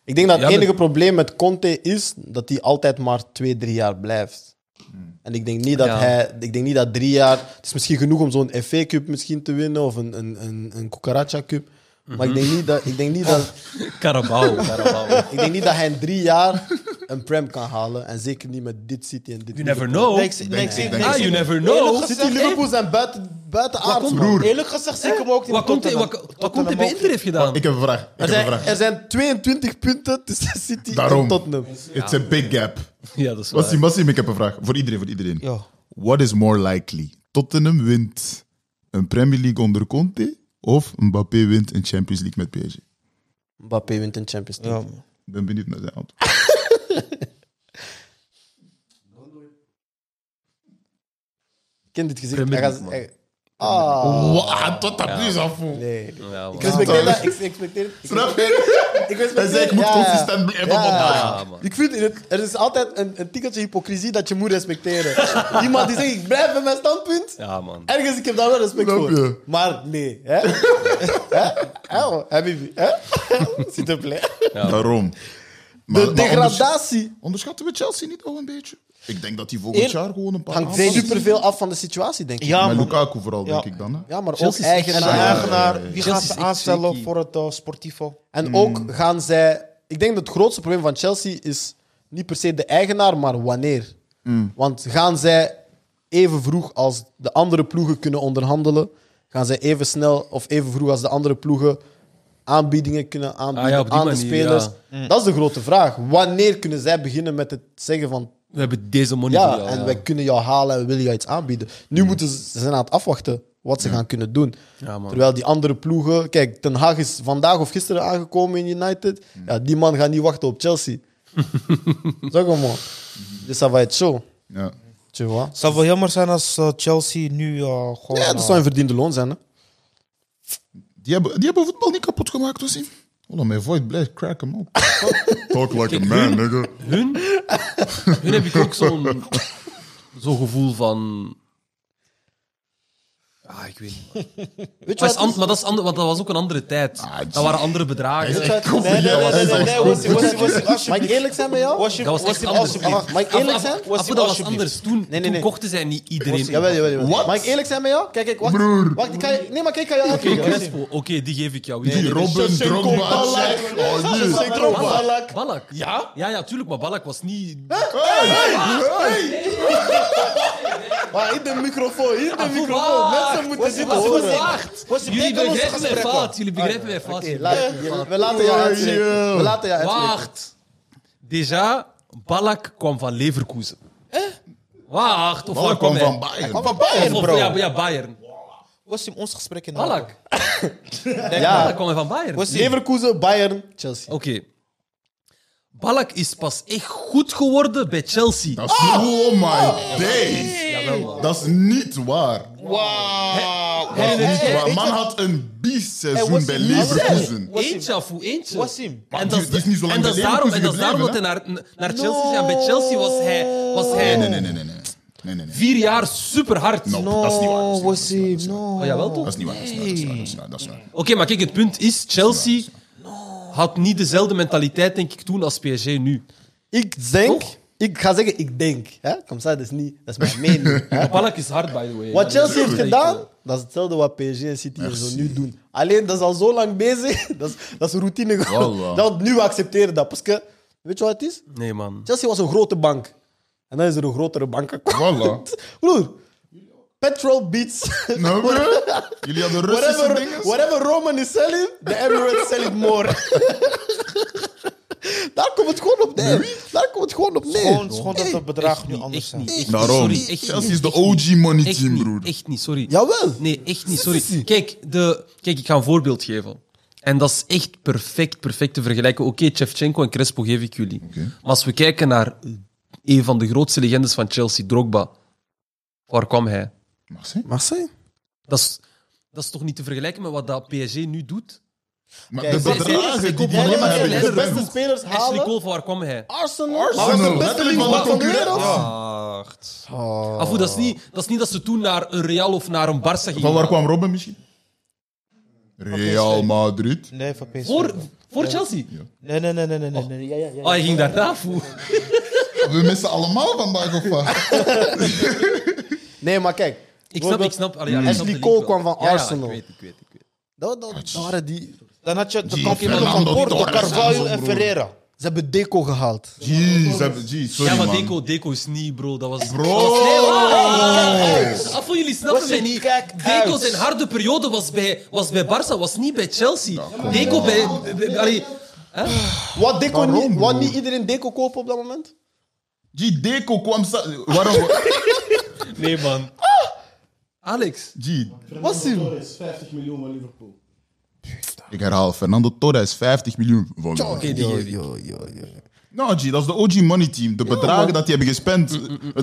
Speaker 1: Ik denk dat
Speaker 4: Ja,
Speaker 1: het
Speaker 4: maar-
Speaker 1: enige probleem met Conte is dat hij altijd maar twee, drie jaar blijft.
Speaker 4: Hmm.
Speaker 1: En ik denk niet dat
Speaker 4: Ja.
Speaker 1: hij, ik denk niet dat drie jaar. Het is misschien genoeg om zo'n FA Cup misschien te winnen of een, een, een, een Cucaracha Cup. Maar ik
Speaker 4: Mhm.
Speaker 1: denk, niet dat, ik, denk niet dat,
Speaker 4: Carabao, Carabao.
Speaker 1: ik denk niet dat hij in drie jaar een Prem kan halen. En zeker niet met dit City en dit.
Speaker 4: You never
Speaker 1: Liverpool.
Speaker 4: know.
Speaker 6: Nee, ik zie- nee, ik zie- nee, ik
Speaker 4: Ah,
Speaker 6: zie-
Speaker 4: you never
Speaker 6: Eerlijk
Speaker 4: know.
Speaker 6: gezegd-
Speaker 1: City en Liverpool zijn buiten, buiten aard, man.
Speaker 6: Eerlijk gezegd zie ik hem ook niet
Speaker 4: Wat komt hij
Speaker 6: Tottenham.
Speaker 4: wat, wat komt hij bij
Speaker 6: Tottenham ook
Speaker 4: Inter heeft
Speaker 1: Ah.
Speaker 4: gedaan?
Speaker 5: Ik heb een vraag. Ik
Speaker 1: Er
Speaker 5: heb een
Speaker 1: zijn,
Speaker 5: vraag.
Speaker 1: er zijn 22 punten tussen City en
Speaker 5: Daarom.
Speaker 1: Tottenham.
Speaker 5: It's a big gap.
Speaker 4: Ja, dat is waar.
Speaker 5: Massim, Massim, ik heb een vraag. Voor iedereen, voor iedereen.
Speaker 6: Ja.
Speaker 5: What is more likely? Tottenham wint een Premier League onder Conte of Mbappé wint een Champions League met PSG?
Speaker 1: Mbappé wint een Champions League.
Speaker 6: niet. Ja.
Speaker 5: Ik ben benieuwd naar zijn antwoord.
Speaker 1: Ik ken dit gezicht.
Speaker 4: Premier
Speaker 1: Hij gaat-
Speaker 4: League,
Speaker 1: hij- Ah.
Speaker 5: Wow, tot dat is af.
Speaker 1: Nee.
Speaker 4: Ja, man.
Speaker 1: Ik respecteer dat. Ik respecteer het. Ik
Speaker 5: Snap je?
Speaker 1: ik respecteer
Speaker 5: Hij zei, ik
Speaker 1: het,
Speaker 5: moet
Speaker 1: ja, ja.
Speaker 5: consistent blijven.
Speaker 1: Ja,
Speaker 5: vandaag.
Speaker 1: ja. Ik vind, in het- er is altijd een, een tikkeltje hypocrisie dat je moet respecteren. Iemand die zegt, ik blijf bij mijn standpunt.
Speaker 4: Ja, man.
Speaker 1: Ergens, ik heb daar wel respect
Speaker 5: Snap
Speaker 1: voor.
Speaker 5: je?
Speaker 1: Maar nee. Hè? hè? Hè? Oh, Habibi. Hè? S'il te plaît.
Speaker 5: Daarom. Maar-
Speaker 1: De
Speaker 5: maar ondersch-
Speaker 1: degradatie
Speaker 5: Onderschatten we Chelsea niet al een beetje? Ik denk dat die volgend
Speaker 6: Eer-
Speaker 5: jaar gewoon een paar
Speaker 1: hangt
Speaker 5: aanpassingen-
Speaker 1: superveel af van de situatie, denk ik.
Speaker 6: Ja,
Speaker 5: Maar
Speaker 6: man.
Speaker 5: Lukaku vooral, denk
Speaker 6: Ja.
Speaker 5: ik dan. Hè?
Speaker 1: Ja, maar
Speaker 4: Chelsea
Speaker 1: ook
Speaker 4: is echt
Speaker 1: eigenaar.
Speaker 4: Ja, ja, ja, ja.
Speaker 6: En de eigenaar, wie
Speaker 4: Chelsea
Speaker 6: gaat
Speaker 4: is
Speaker 6: ze
Speaker 4: echt
Speaker 6: aanstellen
Speaker 4: tricky.
Speaker 6: voor het eh, Sportivo?
Speaker 1: En ook gaan zij. Ik denk dat het grootste probleem van Chelsea is niet per se de eigenaar, maar wanneer. Want gaan zij even vroeg als de andere ploegen kunnen onderhandelen? Gaan zij even snel of even vroeg als de andere ploegen aanbiedingen kunnen aanbieden
Speaker 4: Ah ja, op die
Speaker 1: aan de
Speaker 4: manier,
Speaker 1: spelers? Dat is de grote vraag. Wanneer kunnen zij beginnen met het zeggen van
Speaker 4: We hebben deze money
Speaker 1: ja,
Speaker 4: voor jou,
Speaker 1: en
Speaker 4: ja. Mm.
Speaker 1: wij kunnen jou halen en willen jou iets aanbieden? Nu moeten ze, ze zijn aan het afwachten. wat ze gaan kunnen doen.
Speaker 4: Ja, man.
Speaker 1: Terwijl die andere ploegen... Kijk, Ten Hag is vandaag of gisteren aangekomen in United.
Speaker 4: Mm.
Speaker 1: Ja, die man gaat niet wachten op Chelsea. zeg maar, man. Dus dat was het zo.
Speaker 5: Ja.
Speaker 1: Tu vois?
Speaker 6: Het zou wel jammer zijn als eh, Chelsea nu eh, gewoon...
Speaker 1: Ja, dat
Speaker 6: eh,
Speaker 1: zou een verdiende loon zijn, hè.
Speaker 5: Die, hebben, die hebben voetbal niet kapot gemaakt, Oh, was hij? Hold on, mijn voice blijft cracken, man. Talk like a man, nigga.
Speaker 4: Hun, hun heb ik ook zo'n zo'n gevoel van... Ah, ik weet niet.
Speaker 1: Weet je
Speaker 4: Maar,
Speaker 1: wat
Speaker 4: is an- maar dat, is ander, want dat was ook een andere tijd.
Speaker 5: Ah,
Speaker 4: dat waren andere bedragen.
Speaker 1: Nee, nee, nee, nee, nee, nee. Wassie, wassie, wassie, alsjeblieft. Mag ik eerlijk zijn met jou? Ah,
Speaker 6: Was je,
Speaker 4: Dat was
Speaker 6: was
Speaker 4: echt
Speaker 6: je
Speaker 4: anders.
Speaker 6: alsjeblieft.
Speaker 1: Mag ik eerlijk zijn?
Speaker 4: Apo, dat was anders. Toen,
Speaker 1: nee,
Speaker 4: toen
Speaker 1: nee.
Speaker 4: kochten zij niet iedereen.
Speaker 1: Jawel, jawel, jawel.
Speaker 5: Wat?
Speaker 1: Mag ik eerlijk zijn met jou? Kijk, kijk, wacht. Wacht, ik kan je... Nee, maar kijk, ik kan je
Speaker 4: Oké,
Speaker 1: uitleggen. Wassie.
Speaker 4: Crespo. Oké, die geef ik jou.
Speaker 5: Die Robin Drogba. Zek. Oh, nee.
Speaker 4: Balak. Balak. Ja? ja? Ja, tuurlijk, maar Balak was niet...
Speaker 1: Maar Ah, in de microfoon, in
Speaker 4: Ah,
Speaker 1: de microfoon.
Speaker 4: wacht.
Speaker 1: Mensen moeten
Speaker 4: Was-
Speaker 1: zitten
Speaker 4: was-
Speaker 1: horen.
Speaker 4: wacht. Jullie begrijpen mijn fout. Jullie begrijpen mijn fout.
Speaker 1: Oké,
Speaker 4: Jullie
Speaker 1: laat- we laten jou uitspreken. We laten jou uitspreken.
Speaker 4: Wacht. Déjà, Balak kwam van Leverkusen. Wacht. Of
Speaker 5: Balak
Speaker 4: waar
Speaker 5: kwam
Speaker 4: hij?
Speaker 5: van Bayern.
Speaker 4: Of- of-
Speaker 6: bro.
Speaker 4: Ja, ja, Bayern.
Speaker 6: Was je ons gesprek in de
Speaker 4: Balak.
Speaker 5: Ah.
Speaker 4: Balak
Speaker 1: Ja,
Speaker 4: kwam hij van Bayern.
Speaker 6: Was hij-
Speaker 1: Leverkusen, Bayern, Chelsea.
Speaker 4: Oké. Balak is pas echt goed geworden bij Chelsea.
Speaker 5: Dat is- Oh my days.
Speaker 4: Jawel, man.
Speaker 5: Dat is niet waar.
Speaker 6: Wauw.
Speaker 5: Dat is
Speaker 4: hey,
Speaker 5: niet
Speaker 4: hey,
Speaker 5: waar.
Speaker 4: hey,
Speaker 5: Man had een biestseizoen
Speaker 6: was
Speaker 5: bij
Speaker 6: hij niet
Speaker 5: Leverkusen.
Speaker 4: Eentje, afu, eentje.
Speaker 6: Wasim.
Speaker 5: Maar
Speaker 4: En dat is,
Speaker 5: die is niet zo lang
Speaker 4: en dat is
Speaker 5: bij
Speaker 4: daarom, en dat is
Speaker 5: Leverkusen
Speaker 4: daarom dat hij naar, naar Chelsea is. En bij Chelsea was hij, was hij
Speaker 5: Nee, nee, nee, nee, nee. nee. Nee, nee, nee.
Speaker 4: vier jaar super hard.
Speaker 5: No, dat is niet waar.
Speaker 6: Oh,
Speaker 5: Dat is
Speaker 6: was
Speaker 5: niet waar,
Speaker 6: hij?
Speaker 5: dat is niet waar.
Speaker 6: No.
Speaker 4: Oh, jawel toch?
Speaker 5: Dat is niet waar, dat is niet waar, dat is niet waar, dat is niet waar, dat is niet waar.
Speaker 4: Oké, maar kijk, het punt is, Chelsea had niet dezelfde mentaliteit, denk ik, toen als PSG nu.
Speaker 1: Ik denk...
Speaker 4: Toch?
Speaker 1: Ik ga zeggen, ik denk. Hè? Kom, dat is niet... Dat is mijn mening. hè.
Speaker 4: Balak is hard, by the way.
Speaker 1: Wat Chelsea heeft
Speaker 4: Ja,
Speaker 1: gedaan, dat is hetzelfde wat PSG en City en zo nu doen. Alleen, dat is al zo lang bezig. Dat is, dat is routine
Speaker 5: Voilà.
Speaker 1: geworden. Dat Nu we accepteren dat. Parce que, weet je wat het is?
Speaker 4: Nee, man.
Speaker 1: Chelsea was een grote bank. En dan is er een grotere bank gekomen.
Speaker 5: Voilà.
Speaker 1: Broer, petrol beats.
Speaker 5: Nou, bro. Jullie hadden Russische
Speaker 1: whatever,
Speaker 5: dingen?
Speaker 1: whatever Roman is selling, the Emirates sell it more. Daar komt het gewoon op neer. Daar komt het gewoon op neer.
Speaker 6: Gewoon, gewoon dat het bedrag nu
Speaker 4: Niet,
Speaker 6: anders
Speaker 4: echt
Speaker 6: zijn.
Speaker 4: niet. Echt niet.
Speaker 5: Daarom.
Speaker 4: Sorry, echt
Speaker 5: Chelsea
Speaker 4: niet.
Speaker 5: is de OG money
Speaker 4: Echt
Speaker 5: team,
Speaker 4: niet,
Speaker 5: broer.
Speaker 4: Echt niet, sorry.
Speaker 1: Jawel.
Speaker 4: Nee, echt
Speaker 1: Si,
Speaker 4: niet,
Speaker 1: si,
Speaker 4: sorry.
Speaker 1: si.
Speaker 4: Kijk, de, kijk, ik ga een voorbeeld geven. En dat is echt perfect, perfect te vergelijken. Oké, Shevchenko en Crespo geef ik jullie. Maar als we kijken naar eh, een van de grootste legendes van Chelsea, Drogba. Waar kwam hij?
Speaker 5: Marseille?
Speaker 1: Marseille?
Speaker 4: Dat is, dat is toch niet te vergelijken met wat dat PSG nu doet?
Speaker 5: Maar
Speaker 1: Kijk,
Speaker 5: de
Speaker 1: zij-
Speaker 5: bedragen
Speaker 4: zij-
Speaker 5: die
Speaker 4: zij-
Speaker 5: mannen
Speaker 4: zij-
Speaker 1: maar
Speaker 4: zij-
Speaker 1: kijk, de
Speaker 5: hebben
Speaker 4: zij-
Speaker 5: gespendeerd.
Speaker 1: beste spelers
Speaker 4: Ashley
Speaker 1: halen.
Speaker 4: Cole, van waar kwam hij?
Speaker 1: Arsenal.
Speaker 5: Arsenal,
Speaker 1: Maar was de beste
Speaker 5: letterlijk van
Speaker 1: linksback
Speaker 5: de
Speaker 1: van de wereld.
Speaker 4: Wacht.
Speaker 5: concurrent.
Speaker 4: Afu, dat, is niet, dat is niet dat ze toen naar een Real of naar een Barça gingen.
Speaker 5: Van waar kwam Robin misschien? Real Madrid.
Speaker 6: Nee, van PSV.
Speaker 4: Voor, voor Chelsea?
Speaker 6: Nee, nee, nee, nee, nee. nee, nee. Ja, ja, ja.
Speaker 4: Oh, hij ging daarna, Afu.
Speaker 5: We missen allemaal vandaag of wat?
Speaker 1: Nee, maar kijk.
Speaker 4: Ik snap, ik snap. allee, allee, ik snap
Speaker 1: Ashley
Speaker 4: de
Speaker 1: Cole
Speaker 4: link wel.
Speaker 1: kwam van
Speaker 4: Ja, ja,
Speaker 1: Arsenal.
Speaker 4: ik weet, ik weet, ik weet.
Speaker 1: Dat, dat, dat waren die...
Speaker 6: Dan had je de
Speaker 5: Die
Speaker 6: kampioenen van
Speaker 5: Fernando
Speaker 6: Porto,
Speaker 5: Torres en zo,
Speaker 6: Carvalho en
Speaker 5: broer.
Speaker 6: Ferreira.
Speaker 1: Ze hebben Deco gehaald.
Speaker 5: Jeez, ze hebben- jeez, sorry
Speaker 4: Ja, maar
Speaker 5: man.
Speaker 4: Deco, Deco is niet, bro. Dat was...
Speaker 5: Bro!
Speaker 4: Afel, jullie snappen
Speaker 6: Was
Speaker 4: mij
Speaker 6: het
Speaker 4: niet.
Speaker 6: kijk
Speaker 4: Deco
Speaker 6: uit.
Speaker 4: zijn harde periode was bij, was bij Barça, was niet bij Chelsea. Deco bij... bij- allee,
Speaker 1: Wat Deco
Speaker 5: Waarom,
Speaker 1: niet... Wat
Speaker 5: broer?
Speaker 1: niet iedereen Deco kopen op dat moment?
Speaker 5: Die Deco kwam... sa- Waarom...
Speaker 4: Nee, man. Ah! Alex.
Speaker 5: Die...
Speaker 1: Was hij?
Speaker 2: Torres, 50 miljoen van Liverpool.
Speaker 5: Ik herhaal, Fernando Torres, 50 miljoen. Van
Speaker 4: Oké, die geef ik.
Speaker 5: Nou, G, dat is de OG money team. De bedragen dat die hebben gespend.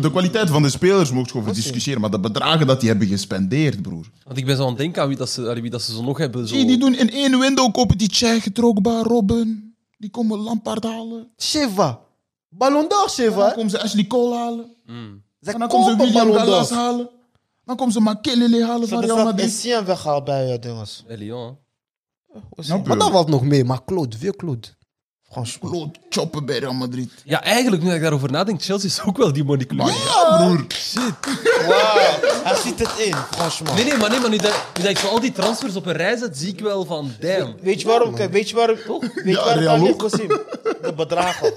Speaker 5: De kwaliteit van de spelers mocht je over discussiëren. Maar de bedragen dat die hebben gespendeerd, broer.
Speaker 4: Want ik ben zo aan het denken aan wie dat ze, allee, wie dat ze zo nog hebben. Zo.
Speaker 5: G, die doen in één window kopen die Tsjech, Drogba, Robben. Die komen Lampard halen.
Speaker 1: Sheva. Ballon d'Or, Sheva.
Speaker 5: Dan
Speaker 1: hè?
Speaker 5: komen ze Ashley Cole halen.
Speaker 1: Ze
Speaker 5: En dan komen ze
Speaker 1: kopen
Speaker 5: William
Speaker 1: Ballon
Speaker 5: Gallas
Speaker 1: d'Or.
Speaker 5: halen. Dan komen ze Makelele halen
Speaker 6: Ze
Speaker 5: van Real
Speaker 6: hadden
Speaker 5: Madrid.
Speaker 6: Essien weggehaald bij eh, dinges.
Speaker 4: Bij Lyon, hè.
Speaker 5: Ja,
Speaker 1: Maar
Speaker 5: broer.
Speaker 1: dat valt Nou, nog mee. Maar Claude, weer Claude.
Speaker 5: Kloot choppen bij Real Madrid.
Speaker 4: Ja, eigenlijk, nu dat ik daarover nadenk, Chelsea is ook wel die money club.
Speaker 5: Maar ja, broer.
Speaker 6: Hij ziet het in, franchement.
Speaker 4: Nee, nee, maar, nee, maar nu, dat, nu dat ik zo al die transfers op een rij zet, zie ik wel van, damn.
Speaker 6: Weet je waarom? Kijk, weet je waarom? Weet je
Speaker 5: Ja,
Speaker 6: waarom
Speaker 5: Real
Speaker 6: daar ligt,
Speaker 5: ook.
Speaker 6: Wassim? De bedragen.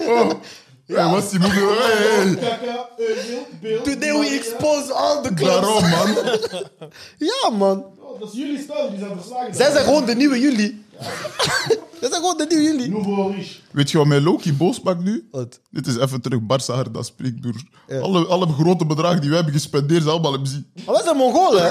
Speaker 5: Hey, wat is die moeder? Hey, hey.
Speaker 2: Kaka, Euvel, Beel.
Speaker 1: Today we expose all the clubs.
Speaker 5: Daarom, man.
Speaker 1: Ja, man.
Speaker 2: Oh, Dat is jullie stel, die zijn verslagen.
Speaker 1: Zij zijn gewoon de nieuwe jullie. Zij zijn gewoon de nieuwe jullie.
Speaker 2: Nouveau riche.
Speaker 5: Weet je wat mij Loki boos maakt nu?
Speaker 1: Wat?
Speaker 5: Dit is even terug Barça hard dat spreekt, broer. Alle, alle grote bedragen die wij hebben gespendeerd, zijn allemaal hebben zien.
Speaker 1: Maar wij zijn Mongolen, hè?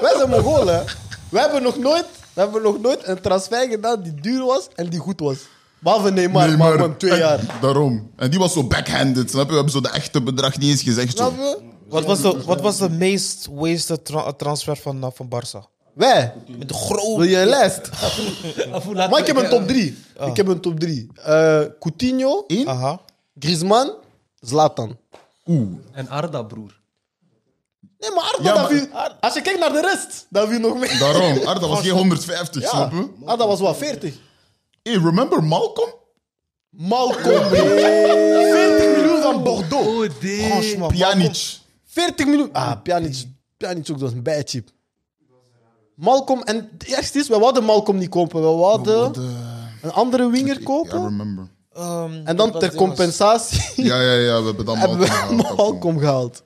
Speaker 1: Wij zijn Mongolen. hè. Wij hebben nog nooit, wij hebben nog nooit een transfer gedaan die duur was en die goed was. Behalve Neymar,
Speaker 5: Nee,
Speaker 1: maar gewoon twee
Speaker 5: en-
Speaker 1: jaar.
Speaker 5: Daarom. En die was zo backhanded, snap je? We hebben zo de echte bedrag niet eens gezegd. Zo.
Speaker 1: Snap je?
Speaker 6: Wat was de, wat was de meest wasted tra- transfer van, eh, van Barça?
Speaker 1: Wij.
Speaker 6: Met de grote...
Speaker 1: Wil je een lijst? Maar ik heb een top 3.
Speaker 6: Ah.
Speaker 1: Ik heb een top 3. Eh Coutinho, Ah.
Speaker 6: Aha.
Speaker 1: Griezmann, Zlatan.
Speaker 5: Oeh.
Speaker 4: En Arda, broer.
Speaker 1: Nee, maar Arda,
Speaker 5: Ja,
Speaker 1: dat
Speaker 5: maar-
Speaker 1: viel- Ar- als je kijkt naar de rest, dan viel nog meer.
Speaker 5: Daarom. Arda was geen 150,
Speaker 1: Ja,
Speaker 5: snap je?
Speaker 1: Arda was wat, 40?
Speaker 5: Hey, remember Malcolm?
Speaker 1: Malcolm. 40 miljoen van Bordeaux.
Speaker 4: Oh,
Speaker 6: Gosh, man.
Speaker 5: Pjanic.
Speaker 1: 40 miljoen. Ah, Pjanic. Pjanic ook, dat is een bijchip. Malcolm, en het eerste is, we wilden Malcolm niet kopen. We wilden een andere winger
Speaker 5: I
Speaker 1: kopen.
Speaker 5: remember.
Speaker 6: Ehm,
Speaker 1: En dan
Speaker 6: dat
Speaker 1: ter
Speaker 6: ding was-
Speaker 1: compensatie
Speaker 5: Ja, ja, ja. We hebben dan
Speaker 1: hebben
Speaker 5: Malcolm
Speaker 1: we
Speaker 5: gehaald, afkom.
Speaker 1: Malcolm gehaald.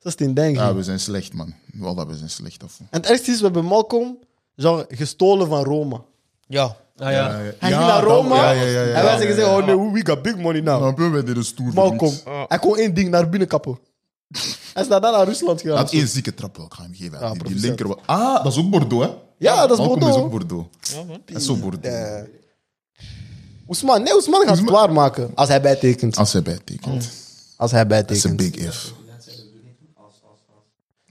Speaker 1: Dat is het ding.
Speaker 5: Ja, we zijn slecht, man. Wel, dat we zijn slecht. afkom.
Speaker 1: En het ergste is, we hebben Malcolm genre, gestolen van Roma.
Speaker 6: Ja.
Speaker 4: Ah, ja.
Speaker 1: Hij
Speaker 5: Ja,
Speaker 1: ging naar
Speaker 5: dat-
Speaker 1: Roma
Speaker 5: Ja, ja, ja. ja,
Speaker 1: en wij zijn
Speaker 5: ja,
Speaker 1: gezegd,
Speaker 5: ja.
Speaker 1: oh nee, we got big money now.
Speaker 5: Snap je? Wij deden stoer. voor
Speaker 1: Malcolm,
Speaker 5: niets.
Speaker 1: hij kon één ding naar binnen kappen. Hij is daarna naar Rusland
Speaker 5: Hij
Speaker 1: gegaan.
Speaker 5: had één zieke trap wel, ik ga hem geven. Die- die
Speaker 1: proficiat.
Speaker 5: linker wa- Ah, dat is ook Bordeaux, hè?
Speaker 1: Ja, dat is
Speaker 5: Malcolm
Speaker 1: Bordeaux.
Speaker 5: is ook Bordeaux. Dat is ook Bordeaux.
Speaker 1: Eh, Oesman, nee, Oesman gaat het klaarmaken. Als hij bijtekent.
Speaker 5: Als hij bijtekent. Dat
Speaker 1: Als hij
Speaker 5: is
Speaker 1: bijtekent.
Speaker 5: een big if.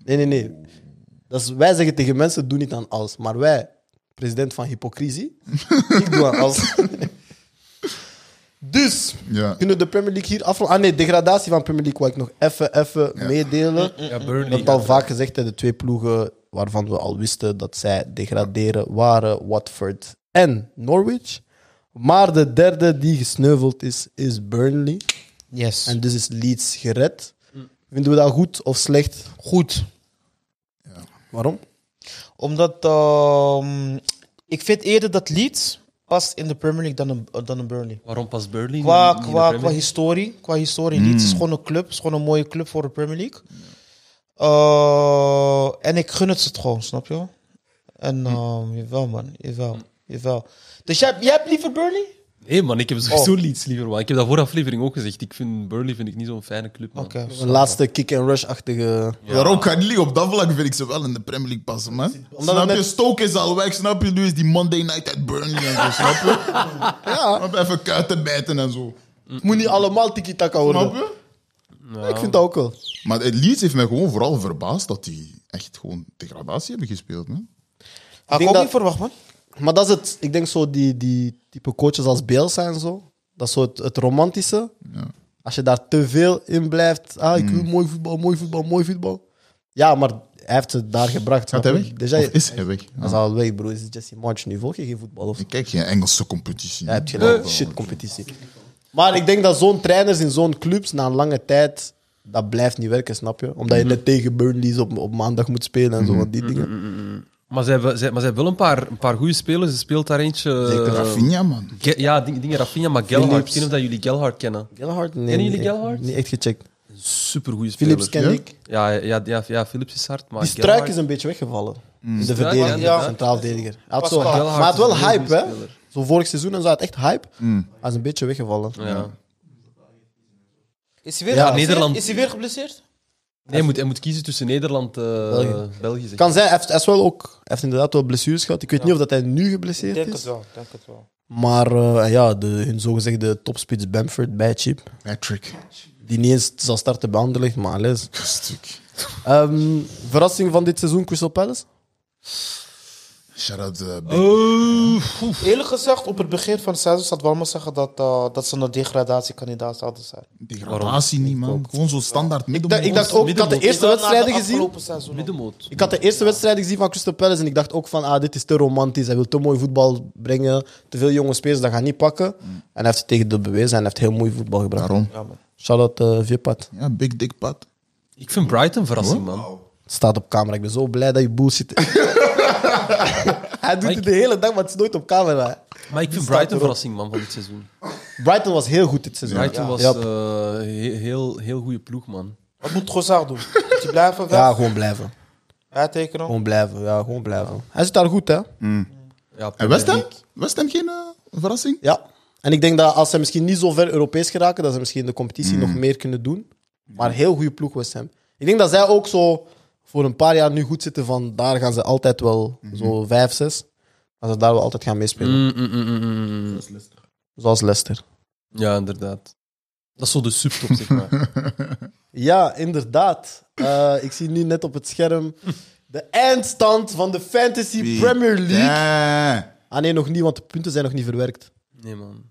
Speaker 1: Nee, nee, nee. Dat is, wij zeggen tegen mensen, doe niet aan alles. Maar wij, president van hypocrisie, ik doe aan alles. dus,
Speaker 5: Ja.
Speaker 1: kunnen we de Premier League hier afronden? Ah nee, degradatie van Premier League wil ik nog even, even meedelen.
Speaker 5: Mm,
Speaker 4: Ja,
Speaker 1: Ik
Speaker 4: Burnley.
Speaker 1: heb het al vaak gezegd, hè, de twee ploegen waarvan we al wisten dat zij degraderen waren Watford en Norwich. Maar de derde die gesneuveld is, is Burnley.
Speaker 6: Yes.
Speaker 1: En dus is Leeds gered. Vinden we dat goed of slecht?
Speaker 6: goed.
Speaker 1: Waarom?
Speaker 6: Omdat ehm, ik vind eerder dat Leeds past in de Premier League dan een, dan een Burnley.
Speaker 4: Waarom past Burnley
Speaker 6: Qua,
Speaker 4: niet in de
Speaker 6: qua,
Speaker 4: Premier
Speaker 6: qua
Speaker 4: League?
Speaker 6: historie, qua historie. Leeds is gewoon een club, is gewoon een mooie club voor de Premier League. Eh, en ik gun het ze het gewoon, snap je? En ehm jawel man, jawel, jawel. Dus jij, jij hebt liever Burnley?
Speaker 4: Nee, man, ik heb
Speaker 1: Oh.
Speaker 4: sowieso Leeds liever, man. Ik heb dat voor de aflevering ook gezegd. Ik vind Burnley vind ik eh, niet zo'n fijne club, man.
Speaker 6: Oké.
Speaker 1: Een laatste kick-and-rush-achtige...
Speaker 5: Waarom kan die op dat vlak vind ik ze wel in de Premier League passen, man? snap
Speaker 1: het
Speaker 5: je?
Speaker 1: net-
Speaker 5: Stoke is al weg, snap je? Nu is die Monday night at Burnley en zo, snap je? ja. Even kuiten bijten en zo.
Speaker 1: Het moet niet allemaal tiki-taka
Speaker 5: Snap
Speaker 1: worden.
Speaker 5: je?
Speaker 1: Ik vind dat ook wel.
Speaker 5: Maar het Leeds heeft mij gewoon vooral verbaasd dat die echt gewoon degradatie hebben gespeeld, man.
Speaker 6: Had
Speaker 1: denk
Speaker 6: ik ook
Speaker 1: dat-
Speaker 6: niet verwacht man.
Speaker 1: Maar dat is het... Ik denk zo die, die type coaches als Bielsa en zo. Dat is zo het, het romantische.
Speaker 5: Ja.
Speaker 1: Als je daar te veel in blijft. Ah, ik wil mooi voetbal, mooi voetbal, mooi voetbal. Ja, maar hij heeft ze daar gebracht.
Speaker 5: Gaat
Speaker 1: snap
Speaker 5: hij
Speaker 1: je?
Speaker 5: weg?
Speaker 1: Dus jij-
Speaker 5: Of is hij weg?
Speaker 1: Hij is al weg, bro. Is Jesse March nu volg je geen voetbal? Of...
Speaker 5: Ik kijk geen Engelse competitie.
Speaker 1: Hij heeft geen shit competitie. Maar ik denk dat zo'n trainers in zo'n clubs na een lange tijd. Dat blijft niet werken, snap je? Omdat je
Speaker 6: Mhm.
Speaker 1: net tegen Burnley's op, op maandag moet spelen en zo, van die
Speaker 4: Mhm.
Speaker 1: dingen.
Speaker 4: Maar ze hebben, ze, maar ze hebben wel een paar, een paar goede spelers. Ze speelt daar eentje...
Speaker 5: Zeker
Speaker 4: eh,
Speaker 5: Rafinha, man.
Speaker 4: Ge- ja, ding- dingen Rafinha, maar Gelhard.
Speaker 1: Philips.
Speaker 4: Ik weet niet of dat jullie Gelhard kennen.
Speaker 1: Gelhard? Nee,
Speaker 4: Kennen jullie
Speaker 1: nee,
Speaker 4: Gelhard?
Speaker 1: Niet echt gecheckt.
Speaker 4: Supergoeie speler.
Speaker 1: Philips ken
Speaker 5: Ja?
Speaker 1: ik.
Speaker 4: Ja, ja, ja, ja, Philips is hard, maar
Speaker 1: Die struik
Speaker 4: Gerhard-
Speaker 1: is een beetje weggevallen. In de
Speaker 4: Struik,
Speaker 1: verdediging,
Speaker 6: Mm. ja.
Speaker 1: centraal verdediger. Hij had zo,
Speaker 6: Pascal.
Speaker 1: maar hij had wel
Speaker 4: Heel goede
Speaker 1: hype, hè?
Speaker 4: speler.
Speaker 1: Zo vorig seizoen en zo had echt hype.
Speaker 6: Mm.
Speaker 1: Hij is een beetje weggevallen.
Speaker 4: Ja.
Speaker 6: Is hij weer,
Speaker 1: Ja,
Speaker 6: geblesseerd?
Speaker 4: Nederland.
Speaker 6: Is hij weer geblesseerd?
Speaker 4: Nee, hij moet, hij moet kiezen tussen Nederland en België.
Speaker 1: België.
Speaker 4: België zeg.
Speaker 1: Kan zijn, hij heeft, hij is wel ook, hij heeft inderdaad wel blessures gehad. Ik weet niet of dat hij nu
Speaker 6: Ik
Speaker 1: geblesseerd
Speaker 6: denk
Speaker 1: is.
Speaker 6: het wel, ik denk het wel.
Speaker 1: Maar eh, ja, de, hun zogezegde topspits Bamford bij Chip.
Speaker 5: Patrick.
Speaker 1: Die niet eens zal starten bij Anderlecht, maar alles.
Speaker 5: Stuk.
Speaker 1: Ehm, verrassing van dit seizoen, Crystal Palace?
Speaker 5: Shout-out eh, Big
Speaker 6: Eerlijk gezegd, op het begin van het seizoen zat wel maar zeggen dat, eh, dat ze een degradatiekandidaat zouden zijn.
Speaker 5: Degradatie niet, man. Gewoon zo standaard middenmoot.
Speaker 1: dacht- ik dacht ook- ik had de eerste
Speaker 6: Is dat na de
Speaker 1: wedstrijden gezien.
Speaker 6: afgelopen seizoen al?
Speaker 4: Middenmoot.
Speaker 1: Ik had de eerste wedstrijd gezien van Crystal Palace en ik dacht ook van, ah, dit is te romantisch. Hij wil te mooi voetbal brengen. Te veel jonge spelers, dat gaat niet pakken. En hij heeft het tegen de bewezen en hij heeft heel mooi voetbal gebracht.
Speaker 5: Daarom.
Speaker 1: Shout-out eh, Viepat.
Speaker 5: Ja, Big Dick Pat.
Speaker 4: Ik vind Brighton verrassing, man.
Speaker 1: Staat op camera. Ik ben zo blij dat je bullshit... hij doet het de hele dag, maar het is nooit op camera. hè.
Speaker 4: Maar ik vind
Speaker 1: staat
Speaker 4: Brighton
Speaker 1: erop.
Speaker 4: verrassing, man, van dit seizoen.
Speaker 1: Brighton was heel goed dit seizoen.
Speaker 4: Brighton was
Speaker 1: Ja.
Speaker 4: eh heel, heel, heel goede ploeg, man.
Speaker 6: Wat moet Trossard doen? Moet hij blijven weg?
Speaker 1: Ja, Oh. gewoon blijven.
Speaker 6: Bijtekenen?
Speaker 1: Gewoon blijven, ja, gewoon blijven. Hij zit daar goed, hè?
Speaker 4: Ja,
Speaker 5: En Eh, West Ham? West Ham geen eh, verrassing?
Speaker 1: Ja. En ik denk dat als ze misschien niet zo ver Europees geraken, dat ze misschien in de competitie nog meer kunnen doen. Maar heel goede ploeg West Ham. Ik denk dat zij ook zo voor een paar jaar nu goed zitten, van daar gaan ze altijd wel zo vijf, zes. Dat ze daar wel altijd gaan meespelen.
Speaker 4: Mm, mm, mm, mm, mm.
Speaker 1: Zoals Leicester.
Speaker 4: Ja, inderdaad. Dat is zo de subtop, zeg maar.
Speaker 1: Ja, inderdaad. Eh, ik zie nu net op het scherm de eindstand van de Fantasy Premier League.
Speaker 5: Ja.
Speaker 1: Ah nee, nog niet, want de punten zijn nog niet verwerkt.
Speaker 4: Nee, man.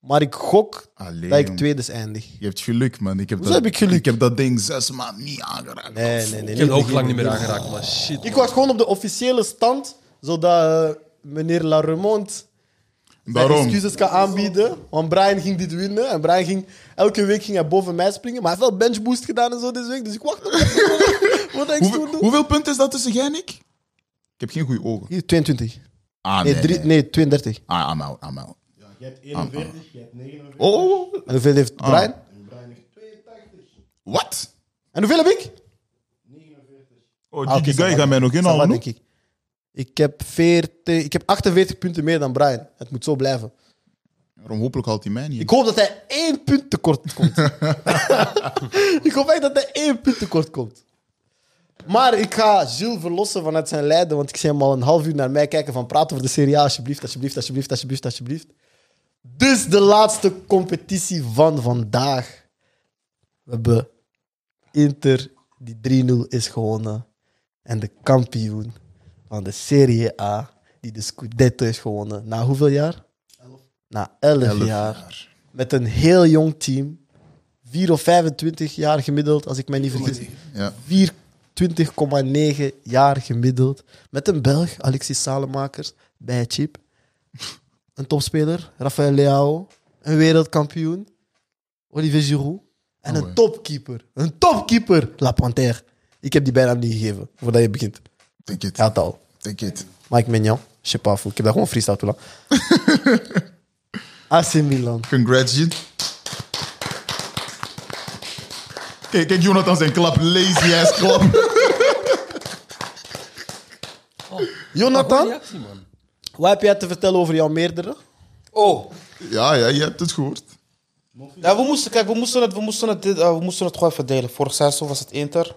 Speaker 1: Maar ik gok
Speaker 5: Allee,
Speaker 1: dat ik
Speaker 5: Ah, jong.
Speaker 1: tweede eindig.
Speaker 5: Je hebt geluk, man. Ik heb
Speaker 1: Hoezo
Speaker 5: dat,
Speaker 1: heb ik geluk?
Speaker 5: Ik heb dat ding zes maanden niet aangeraakt.
Speaker 1: Nee, nee, nee.
Speaker 4: Ik
Speaker 1: niet
Speaker 4: heb het ook
Speaker 1: beginnen.
Speaker 4: lang niet meer aangeraakt, maar shit.
Speaker 1: Ik wacht gewoon op de officiële stand, zodat eh, meneer La Remonte zijn
Speaker 5: Daarom.
Speaker 1: excuses kan aanbieden. Want Brian ging dit winnen. En Brian ging, elke week ging hij boven mij springen. Maar hij heeft wel benchboost gedaan en zo deze week. Dus ik wacht op wat hij
Speaker 5: Hoeveel,
Speaker 1: toen doet.
Speaker 5: hoeveel punten is dat tussen jij en ik? Ik heb geen goede ogen.
Speaker 1: Hier, 22.
Speaker 5: Ah,
Speaker 1: Nee,
Speaker 5: nee.
Speaker 1: drie-
Speaker 5: nee.
Speaker 1: nee, 32.
Speaker 5: Ah, I'm out, I'm out.
Speaker 2: Je hebt 41, je hebt 49.
Speaker 5: Oh, oh, oh.
Speaker 1: En hoeveel heeft Brian?
Speaker 2: En Brian heeft 82.
Speaker 5: wat?
Speaker 1: En hoeveel heb ik?
Speaker 5: Oh,
Speaker 1: Ah, oké,
Speaker 5: die
Speaker 1: ça va,
Speaker 5: guy gaat mij nog
Speaker 1: ça va,
Speaker 5: inhalen. no?
Speaker 1: denk ik. Ik heb, 40, ik heb 48 punten meer dan Brian. Het moet zo blijven.
Speaker 5: Daarom hopelijk haalt hij mij niet. in.
Speaker 1: Ik hoop dat hij één punt tekort komt. ik hoop echt dat hij één punt tekort komt. Maar ik ga Gilles verlossen vanuit zijn lijden, want ik zie hem al een half uur naar mij kijken van praten over de Serie A, alsjeblieft, alsjeblieft, alsjeblieft, alsjeblieft, alsjeblieft. Dus de laatste competitie van vandaag. We hebben Inter, die 3-0 is gewonnen. En de kampioen van de Serie A, die de Scudetto heeft gewonnen. Na hoeveel jaar? Na 11, jaar. Met een heel jong team. 4 of 25 jaar gemiddeld, als ik mij niet vergis.
Speaker 5: Ja.
Speaker 1: 24,9 jaar gemiddeld. Met een Belg, Alexis Salemakers, bij Chip. Een topspeler, Rafael Leao. Een wereldkampioen, Olivier Giroud. En
Speaker 5: Oh,
Speaker 1: een
Speaker 5: hè.
Speaker 1: topkeeper. Een topkeeper, La Panthère. Ik heb die bijnaam niet gegeven, voordat je begint.
Speaker 5: Take it,
Speaker 1: Hij had al.
Speaker 5: take it.
Speaker 1: Mike Mignon, je sais pas, fool. ik heb daar gewoon freestyle toe laten. AC Milan.
Speaker 5: Congrats, Jean. Kijk, kijk, Jonathan zijn klap. Lazy ass klap.
Speaker 1: Jonathan,
Speaker 4: reactie, man.
Speaker 1: wat heb jij te vertellen over jouw meerdere?
Speaker 6: Oh,
Speaker 5: ja, ja, je hebt het gehoord.
Speaker 6: nou, we moesten, kijk, we moesten het, we moesten het, dit- eh, we moesten het gewoon verdelen. Vorig seizoen was het Inter.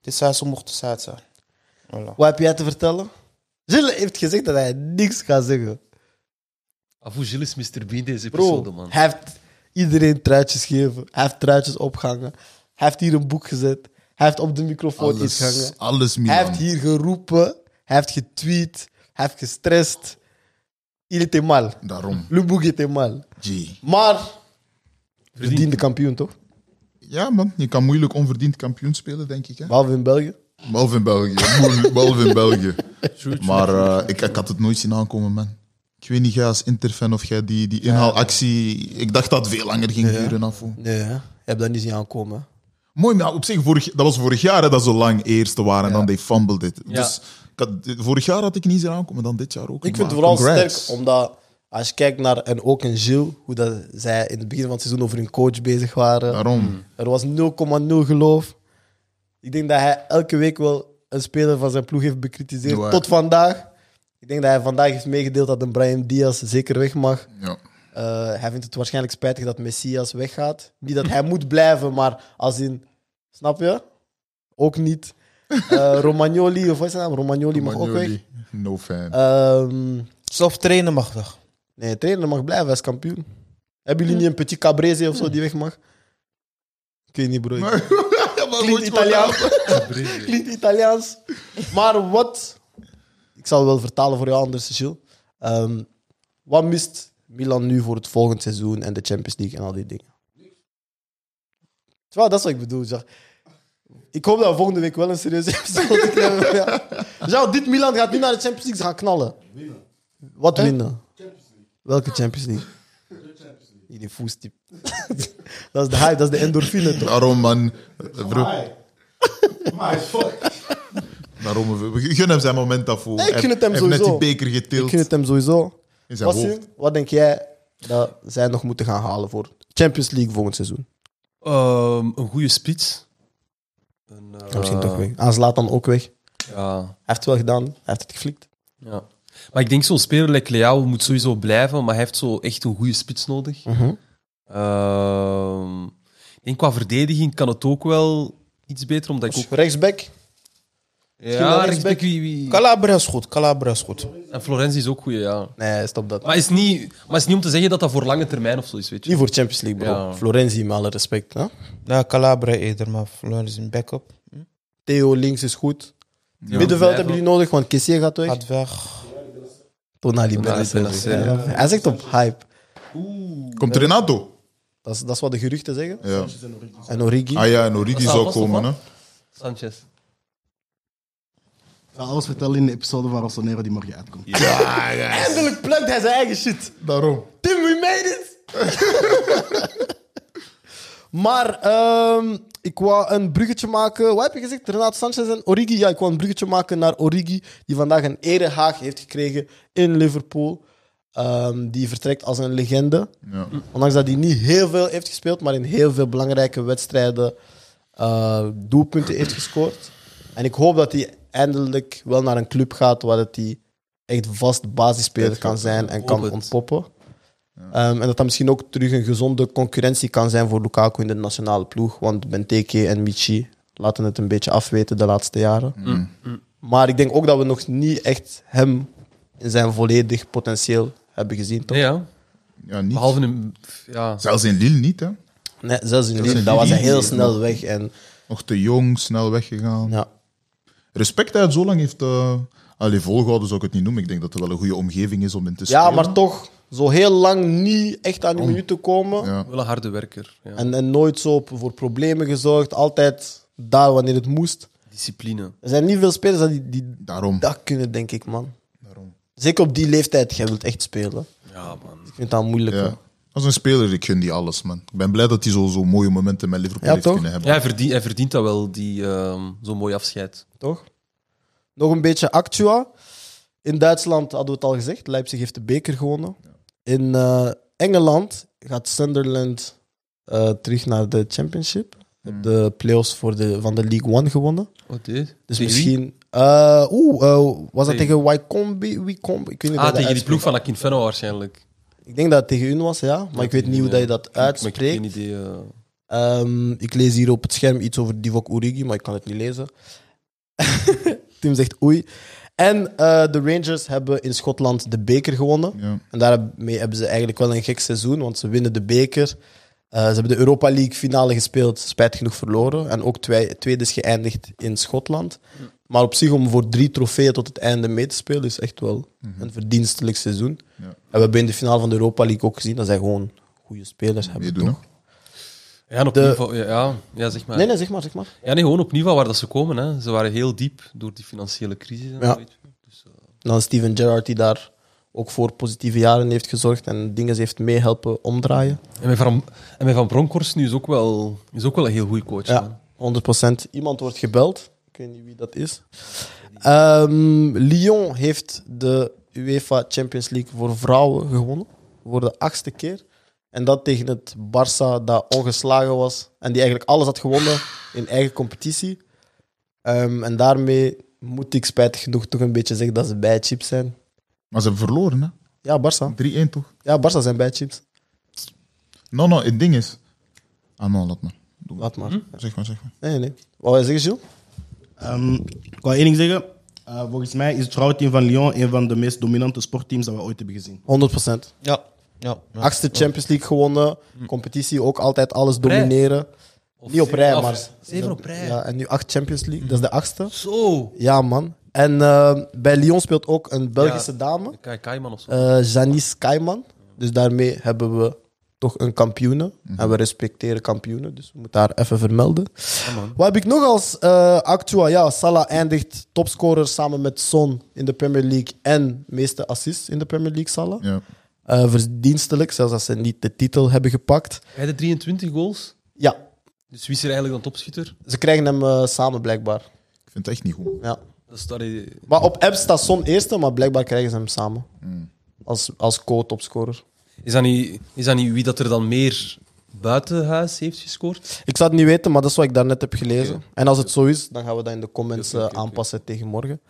Speaker 6: Dit seizoen mocht de Zuid zijn. Voilà.
Speaker 1: Wat heb jij te vertellen? Gilles heeft gezegd dat hij niks gaat zeggen.
Speaker 4: Avu Gilles is Mr. Bean deze
Speaker 1: Bro,
Speaker 4: episode, man.
Speaker 1: hij heeft iedereen truitjes gegeven. Hij heeft truitjes opgehangen. Hij heeft hier een boek gezet. Hij heeft op de microfoon iets
Speaker 5: Alles,
Speaker 1: gehangen.
Speaker 5: alles Milan.
Speaker 1: Hij heeft hier geroepen. Hij heeft getweet. Hij heeft gestrest. Il était mal.
Speaker 5: Daarom,
Speaker 1: Le boek était mal.
Speaker 5: G.
Speaker 1: Maar, verdiende kampioen toch?
Speaker 5: Ja, man. Je kan moeilijk onverdiend kampioen spelen, denk ik. Hè?
Speaker 1: Behalve in België.
Speaker 5: Behalve in België. Moeilijk, Behalve in België. Maar eh, ik, ik had het nooit zien aankomen, man. Ik weet niet, jij als Interfan of jij die, die inhaalactie... Ik dacht dat het veel langer ging duren. Af, hoor.
Speaker 1: Nee, hè? je hebt dat niet zien aankomen.
Speaker 5: Mooi, maar op zich, vorig, dat was vorig jaar hè, dat ze lang eerste waren en dan die fumble dit. Dus ik had, vorig jaar had ik niet zien aankomen, dan dit jaar ook.
Speaker 1: Ik vind het vooral sterk, omdat als je kijkt naar, en ook een Gilles, hoe dat zij in het begin van het seizoen over hun coach bezig waren.
Speaker 5: Daarom.
Speaker 1: Er was 0,0 geloof. Ik denk dat hij elke week wel een speler van zijn ploeg heeft bekritiseerd.
Speaker 5: Ja.
Speaker 1: Tot vandaag. Ik denk dat hij vandaag heeft meegedeeld dat een Brian Diaz zeker weg mag.
Speaker 5: Ja.
Speaker 1: Eh, hij vindt het waarschijnlijk spijtig dat Messias weggaat. Niet dat hij moet blijven, maar als in... Snap je? Ook niet. Eh, Romagnoli, of wat is zijn naam? Romagnoli mag ook weg.
Speaker 5: Romagnoli, No fan.
Speaker 1: Ehm,
Speaker 6: Zelf Dus trainen mag toch?
Speaker 1: nee, trainer mag blijven, hij is kampioen. Hebben jullie niet een petit cabrese of zo die weg mag? Ik weet niet, bro. Ik-
Speaker 5: Ja, maar
Speaker 1: Klinkt
Speaker 5: goed,
Speaker 1: Italiaans. Klinkt Italiaans. Maar wat... Ik zal wel vertalen voor jou anders, Gilles. Ehm, wat mist Milan nu voor het volgende seizoen en de Champions League en al die dingen? Terwijl, dat is wat ik bedoel, ja. Ik hoop dat we volgende week wel een serieuze episode krijgen. Ja. Jean, dit Milan gaat nu naar de Champions League, ze gaan knallen. Wat winnen? Welke Champions League? Die voestip. dat is de hype, dat is de endorfine, toch?
Speaker 5: Daarom, man. Vro-
Speaker 2: Hi. Maar fuck.
Speaker 5: Daarom, we- we gunnen hem zijn moment daarvoor.
Speaker 1: Nee, ik gun het hem
Speaker 5: Hij heeft net
Speaker 1: sowieso.
Speaker 5: die beker
Speaker 1: Ik
Speaker 5: getild
Speaker 1: gun het hem sowieso.
Speaker 5: in zijn
Speaker 1: Basim,
Speaker 5: hoofd.
Speaker 1: wat denk jij dat zij nog moeten gaan halen voor Champions League volgend seizoen?
Speaker 4: Ehm, een goede spits. Een, eh,
Speaker 1: Ja, misschien toch weg. Aan dan ook weg. Hij
Speaker 4: Ja,
Speaker 1: heeft het wel gedaan, hij heeft het geflikt.
Speaker 4: ja. Maar ik denk zo'n speler like Leao moet sowieso blijven, maar hij heeft zo echt een goede spits nodig.
Speaker 1: Mhm.
Speaker 4: Ehm, ik denk qua verdediging kan het ook wel iets beter, omdat ik ook...
Speaker 1: Rechtsback,
Speaker 4: Ja,
Speaker 6: rechtsback.
Speaker 4: rechtsback wie, wie...
Speaker 6: Calabria is goed, Calabria is goed.
Speaker 4: En Florenzi is ook goed, ja.
Speaker 1: Nee, stop dat.
Speaker 4: Maar is, niet, maar is niet om te zeggen dat dat voor lange termijn of zo is, weet je.
Speaker 1: Niet voor Champions League, bro.
Speaker 4: Ja.
Speaker 1: Florenzi, met alle respect. Hè?
Speaker 6: Nou, Calabria eerder, maar Fleur is een backup.
Speaker 1: Theo links is goed. Middenveld hebben jullie nodig, want Kessier gaat weg.
Speaker 6: Gaat weg.
Speaker 1: Tonali
Speaker 4: Benacer.
Speaker 1: Benacer. Ja. Hij zegt op hype.
Speaker 5: Komt Renato?
Speaker 1: Dat is, dat is wat de geruchten zeggen.
Speaker 5: Ja.
Speaker 1: En Origi.
Speaker 5: Ah ja, en Origi
Speaker 4: Wat
Speaker 5: zou
Speaker 4: was dat
Speaker 5: komen. Hè.
Speaker 4: van? Sanchez.
Speaker 3: Ik ga alles vertellen in de episode van Rossonero die morgen uitkomt.
Speaker 1: Eindelijk plukt hij zijn eigen shit.
Speaker 5: Daarom.
Speaker 1: Tim, we made it! maar ehm, ik wou een bruggetje maken. Wat heb je gezegd? Renato Sanchez en Origi? Ja, ik wou een bruggetje maken naar Origi, die vandaag een erehaag heeft gekregen in Liverpool. Ehm, die vertrekt als een legende.
Speaker 5: Ja.
Speaker 1: Ondanks dat hij niet heel veel heeft gespeeld, maar in heel veel belangrijke wedstrijden eh, doelpunten heeft gescoord. En ik hoop dat hij eindelijk wel naar een club gaat waar dat hij echt vast basisspeler kan zijn en
Speaker 4: Hoop
Speaker 1: kan
Speaker 4: het.
Speaker 1: ontpoppen. Ehm, en dat dat misschien ook terug een gezonde concurrentie kan zijn voor Lukaku in de nationale ploeg. Want Benteke en Michi laten het een beetje afweten de laatste jaren.
Speaker 4: Mm.
Speaker 1: Maar ik denk ook dat we nog niet echt hem in zijn volledig potentieel hebben gezien. Toch?
Speaker 4: Nee, ja.
Speaker 5: Ja, niet.
Speaker 4: Behalve een... Ja.
Speaker 5: Zelfs in Lille niet, hè.
Speaker 1: Nee, zelfs in Lille,
Speaker 5: zijn
Speaker 1: dat was hij heel
Speaker 5: drie,
Speaker 1: snel weg. En,
Speaker 5: Nog te jong, snel weggegaan.
Speaker 1: ja.
Speaker 5: Respect dat hij het zo lang heeft... eh Allee, volgehouden zou ik het niet noemen. Ik denk dat het wel een goede omgeving is om in te spelen.
Speaker 1: ja, maar toch zo heel lang niet echt aan die minuten komen.
Speaker 5: Oh. Ja.
Speaker 4: Wel een harde werker. Ja.
Speaker 1: En, en nooit zo op- voor problemen gezorgd. Altijd daar wanneer het moest.
Speaker 4: Discipline.
Speaker 1: Er zijn niet veel spelers dat die, die
Speaker 5: Daarom.
Speaker 1: dat kunnen, denk ik, man. Zeker op die leeftijd, jij wilt echt spelen.
Speaker 4: Ja, man.
Speaker 1: Ik vind dat moeilijk.
Speaker 5: Ja.
Speaker 1: hè.
Speaker 5: Als een speler, ik gun die alles, man. Ik ben blij dat hij zo, zo mooie momenten met Liverpool
Speaker 1: Ja,
Speaker 5: heeft
Speaker 1: toch?
Speaker 5: kunnen hebben.
Speaker 4: Ja, hij verdient, hij verdient dat wel, die ehm, zo'n mooi afscheid.
Speaker 1: toch? Nog een beetje Actua. In Duitsland hadden we het al gezegd, Leipzig heeft de beker gewonnen. In eh, Engeland gaat Sunderland eh, terug naar de Championship. De playoffs voor de, van de League One gewonnen.
Speaker 4: Wat dit?
Speaker 1: Dus misschien. eh, Oeh, eh, was dat
Speaker 4: Tegen-
Speaker 1: tegen Wycombe? Wycombe? Ik weet niet hoe
Speaker 4: Ah,
Speaker 1: dat
Speaker 4: tegen die
Speaker 1: uitspreekt.
Speaker 4: ploeg van Akinfenno waarschijnlijk.
Speaker 1: Ik denk dat het tegen hun was, ja. Maar ik weet niet hoe dat je dat
Speaker 4: Maar ik heb geen
Speaker 1: uitspreekt.
Speaker 4: idee. eh.
Speaker 1: Ehm, ik lees hier op het scherm iets over Divock Origi, maar ik kan het niet lezen. Tim zegt oei. En eh, de Rangers hebben in Schotland de beker gewonnen.
Speaker 5: Ja.
Speaker 1: En daarmee hebben ze eigenlijk wel een gek seizoen, want ze winnen de beker. Eh, ze hebben de Europa League finale gespeeld, spijt genoeg verloren. En ook twee, tweede is geëindigd in Schotland. Maar op zich om voor drie trofeeën tot het einde mee te spelen, is echt wel
Speaker 5: Mhm.
Speaker 1: een verdienstelijk seizoen. En we hebben in de finale van de Europa League ook gezien dat zij gewoon goede spelers hebben.
Speaker 5: Meedoen, hè.
Speaker 1: toch?
Speaker 4: Ja, en
Speaker 1: De-
Speaker 4: opnieuw, van- ja, ja, ja, zeg maar.
Speaker 1: Nee, nee, zeg maar, zeg maar.
Speaker 4: Ja, nee, gewoon opnieuw van waar dat ze komen. Hè. Ze waren heel diep door die financiële crisis. En
Speaker 1: Ja.
Speaker 4: zo, weet je.
Speaker 1: En dan Steven Gerrard, die daar ook voor positieve jaren heeft gezorgd en dingen heeft meehelpen omdraaien.
Speaker 4: En met Van, en met van Bronckhorst nu is ook wel, is ook wel een heel goede coach. man.
Speaker 1: Ja, 100%. Iemand wordt gebeld. Ik weet niet wie dat is. Ehm, Lyon heeft de UEFA Champions League voor vrouwen gewonnen. Voor de achtste keer. En dat tegen het Barça dat ongeslagen was. En die eigenlijk alles had gewonnen in eigen competitie. Ehm, en daarmee moet ik spijtig genoeg toch een beetje zeggen dat ze bijchips zijn.
Speaker 5: Maar ze hebben verloren, hè.
Speaker 1: Ja, Barça.
Speaker 5: 3-1, toch?
Speaker 1: Ja, Barça zijn bijchips.
Speaker 5: No, no, het ding is... Ah, no, laat maar. Doe maar.
Speaker 1: Laat maar.
Speaker 5: Zeg maar, zeg maar.
Speaker 1: Nee, nee. Wat wil je zeggen, Jules?
Speaker 3: Ehm, ik wil één ding zeggen. Eh, volgens mij is het vrouwenteam van Lyon een van de meest dominante sportteams dat we ooit hebben gezien.
Speaker 1: 100 procent.
Speaker 6: Ja. ja. ja.
Speaker 1: Achtste Champions League gewonnen. Competitie ook altijd alles domineren. Niet op rij,
Speaker 4: Of
Speaker 1: maar...
Speaker 4: zeven op rij.
Speaker 1: Ja, en nu acht Champions League. Dat is de achtste.
Speaker 4: Zo!
Speaker 1: Ja, man. En eh, bij Lyon speelt ook een Belgische
Speaker 4: Ja.
Speaker 1: dame.
Speaker 4: Kai Kaiman of zo.
Speaker 1: eh Janice Kaiman. Dus daarmee hebben we toch een kampioene. En we respecteren kampioenen, dus we moeten haar even vermelden. Wat heb ik nog als eh, actua? Ja, Salah eindigt topscorer samen met Son in de Premier League en meeste assists in de Premier League, Salah.
Speaker 5: Ja.
Speaker 1: Eh, verdienstelijk, zelfs als ze niet de titel hebben gepakt.
Speaker 4: Hij de 23 goals.
Speaker 1: Ja,
Speaker 4: Dus wie is er eigenlijk dan topschutter?
Speaker 1: ze krijgen hem eh, samen blijkbaar.
Speaker 5: Ik vind het echt niet goed.
Speaker 1: Ja.
Speaker 4: Dat is daar, eh,
Speaker 1: Maar op app staat Son eerste, maar blijkbaar krijgen ze hem samen. Als, als co-topscorer.
Speaker 4: is, dat niet, is dat niet wie dat er dan meer buitenhuis heeft gescoord?
Speaker 1: Ik zou het niet weten, maar dat is wat ik daarnet heb gelezen. En als het zo is, dan gaan we dat in de comments eh, aanpassen tegen morgen.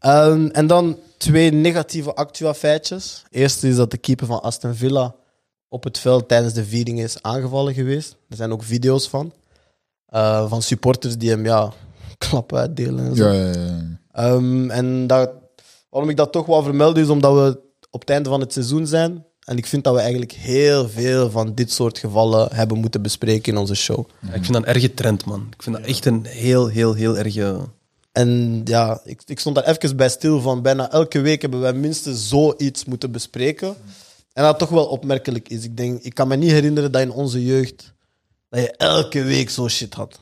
Speaker 1: Ehm, en dan twee negatieve actua feitjes. Eerst is dat de keeper van Aston Villa op het veld tijdens de viering is aangevallen geweest. Er zijn ook video's van. eh, van supporters die hem ja, klap uitdelen. En, zo.
Speaker 5: Ja, ja, ja.
Speaker 1: Ehm, en dat, waarom ik dat toch wel vermeld is omdat we op het einde van het seizoen zijn. En ik vind dat we eigenlijk heel veel van dit soort gevallen hebben moeten bespreken in onze show.
Speaker 4: Ja, ik vind dat een erge trend, man. Ik vind dat echt een heel, heel, heel erge...
Speaker 1: En ja, ik, ik stond daar even bij stil van. Bijna elke week hebben wij minstens zoiets moeten bespreken. En dat toch wel opmerkelijk is. Ik denk, ik kan me niet herinneren dat in onze jeugd dat je elke week zo shit had.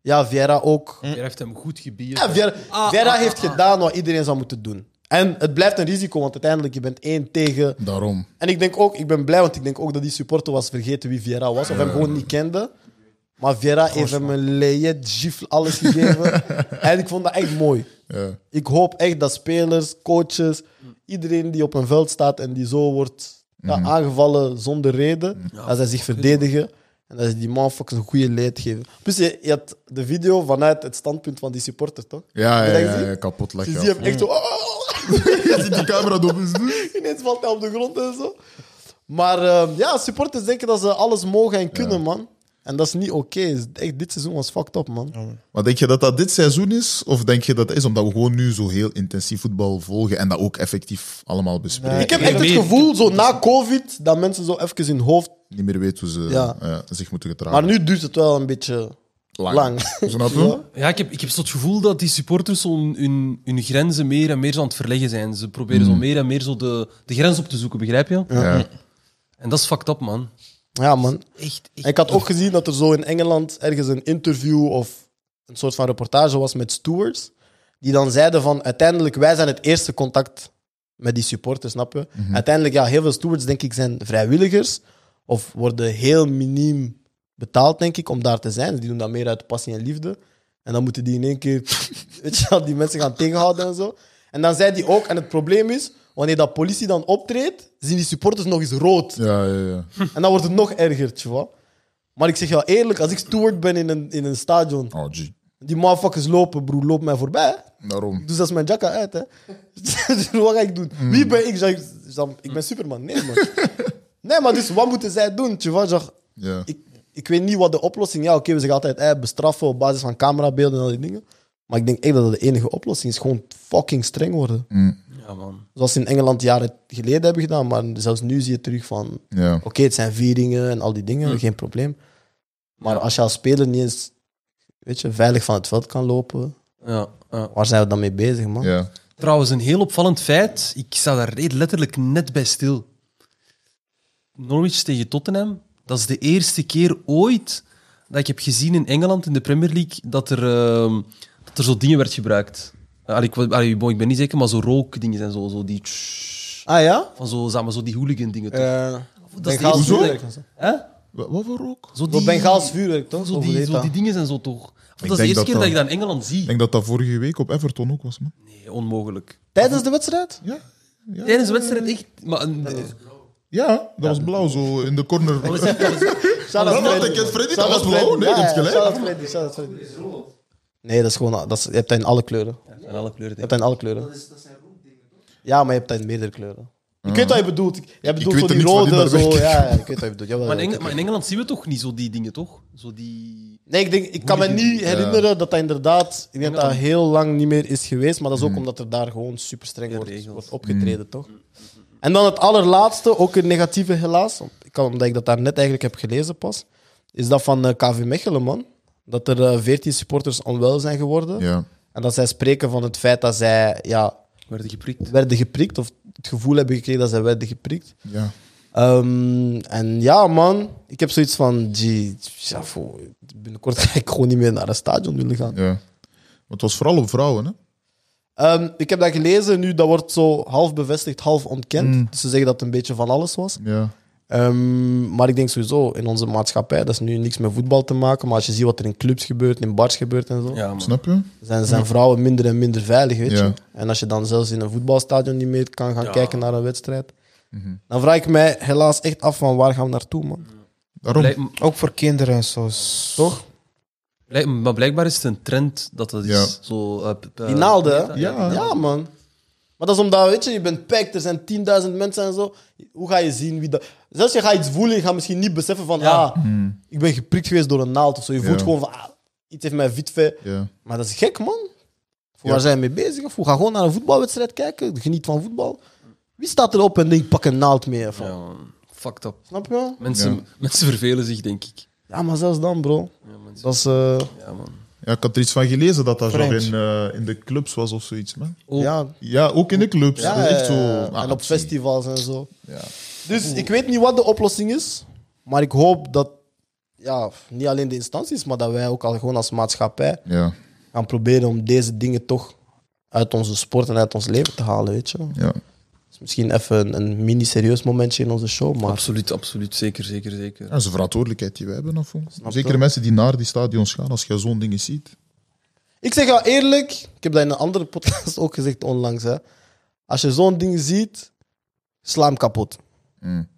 Speaker 1: Ja, Viera ook.
Speaker 4: Je heeft hem goed gebied.
Speaker 1: Ja, Vera, Vera heeft gedaan wat iedereen zou moeten doen. En het blijft een risico, want uiteindelijk je bent één tegen.
Speaker 5: Daarom.
Speaker 1: En ik denk ook, ik ben blij, want ik denk ook dat die supporter was vergeten wie Vera was. Of hem gewoon niet kende. Maar Vera heeft hem een lejet gifle alles gegeven. en ik vond dat echt mooi.
Speaker 5: Ja.
Speaker 1: Ik hoop echt dat spelers, coaches, iedereen die op een veld staat en die zo wordt ja,
Speaker 5: Mhm.
Speaker 1: aangevallen zonder reden, dat zij zich verdedigen en dat ze die man fucking een goede leid geven. Plus, je, je had de video vanuit het standpunt van die supporter, toch?
Speaker 5: Ja,
Speaker 1: Heb je
Speaker 5: ja,
Speaker 1: dat
Speaker 5: ja,
Speaker 1: gezien?
Speaker 5: ja, kapot
Speaker 1: Je
Speaker 5: lachen.
Speaker 1: ziet
Speaker 5: ja.
Speaker 1: hem echt zo... oh,
Speaker 5: Je ziet die camera erop is. dus.
Speaker 1: Ineens valt hij op de grond en zo. Maar ehm, ja, supporters denken dat ze alles mogen en kunnen, man. En dat is niet oké. Is- Echt, Dit seizoen was fucked up, man.
Speaker 5: Maar denk je dat dat dit seizoen is? Of denk je dat het is omdat we gewoon nu zo heel intensief voetbal volgen en dat ook effectief allemaal bespreken?
Speaker 1: Ik heb echt het
Speaker 4: weet-
Speaker 1: gevoel, zo na COVID, dat mensen zo even hun hoofd...
Speaker 5: Niet meer weet hoe ze
Speaker 1: Ja.
Speaker 5: eh, zich moeten gedragen.
Speaker 1: Maar nu duurt het wel een beetje lang.
Speaker 5: Snap je?
Speaker 4: Ja, ik heb, ik heb zo het gevoel dat die supporters zo hun, hun, hun grenzen meer en meer zo aan het verleggen zijn. Ze proberen zo meer en meer zo de, de grens op te zoeken, begrijp je?
Speaker 5: Ja.
Speaker 4: En dat is fucked up, man.
Speaker 1: Ja, man.
Speaker 4: Echt, echt.
Speaker 1: En ik had ook gezien dat er zo in Engeland ergens een interview of een soort van reportage was met stewards. Die dan zeiden van uiteindelijk, wij zijn het eerste contact met die supporters, snap je? Uiteindelijk, ja, heel veel stewards, denk ik, zijn vrijwilligers. Of worden heel miniem betaald, denk ik, om daar te zijn. Dus die doen dat meer uit passie en liefde. En dan moeten die in één keer weet je, wel, die mensen gaan tegenhouden en zo. En dan zei die ook, en het probleem is, wanneer dat politie dan optreedt, zien die supporters nog eens rood.
Speaker 5: Ja, ja, ja.
Speaker 1: En dan wordt het nog erger, tjoh. Maar ik zeg jou eerlijk, als ik steward ben in een, in een stadion,
Speaker 5: Oh, gee.
Speaker 1: die motherfuckers lopen, broer, loop mij voorbij. hè.
Speaker 5: Daarom.
Speaker 1: Ik doe zelfs mijn jacka uit, hè. Dus wat ga ik doen? Wie ben ik? Zeg ik? Sam, Ik ben Superman. Nee, man. Nee, maar dus wat moeten zij doen, tjoh? Zeg,
Speaker 5: Ja.
Speaker 1: ik, ik weet niet wat de oplossing is. Ja, oké, we zeggen altijd eh, bestraffen op basis van camerabeelden en al die dingen. Maar ik denk echt dat dat de enige oplossing is. Gewoon fucking streng worden.
Speaker 5: Mm.
Speaker 4: Ja, man.
Speaker 1: Zoals ze in Engeland jaren geleden hebben gedaan. Maar zelfs nu zie je terug van...
Speaker 5: ja.
Speaker 1: Oké, het zijn vieringen en al die dingen,
Speaker 5: Hm.
Speaker 1: geen probleem. Maar als je als speler niet eens weet je, veilig van het veld kan lopen,
Speaker 4: Ja, ja.
Speaker 1: waar zijn we dan mee bezig, man?
Speaker 5: ja.
Speaker 4: Trouwens, een heel opvallend feit. Ik sta daar re- letterlijk net bij stil. Norwich tegen Tottenham. Dat is de eerste keer ooit dat ik heb gezien in Engeland in de Premier League dat er, ehm, dat er zo dingen werd gebruikt. Eh, allee, ik, wa- allee, bon, ik ben niet zeker, maar zo rookdingen en zo. zo die tsch-
Speaker 1: Ah ja?
Speaker 4: van zo, zeg maar, zo die hooligan dingen. toch? dat is de
Speaker 1: Bengaals
Speaker 4: eerste
Speaker 1: Eh,
Speaker 4: keer
Speaker 1: vuurwerk.
Speaker 4: dat
Speaker 1: en
Speaker 4: ik-
Speaker 1: zo.
Speaker 4: Hè?
Speaker 5: Wat, wat voor ook?
Speaker 4: Zo
Speaker 1: Door
Speaker 4: die,
Speaker 1: Bengaals vuurwerk, toch?
Speaker 4: zo
Speaker 1: Of hoe
Speaker 4: die,
Speaker 1: heet
Speaker 4: zo
Speaker 1: dat?
Speaker 4: die dingen zijn zo toch. Of dat is de
Speaker 5: denk
Speaker 4: eerste
Speaker 5: dat
Speaker 4: keer dat,
Speaker 5: dat-
Speaker 4: ik dat in Engeland
Speaker 5: Ik
Speaker 4: zie.
Speaker 5: denk dat dat vorige week op Everton ook was, man.
Speaker 4: Nee, onmogelijk.
Speaker 1: Tijdens de wedstrijd?
Speaker 4: Tijdens de wedstrijd echt. Maar, een-
Speaker 5: Ja, dat was blauw zo in de corner.
Speaker 4: alles heeft alles-
Speaker 1: Shout out
Speaker 5: Dat dacht
Speaker 1: Freddy,
Speaker 5: ik, het
Speaker 1: man. Shout
Speaker 5: Freddy, dat
Speaker 1: out
Speaker 5: was blauw.
Speaker 1: Freddy.
Speaker 5: Nee, je
Speaker 1: Ja,
Speaker 5: hebt
Speaker 1: ja, Shout out
Speaker 5: gelijk.
Speaker 1: Freddy, shout out Freddy. Nee, dat is gewoon... Dat is, je hebt dat in alle kleuren. Je
Speaker 4: En alle kleuren.
Speaker 1: hebt dat in alle kleuren. Ja, maar je hebt dat in meerdere kleuren. Ik weet wat je bedoelt. Jij bedoelt
Speaker 5: weet
Speaker 1: zo
Speaker 5: er
Speaker 1: die
Speaker 5: niets van, die
Speaker 1: rode,
Speaker 5: daar
Speaker 1: zo...
Speaker 5: werken.
Speaker 1: Ja, ja, ik weet wat je bedoelt. Jawel,
Speaker 4: Maar
Speaker 1: ja,
Speaker 4: in,
Speaker 1: ik
Speaker 4: Eng- maar in Engeland zien we toch niet zo die dingen, toch? Zo die...
Speaker 1: Nee, ik, denk, ik kan me niet herinneren dat dat inderdaad... Ik denk dat dat heel lang niet meer is geweest. Maar dat is ook omdat er daar gewoon super streng wordt,
Speaker 4: regels.
Speaker 1: wordt opgetreden, toch? En dan het allerlaatste, ook een negatieve helaas. want Ik kan, omdat ik dat daar net eigenlijk heb gelezen pas. Is dat van eh, KV Mechelen, man. Dat er eh, 14 supporters onwel zijn geworden.
Speaker 5: Ja.
Speaker 1: En dat zij spreken van het feit dat zij ja,
Speaker 4: werden geprikt.
Speaker 1: werden geprikt. Of het gevoel hebben gekregen dat zij werden geprikt.
Speaker 5: Ja.
Speaker 1: Ehm, en ja, man, ik heb zoiets van, gee, ja, voor- binnenkort ga ik gewoon niet meer naar een stadion willen gaan.
Speaker 5: ja. Maar het was vooral op vrouwen, hè?
Speaker 1: Ehm, ik heb dat gelezen, nu dat wordt zo half bevestigd, half ontkend. Dus ze zeggen dat het een beetje van alles was.
Speaker 5: Ja.
Speaker 1: Ehm, maar ik denk sowieso, in onze maatschappij, dat is nu niks met voetbal te maken, maar als je ziet wat er in clubs gebeurt, in bars gebeurt en zo,
Speaker 4: Ja, man.
Speaker 5: Snap je?
Speaker 1: zijn, zijn vrouwen minder en minder veilig, weet
Speaker 5: Ja.
Speaker 1: je. En als je dan zelfs in een voetbalstadion niet meer kan gaan kijken naar een wedstrijd, dan vraag ik mij helaas echt af van waar gaan we naartoe, man.
Speaker 5: Daarom.
Speaker 4: Blijk- m-
Speaker 6: Ook voor kinderen en zo.
Speaker 1: Toch?
Speaker 4: blijk- maar blijkbaar is het een trend dat dat is.
Speaker 5: Ja.
Speaker 4: Zo, eh, p- eh,
Speaker 1: Die naalden, hè?
Speaker 5: Ja.
Speaker 1: ja, man. Maar dat is omdat, weet je, je bent packed, er zijn 10.000 mensen en zo. Hoe ga je zien wie dat... Zelfs je gaat iets voelen, je gaat misschien niet beseffen van,
Speaker 4: Ja.
Speaker 5: Mm,
Speaker 1: ah, ik ben geprikt geweest door een naald of zo. Je voelt
Speaker 5: Ja.
Speaker 1: gewoon van, ah, iets heeft met Vitve.
Speaker 5: Ja.
Speaker 1: Maar dat is gek, man. Voor waar zijn we mee bezig? Of we gaan gewoon naar een voetbalwedstrijd kijken, geniet van voetbal. Wie staat erop en denkt, pak een naald mee? Van,
Speaker 4: Ja, man. Fucked up.
Speaker 1: Snap je?
Speaker 4: Mensen,
Speaker 5: Ja.
Speaker 4: mensen vervelen zich, denk ik.
Speaker 1: Ja, maar zelfs dan, bro. Dat is... eh,
Speaker 4: Ja, man.
Speaker 5: Ja, ik had er iets van gelezen dat dat zo
Speaker 6: Vreemd.
Speaker 5: in, eh, in de clubs was of zoiets, man.
Speaker 4: Oh.
Speaker 1: Ja,
Speaker 5: Ja, ook in de clubs.
Speaker 1: Ja,
Speaker 5: Dat is echt zo.
Speaker 1: eh,
Speaker 5: Ah,
Speaker 1: en op
Speaker 5: zie.
Speaker 1: festivals en zo.
Speaker 5: Ja.
Speaker 1: Dus ik weet niet wat de oplossing is, maar ik hoop dat ja, niet alleen de instanties, maar dat wij ook al gewoon als maatschappij
Speaker 5: Ja.
Speaker 1: gaan proberen om deze dingen toch uit onze sport en uit ons leven te halen. Weet je?
Speaker 5: ja.
Speaker 1: Dus misschien even een, een mini-serieus momentje in onze show, maar
Speaker 4: Absoluut, absoluut. Zeker, zeker, zeker.
Speaker 5: Dat is een verantwoordelijkheid die wij hebben. Of, Zeker
Speaker 1: je?
Speaker 5: de mensen die naar die stadions gaan, als je zo'n dingen ziet.
Speaker 1: ik zeg jou eerlijk, ik heb dat in een andere podcast ook gezegd onlangs. Hè. Als je zo'n ding ziet, sla hem kapot.
Speaker 5: Mm.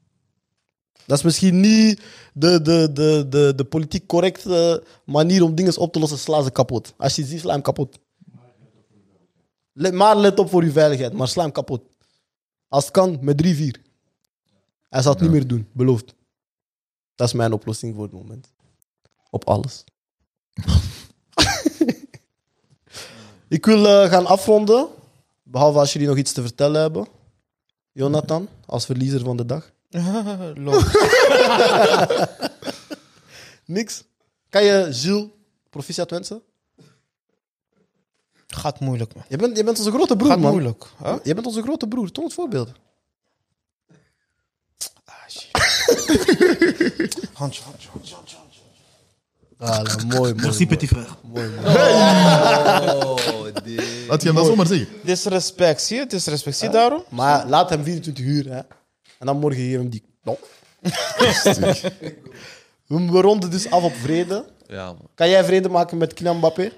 Speaker 1: Dat is misschien niet de, de, de, de, de politiek correcte manier om dingen op te lossen. Sla ze kapot. Als je ziet, sla hem kapot. Let, maar let op voor uw veiligheid, maar sla hem kapot. Als het kan, met 3-4. Hij zal het niet meer doen, beloofd. Dat is mijn oplossing voor het moment. Op alles. Ik wil eh, gaan afronden. Behalve als jullie nog iets te vertellen hebben. Jonathan, als verliezer van de dag.
Speaker 6: Lol.
Speaker 1: Niks. Kan je Gilles proficiat wensen?
Speaker 6: Gaat moeilijk, man.
Speaker 1: Je bent, je bent onze grote broer,
Speaker 6: Gaat
Speaker 1: man.
Speaker 6: moeilijk. hè?
Speaker 1: Je bent onze grote broer. Toon het voorbeeld.
Speaker 6: Ah, Handje, handje, handje, handje. handje.
Speaker 1: Ah, mooi, mooi.
Speaker 3: Merci, petit frère.
Speaker 4: Oh, nee.
Speaker 5: Laat je hem dat zomaar zeggen.
Speaker 6: Disrespect, zie je? Disrespect, zie je daarom?
Speaker 1: Maar laat hem 24 uur, hè. En dan morgen geef hem die... No. We we ronden dus af op vrede.
Speaker 4: Ja, man.
Speaker 1: Kan jij vrede maken met Kylian Mbappé?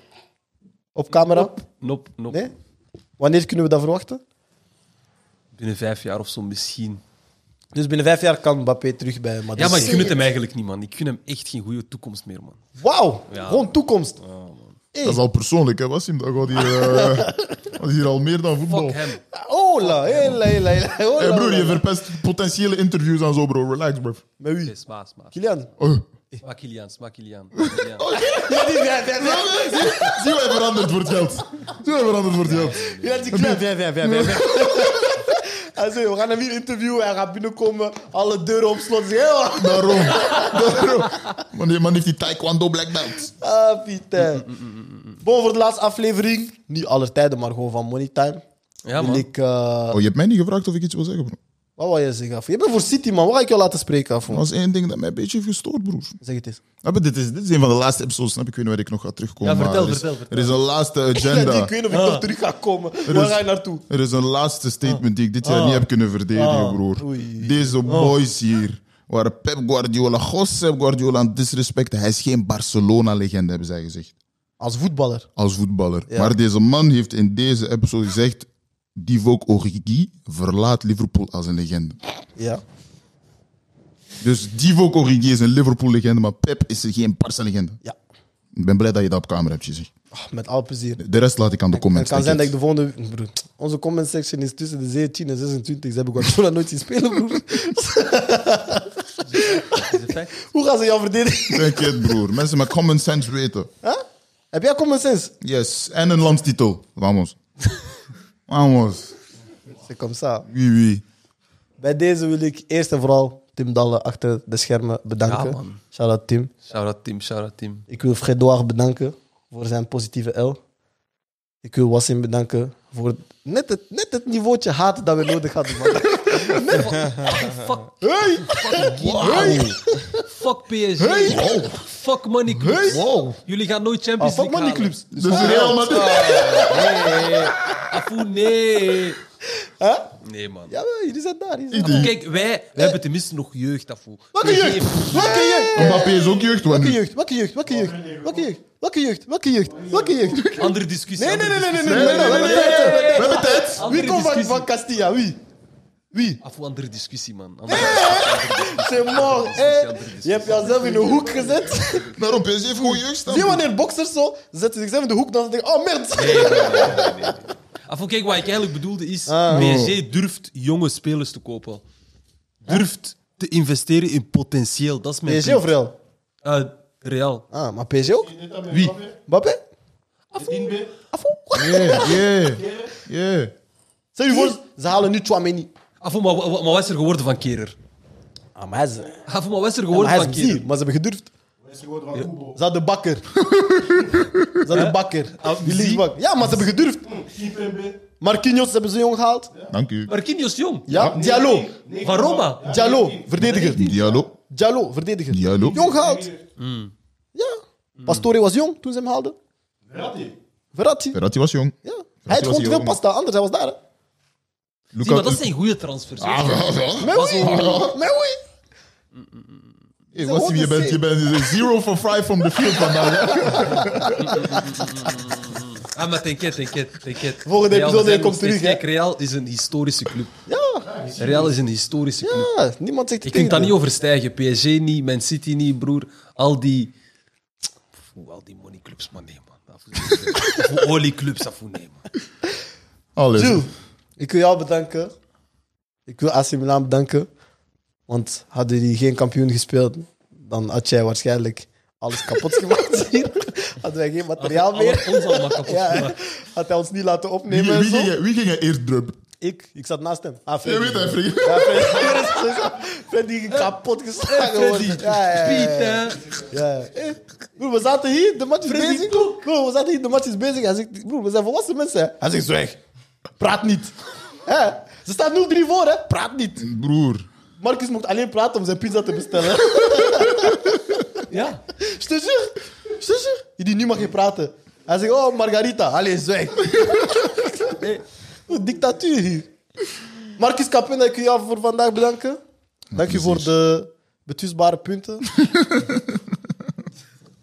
Speaker 1: Op camera?
Speaker 4: Nop, nop.
Speaker 1: Nee? Wanneer kunnen we dat verwachten?
Speaker 4: Binnen vijf jaar of zo misschien.
Speaker 1: Dus binnen vijf jaar kan Mbappé terug bij Madrid.
Speaker 4: Ja, maar ik
Speaker 1: zijn.
Speaker 4: gun het hem eigenlijk niet, man. Ik gun hem echt geen goede toekomst meer, man.
Speaker 1: Wauw,
Speaker 4: Ja.
Speaker 1: gewoon toekomst. Hey.
Speaker 5: Dat is al persoonlijk, hè? Was hem? Dat gaat hier, eh, was hier al meer dan voetbal.
Speaker 4: Fuck hem.
Speaker 1: Hola, hela, hela, hela. Hola,
Speaker 5: Hey broer, je
Speaker 1: hola.
Speaker 5: verpest potentiële interviews en zo, bro. Relax, bro.
Speaker 1: Met wie?
Speaker 4: Nee, smaak, smaak.
Speaker 1: Kylian.
Speaker 5: Oh.
Speaker 4: Smaak Kilian, smaak Kilian.
Speaker 1: Ja, die vijf, vijf, vijf.
Speaker 5: Zie wij veranderd voor het geld. Zie wij veranderd voor het geld.
Speaker 1: Ja, die knap. Hij zei, we gaan hem hier interviewen. Hij gaat binnenkomen, alle deuren op slot. Zeg, hé, man.
Speaker 5: Daarom. Daarom. Man, die man heeft die taekwondo black belt.
Speaker 1: Ah, Pieter.
Speaker 4: Mm,
Speaker 1: Bon, voor de laatste aflevering. Niet aller tijden, maar gewoon van Money Time.
Speaker 4: Ja,
Speaker 1: Wil
Speaker 4: man.
Speaker 1: ik... eh,
Speaker 5: Oh, je hebt mij niet gevraagd of ik iets wil zeggen, bro.
Speaker 1: wat wil je zeggen, af? Je bent voor City, man. Wat ga ik jou laten spreken, af?
Speaker 5: Dat is één ding dat mij een beetje heeft gestoord, broer.
Speaker 1: Zeg het eens.
Speaker 5: Ja, maar dit, is, dit is een van de laatste episodes, snap je? Ik weet niet waar ik nog ga terugkomen.
Speaker 4: Ja, vertel,
Speaker 5: maar er is,
Speaker 4: vertel, vertel.
Speaker 5: Er is een laatste agenda.
Speaker 1: Ik weet niet of ik
Speaker 4: Ah.
Speaker 1: nog terug ga komen. Waar
Speaker 5: Dus-
Speaker 1: ga je naartoe?
Speaker 5: Er is een laatste statement die ik dit
Speaker 4: Ah.
Speaker 5: jaar niet heb kunnen verdedigen, broer. Deze
Speaker 4: Oh.
Speaker 5: boys hier waren Pep Guardiola, Josep Guardiola aan het disrespecten. Hij is geen Barcelona-legende, hebben zij gezegd.
Speaker 1: Als voetballer.
Speaker 5: Als voetballer. Maar deze man heeft in deze episode gezegd... Divock Origi verlaat Liverpool als een legende.
Speaker 1: Ja.
Speaker 5: Dus Divock Origi is een Liverpool-legende, maar Pep is er geen Barca-legende.
Speaker 1: Ja.
Speaker 5: Ik ben blij dat je dat op camera hebt gezegd.
Speaker 1: Ah, met alle plezier.
Speaker 5: De rest laat ik aan de
Speaker 1: Het
Speaker 5: comments.
Speaker 1: kan zijn dat ik
Speaker 5: denk
Speaker 1: de volgende. Broer, onze comment section is tussen de 17 en 26. Ze hebben Guardiola nooit zien spelen, broer.
Speaker 4: Is het fijn?
Speaker 1: Hoe gaan ze jou verdedigen?
Speaker 5: ik. Denk het, broer. Mensen met common sense weten.
Speaker 1: Heb jij common sense?
Speaker 5: Yes, en een landstitel. Vamos. Vamos.
Speaker 1: C'est comme ça.
Speaker 5: Oui, oui.
Speaker 1: Bij deze wil ik eerst en vooral Tim Dalle achter de schermen bedanken.
Speaker 4: Ja, man.
Speaker 1: Shout out Tim.
Speaker 4: Shout-out Tim, shout-out Tim.
Speaker 1: Ik wil Fredoir bedanken voor zijn positieve L. Ik wil Wassim bedanken voor net het, net het niveautje haat dat we nodig hadden. man.
Speaker 4: Fuck. Hey! Fuck PSG. Fuck Money Clubs. Jullie gaan nooit Champions
Speaker 1: Ah, fuck
Speaker 4: League
Speaker 1: Money
Speaker 4: halen.
Speaker 1: Clubs.
Speaker 5: Dus Real Madrid.
Speaker 4: Nee. Afoe, nee. Nee, man.
Speaker 1: Ja, jullie zijn daar. jullie zijn
Speaker 5: Idi.
Speaker 4: Afoe, kijk, wij hebben tenminste nog jeugd, ah, Afoe.
Speaker 1: Welke jeugd? Welke jeugd?
Speaker 5: Mbappé is ook jeugd,
Speaker 1: Welke
Speaker 5: man.
Speaker 1: jeugd? Welke jeugd? Welke jeugd? Welke jeugd? Welke jeugd? Welke jeugd? Welke jeugd?
Speaker 4: Andere discussie.
Speaker 1: Nee, nee,
Speaker 4: andere
Speaker 1: nee, nee, nee, nee,
Speaker 4: discussie.
Speaker 1: nee, nee, nee, nee, nee, nee, nee.
Speaker 5: We hebben tijd.
Speaker 4: Andere
Speaker 1: Wie komt van,
Speaker 4: discussie.
Speaker 1: van Castilla? Wie? Wie?
Speaker 4: Afoe, Ah, andere discussie, man. Andere
Speaker 1: C'est
Speaker 4: discussie,
Speaker 1: mort.
Speaker 4: andere
Speaker 1: hè?
Speaker 4: discussie.
Speaker 1: Eh, Je hebt jouzelf in de hoek gezet.
Speaker 5: Daarom, PSG heeft gewoon jeugd staan.
Speaker 1: Zie je wanneer boxers zo zetten zichzelf in de hoek, dan denk ik, oh merde.
Speaker 4: Nee, nee, nee, nee, nee, nee. Afoe, Ah, kijk, wat ik eigenlijk bedoelde is...
Speaker 1: Ah.
Speaker 4: PSG durft jonge spelers te kopen. Durft te investeren in potentieel. Dat is mijn
Speaker 1: PSG of
Speaker 4: punt.
Speaker 1: Real?
Speaker 4: Eh, Real.
Speaker 1: Ah, maar PSG ook?
Speaker 5: Wie?
Speaker 1: Mbappé?
Speaker 5: Yeah, yeah, yeah.
Speaker 1: Stel je voor, ze halen nu Chouameni.
Speaker 4: Afo, maar, wa- wa- maar wat is er geworden van Kerer?
Speaker 1: Ah, maar hij is, ja,
Speaker 4: Afo, maar wat is er
Speaker 1: maar
Speaker 4: geworden
Speaker 1: hij is
Speaker 4: van
Speaker 1: een
Speaker 4: Kerer?
Speaker 1: zier, maar ze hebben gedurfd. Ze hadden bakker. ze hadden bakker. Die
Speaker 4: zie.
Speaker 1: linksbak. Ja, maar ze hebben gedurfd. Marquinhos hebben ze jong gehaald.
Speaker 5: Dank u.
Speaker 4: Marquinhos Jong.
Speaker 1: Ja, Diallo.
Speaker 4: Van Roma.
Speaker 1: Diallo, verdediger.
Speaker 5: Diallo.
Speaker 1: Diallo, verdediger.
Speaker 5: Diallo.
Speaker 1: Jong gehaald. Ja. Pastore was jong toen ze hem haalden. Verratti.
Speaker 5: Verratti was jong.
Speaker 1: Ja. Hij had
Speaker 5: was
Speaker 1: gewoon te veel
Speaker 5: jong.
Speaker 1: pasta, anders hij was daar. hè.
Speaker 4: Zie, maar dat
Speaker 5: Lukaku.
Speaker 4: zijn goede transfers.
Speaker 1: Ah.
Speaker 4: hoor.
Speaker 1: Mais oui. Mais oui.
Speaker 5: Hey, Wassim,
Speaker 1: Ze
Speaker 5: je bent, je bent zero for five from the field vandaag. hè?
Speaker 4: Ah, maar t'inquiète, t'inquiète, t'inquiète.
Speaker 1: Volgende
Speaker 4: Real, we
Speaker 1: episode
Speaker 4: zijn
Speaker 1: komt
Speaker 4: nog steeds-
Speaker 1: terug, hè.
Speaker 4: Kijk, Real is een historische club.
Speaker 1: Ja.
Speaker 4: Real is een historische club.
Speaker 1: ja, niemand zegt het
Speaker 4: Je kunt
Speaker 1: tegendeel.
Speaker 4: daar niet overstijgen. PSG niet, Man City niet, broer. Al die... Pff, al die moneyclubs, maar nee, man. Af- Of olieclubs, af nee, man.
Speaker 1: Eh,
Speaker 5: Alles.
Speaker 1: Jules, ik wil jou bedanken. Ik wil AC Milan bedanken. Want hadden die geen kampioen gespeeld, dan had jij waarschijnlijk alles kapot gemaakt hier. Hadden wij geen materiaal
Speaker 4: Alle-
Speaker 1: meer.
Speaker 4: Ons allemaal kapot
Speaker 1: Ja,
Speaker 4: gemaakt.
Speaker 1: had hij ons niet laten
Speaker 5: Wie,
Speaker 1: opnemen. en
Speaker 5: wie,
Speaker 1: zo.
Speaker 5: ging, je- wie ging je eerst drub?
Speaker 1: Ik, ik zat naast hem. Ah,
Speaker 5: Je
Speaker 1: Freddy.
Speaker 5: weet het, vriend.
Speaker 1: Ja, Freddy. Freddy ging kapot
Speaker 4: Eh,
Speaker 1: geslagen worden. Ja, ja, ja, ja.
Speaker 4: Pieter.
Speaker 1: Ja. Eh, broer, we zaten hier, de match is bezig. Broer, we zaten hier, de match is bezig. Hij zegt, broer, we zijn volwassen mensen. hè. Hij zegt, zwijg. Praat niet. Hè? Ze staat 0-3 voor, hè? Praat niet.
Speaker 5: Broer.
Speaker 1: Marcus mocht alleen praten om zijn pizza te bestellen.
Speaker 4: Ja.
Speaker 1: Je te jure. Je te jure. Je dit nu mag je praten. Hij zegt, oh, Margarita. Allee, zwijg. Nee. Broer, Dictatuur hier. Marcus Capena, ik wil jou voor vandaag bedanken. Dank je voor
Speaker 5: plezier.
Speaker 1: de betwistbare punten.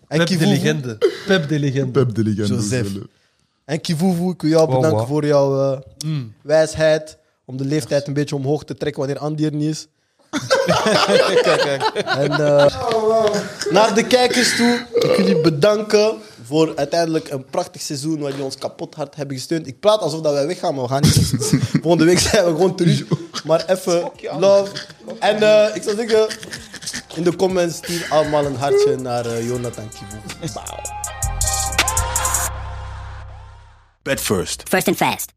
Speaker 1: En
Speaker 4: Pep de
Speaker 1: Kivuvu.
Speaker 4: legende. Pep de legende.
Speaker 5: Pep de legende.
Speaker 1: Joseph. En Kivuvu, ik wil jou
Speaker 4: Wow,
Speaker 1: bedanken
Speaker 4: wow.
Speaker 1: voor jouw eh, wijsheid. Om de leeftijd een beetje omhoog te trekken wanneer Andy er niet is. En, eh, Naar de kijkers toe, ik wil jullie bedanken voor uiteindelijk een prachtig seizoen waar jullie ons kapot hard hebben gesteund. Ik praat alsof dat wij weggaan, maar we gaan niet. Volgende week zijn we gewoon terug. Maar even love. En eh, ik zou zeggen, in de comments stuur allemaal een hartje naar eh, Jonathan Kivuvu. Bauw.
Speaker 7: First and fast.